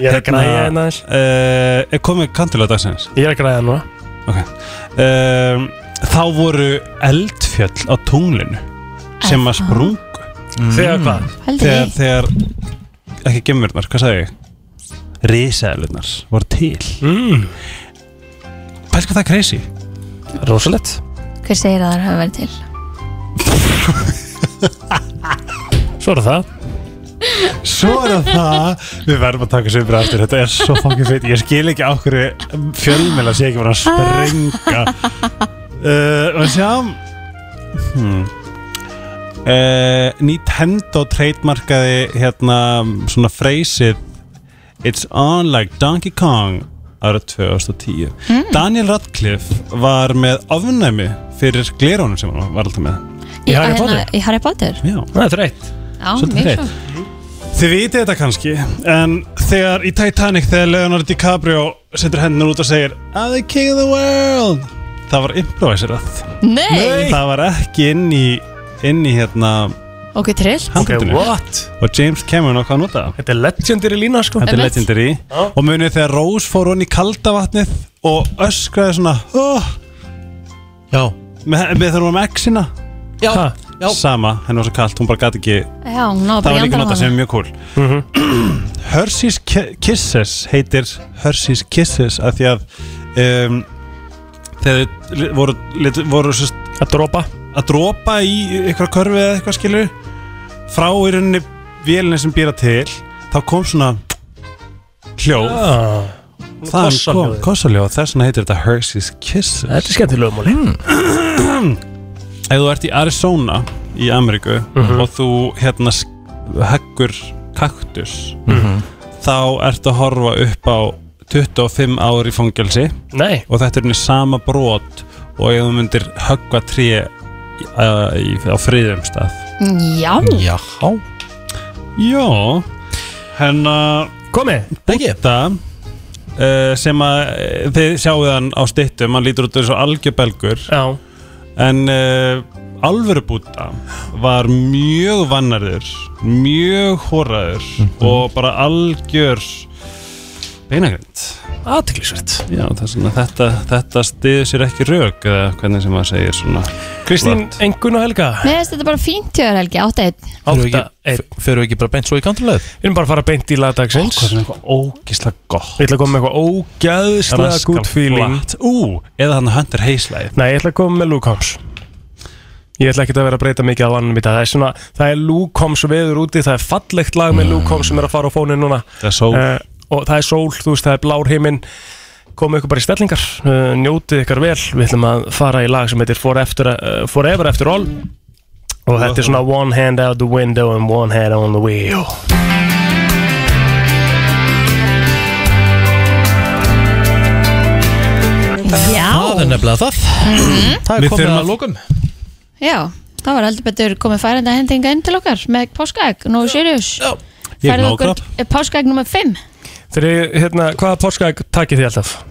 Ég er að græja hérna aðeins.
uh, Er komið kantilega dagsins?
Ég er að græða núna
Ok um, Þá voru eldfjöll á tunglinu sem að sprungu
Mm. Þegar hvað?
þegar,
Heldur því
þegar ekki gemurnar, hvað sagði ég? Risaðlunar voru til
mm.
Pæl hvað það er crazy
Rósalett
Hver segir að það hafi verið til?
Svo er það
Svo er það það Við verðum að taka sömur aftur Þetta er svo fangin feit Ég skil ekki á hverju fjölmjöla sé ekki bara að Eh, sprenga uh, Og sjá hmm. uh, Nintendo trademarkaði hérna svona freysið It's on like Donkey Kong árið 2010 Daniel Radcliffe var með ofnæmi fyrir glerónum sem hann var alltaf með
Í hérna- Í Harry Potter?
Já, það er þreitt
Já,
Svolítið
mjög
hreitt.
svo
Þið vitið þetta kannski En þegar í Titanic Þegar Leonardo DiCaprio setur hendur út og segir I'm the king of the world Það var improviserað
Nei!
Það var ekki inn í Inn í hérna
Ok, trill
handritinu. Og James Cameron ákvað að nota það Þetta er legendary lína sko Þetta er
Einmitt.
legendary Og munið þegar Rose fór hún í kalda vatnið Og öskraði svona oh. Já Með, með þurfum með exina
Já, já.
Sama, henni var svo kalt, hún bara gat ekki
Já, hún náði
Það
bara
var
í
líka
andan á
nota
hana.
sem er mjög cool Mhm. Hershey's Ki- Kisses heitir Hershey's Kisses af því að um, þegar þau li- voru, lit- voru sest, að dropa að dropa í eitthvað körfi eða eitthvað skilur frá í rauninni vélina sem býra til þá kom svona hljóð
Ah.
það kom
Kossaljóðið.
kossaljóð þess vegna heitir þetta Hershey's Kisses Hmm.
Þetta er skemmtilega móli
ef þú ert í Arizona í Ameríku
Mhm.
og þú hérna sk- heggur kaktus
Mhm.
þá ertu að horfa upp á 25 ár í fangelsi
Nei.
og þetta er henni sama brot og ef þú myndir höggva tré í- að- í- á friðum stað
Já
Já Já Hennar Komi Búta uh, sem að eh, þið sjáuð hann á stittum hann lítur út eins og algjörbelgur Já En uh, alvöru búta var mjög vannarður mjög hóraður og bara algjör beinagrind
Aðtiklisvert
Já, þess vegna þetta, þetta stiður sér ekki rauk eða hvernig sem maður segir svona
Kristín, engun og Helga
Mér finnst þetta bara fínt hjá þér, Helgi, 8-1
Fyrir við ekki bara beint svo í kantulegð? Við erum bara að fara beint í lagdagsins Hvað er eitthvað
ógísla gott
Ég ætla að koma með eitthvað ógæðslega
Raskat
good feeling
flatt. Ú, eða hann Hunter Hayes-læð
Nei, ég ætla að koma með Luke Holmes Ég ætla ekki að vera að breyta mikið af annum í dag Það er svona, það er Luke Holmes veður úti Það er fallegt lag með Luke Holmes sem er að fara á fónin núna
Það er sól.
Eh, Og það er sól, þú veist, það er blár heiminn Komið ykkur bara í stellingar uh, Njótið ykkar vel Við ætlum að fara í lag sem heitir For After, uh, Forever After All Og þetta er svona One hand out the window and one hand on the wheel
Já
Það er nefnilega það
Mhm.
Það er
Við
komið
þurfum
að
að-
lókum
Já, það var heldur betur komið færenda hendinga inn til okkar með páskaegg, no serious Já,
Ég er
Færið
nóg
okkur páskaegg nummer 5
Þegar, hérna, hvaða porskag takið þið alltaf?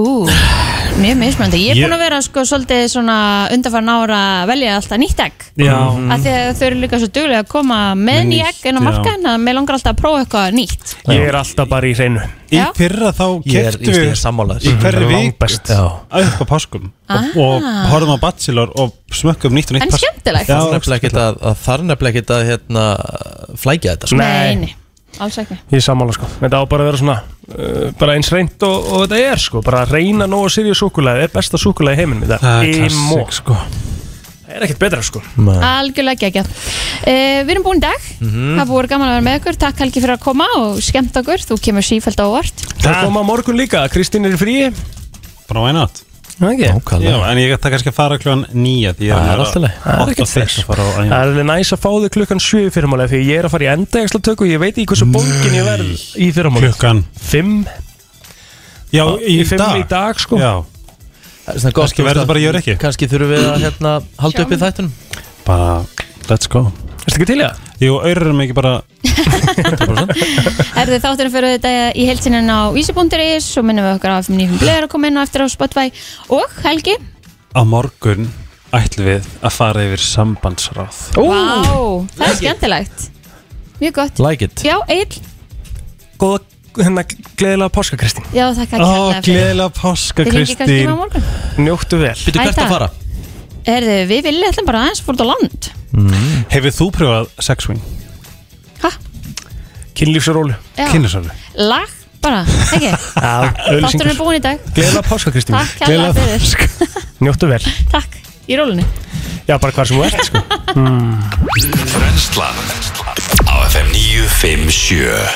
Ú, mjög mismöndi. Ég er
Ég-
búin að vera sko svolítið svona undanfarn ára að velja alltaf nýtt egg.
Já.
Af því að þau eru líka svo duglega að koma með
Með
ný
nýtt,
egg inn á
já.
markaðin að mér langar alltaf að prófa eitthvað nýtt.
Ég er alltaf bara í hreinu
Í Já. fyrra þá
Ég er-
keyptum
ég
við
er sammála þessu.
í hverri
Mhm.
viku
Langbest. Já.
upp á páskum og,
Ah.
og horfum á Bachelor og smökkum nýtt og nýtt
En
pásk-
skemmtilegt.
Já,
Það er nefnilega ekkert að, að það er nefnilega ekkert að hérna, flækja þetta sko.
Nei, nei, alls ekki.
Ég er sammála sko Þetta á bara að vera svona uh, Bara eins reynd og, og þetta er sko Bara að reyna nógu sirju súkulæði Er besta súkulæði heiminum í dag
Það er
Imo.
klassik, sko.
Það er ekkert betra sko
Algjörlega gegja. Uh, við erum búin í dag.
Mhm.
Það búið gaman að vera með ykkur. Takk Helgi fyrir að koma og skemmt okkur. Þú kemur sífælt á óvart.
Það koma á morgun líka Kristín er í fríi
Bara why not?
Okay.
Já, en ég það kannski að fara kljóðan nýja því
Það er alltaf leið. Það er
Ótt
ekkert
og þess að fara á æfingu.
Það er alveg næs að fá þig klukkan 7 í fyrramálega Því ég er að fara í endægsla tökku Ég veit ekki hversu bókin ég verð í fyrramálega
Klukkan
5
Já, í
fimm
dag.
í dag sko
Já.
Það er svona gott
Kannski verður bara ég er ekki.
Kanski þurfum við að hérna, halda upp í þættunum
Bara, let's go
Erstu ekki til í það?
Jú, auðvitað ekki bara
Erðu þátturinn fyrir þetta í heilsinin á vísi.is Svo minnum við okkur á FM95 Blöður að koma inn og eftir á Spotify og Helgi
Á morgun ætlum við að fara yfir sambandsráð
Vá, það er skemmtilegt Mjög gott
Like it.
Já, Egil,
Góða, hérna, gleðilega páska Kristín
já þakka
Ó,
kærlega fyrir.
gleðilega páska
Þið hringið kannski í
Kristín
mig á morgun.
Njóttu vel
Bíddu, hvert Hætta. að fara? Herðu, við viljum ætlum bara aðeins fórt á land
mm. Hefur þú pröfað sexwing?
Hæ?
Kynlífsarólu
Já.
Kynlífsarólu
Lag bara, ekki Þátturinn er búin í dag
Gleðilega páska Kristín
Takk kærlega fyrir
Njóttu vel
Takk, í rólunni
Já, bara hvar sem þú ert sko
Brenslan Á FM 957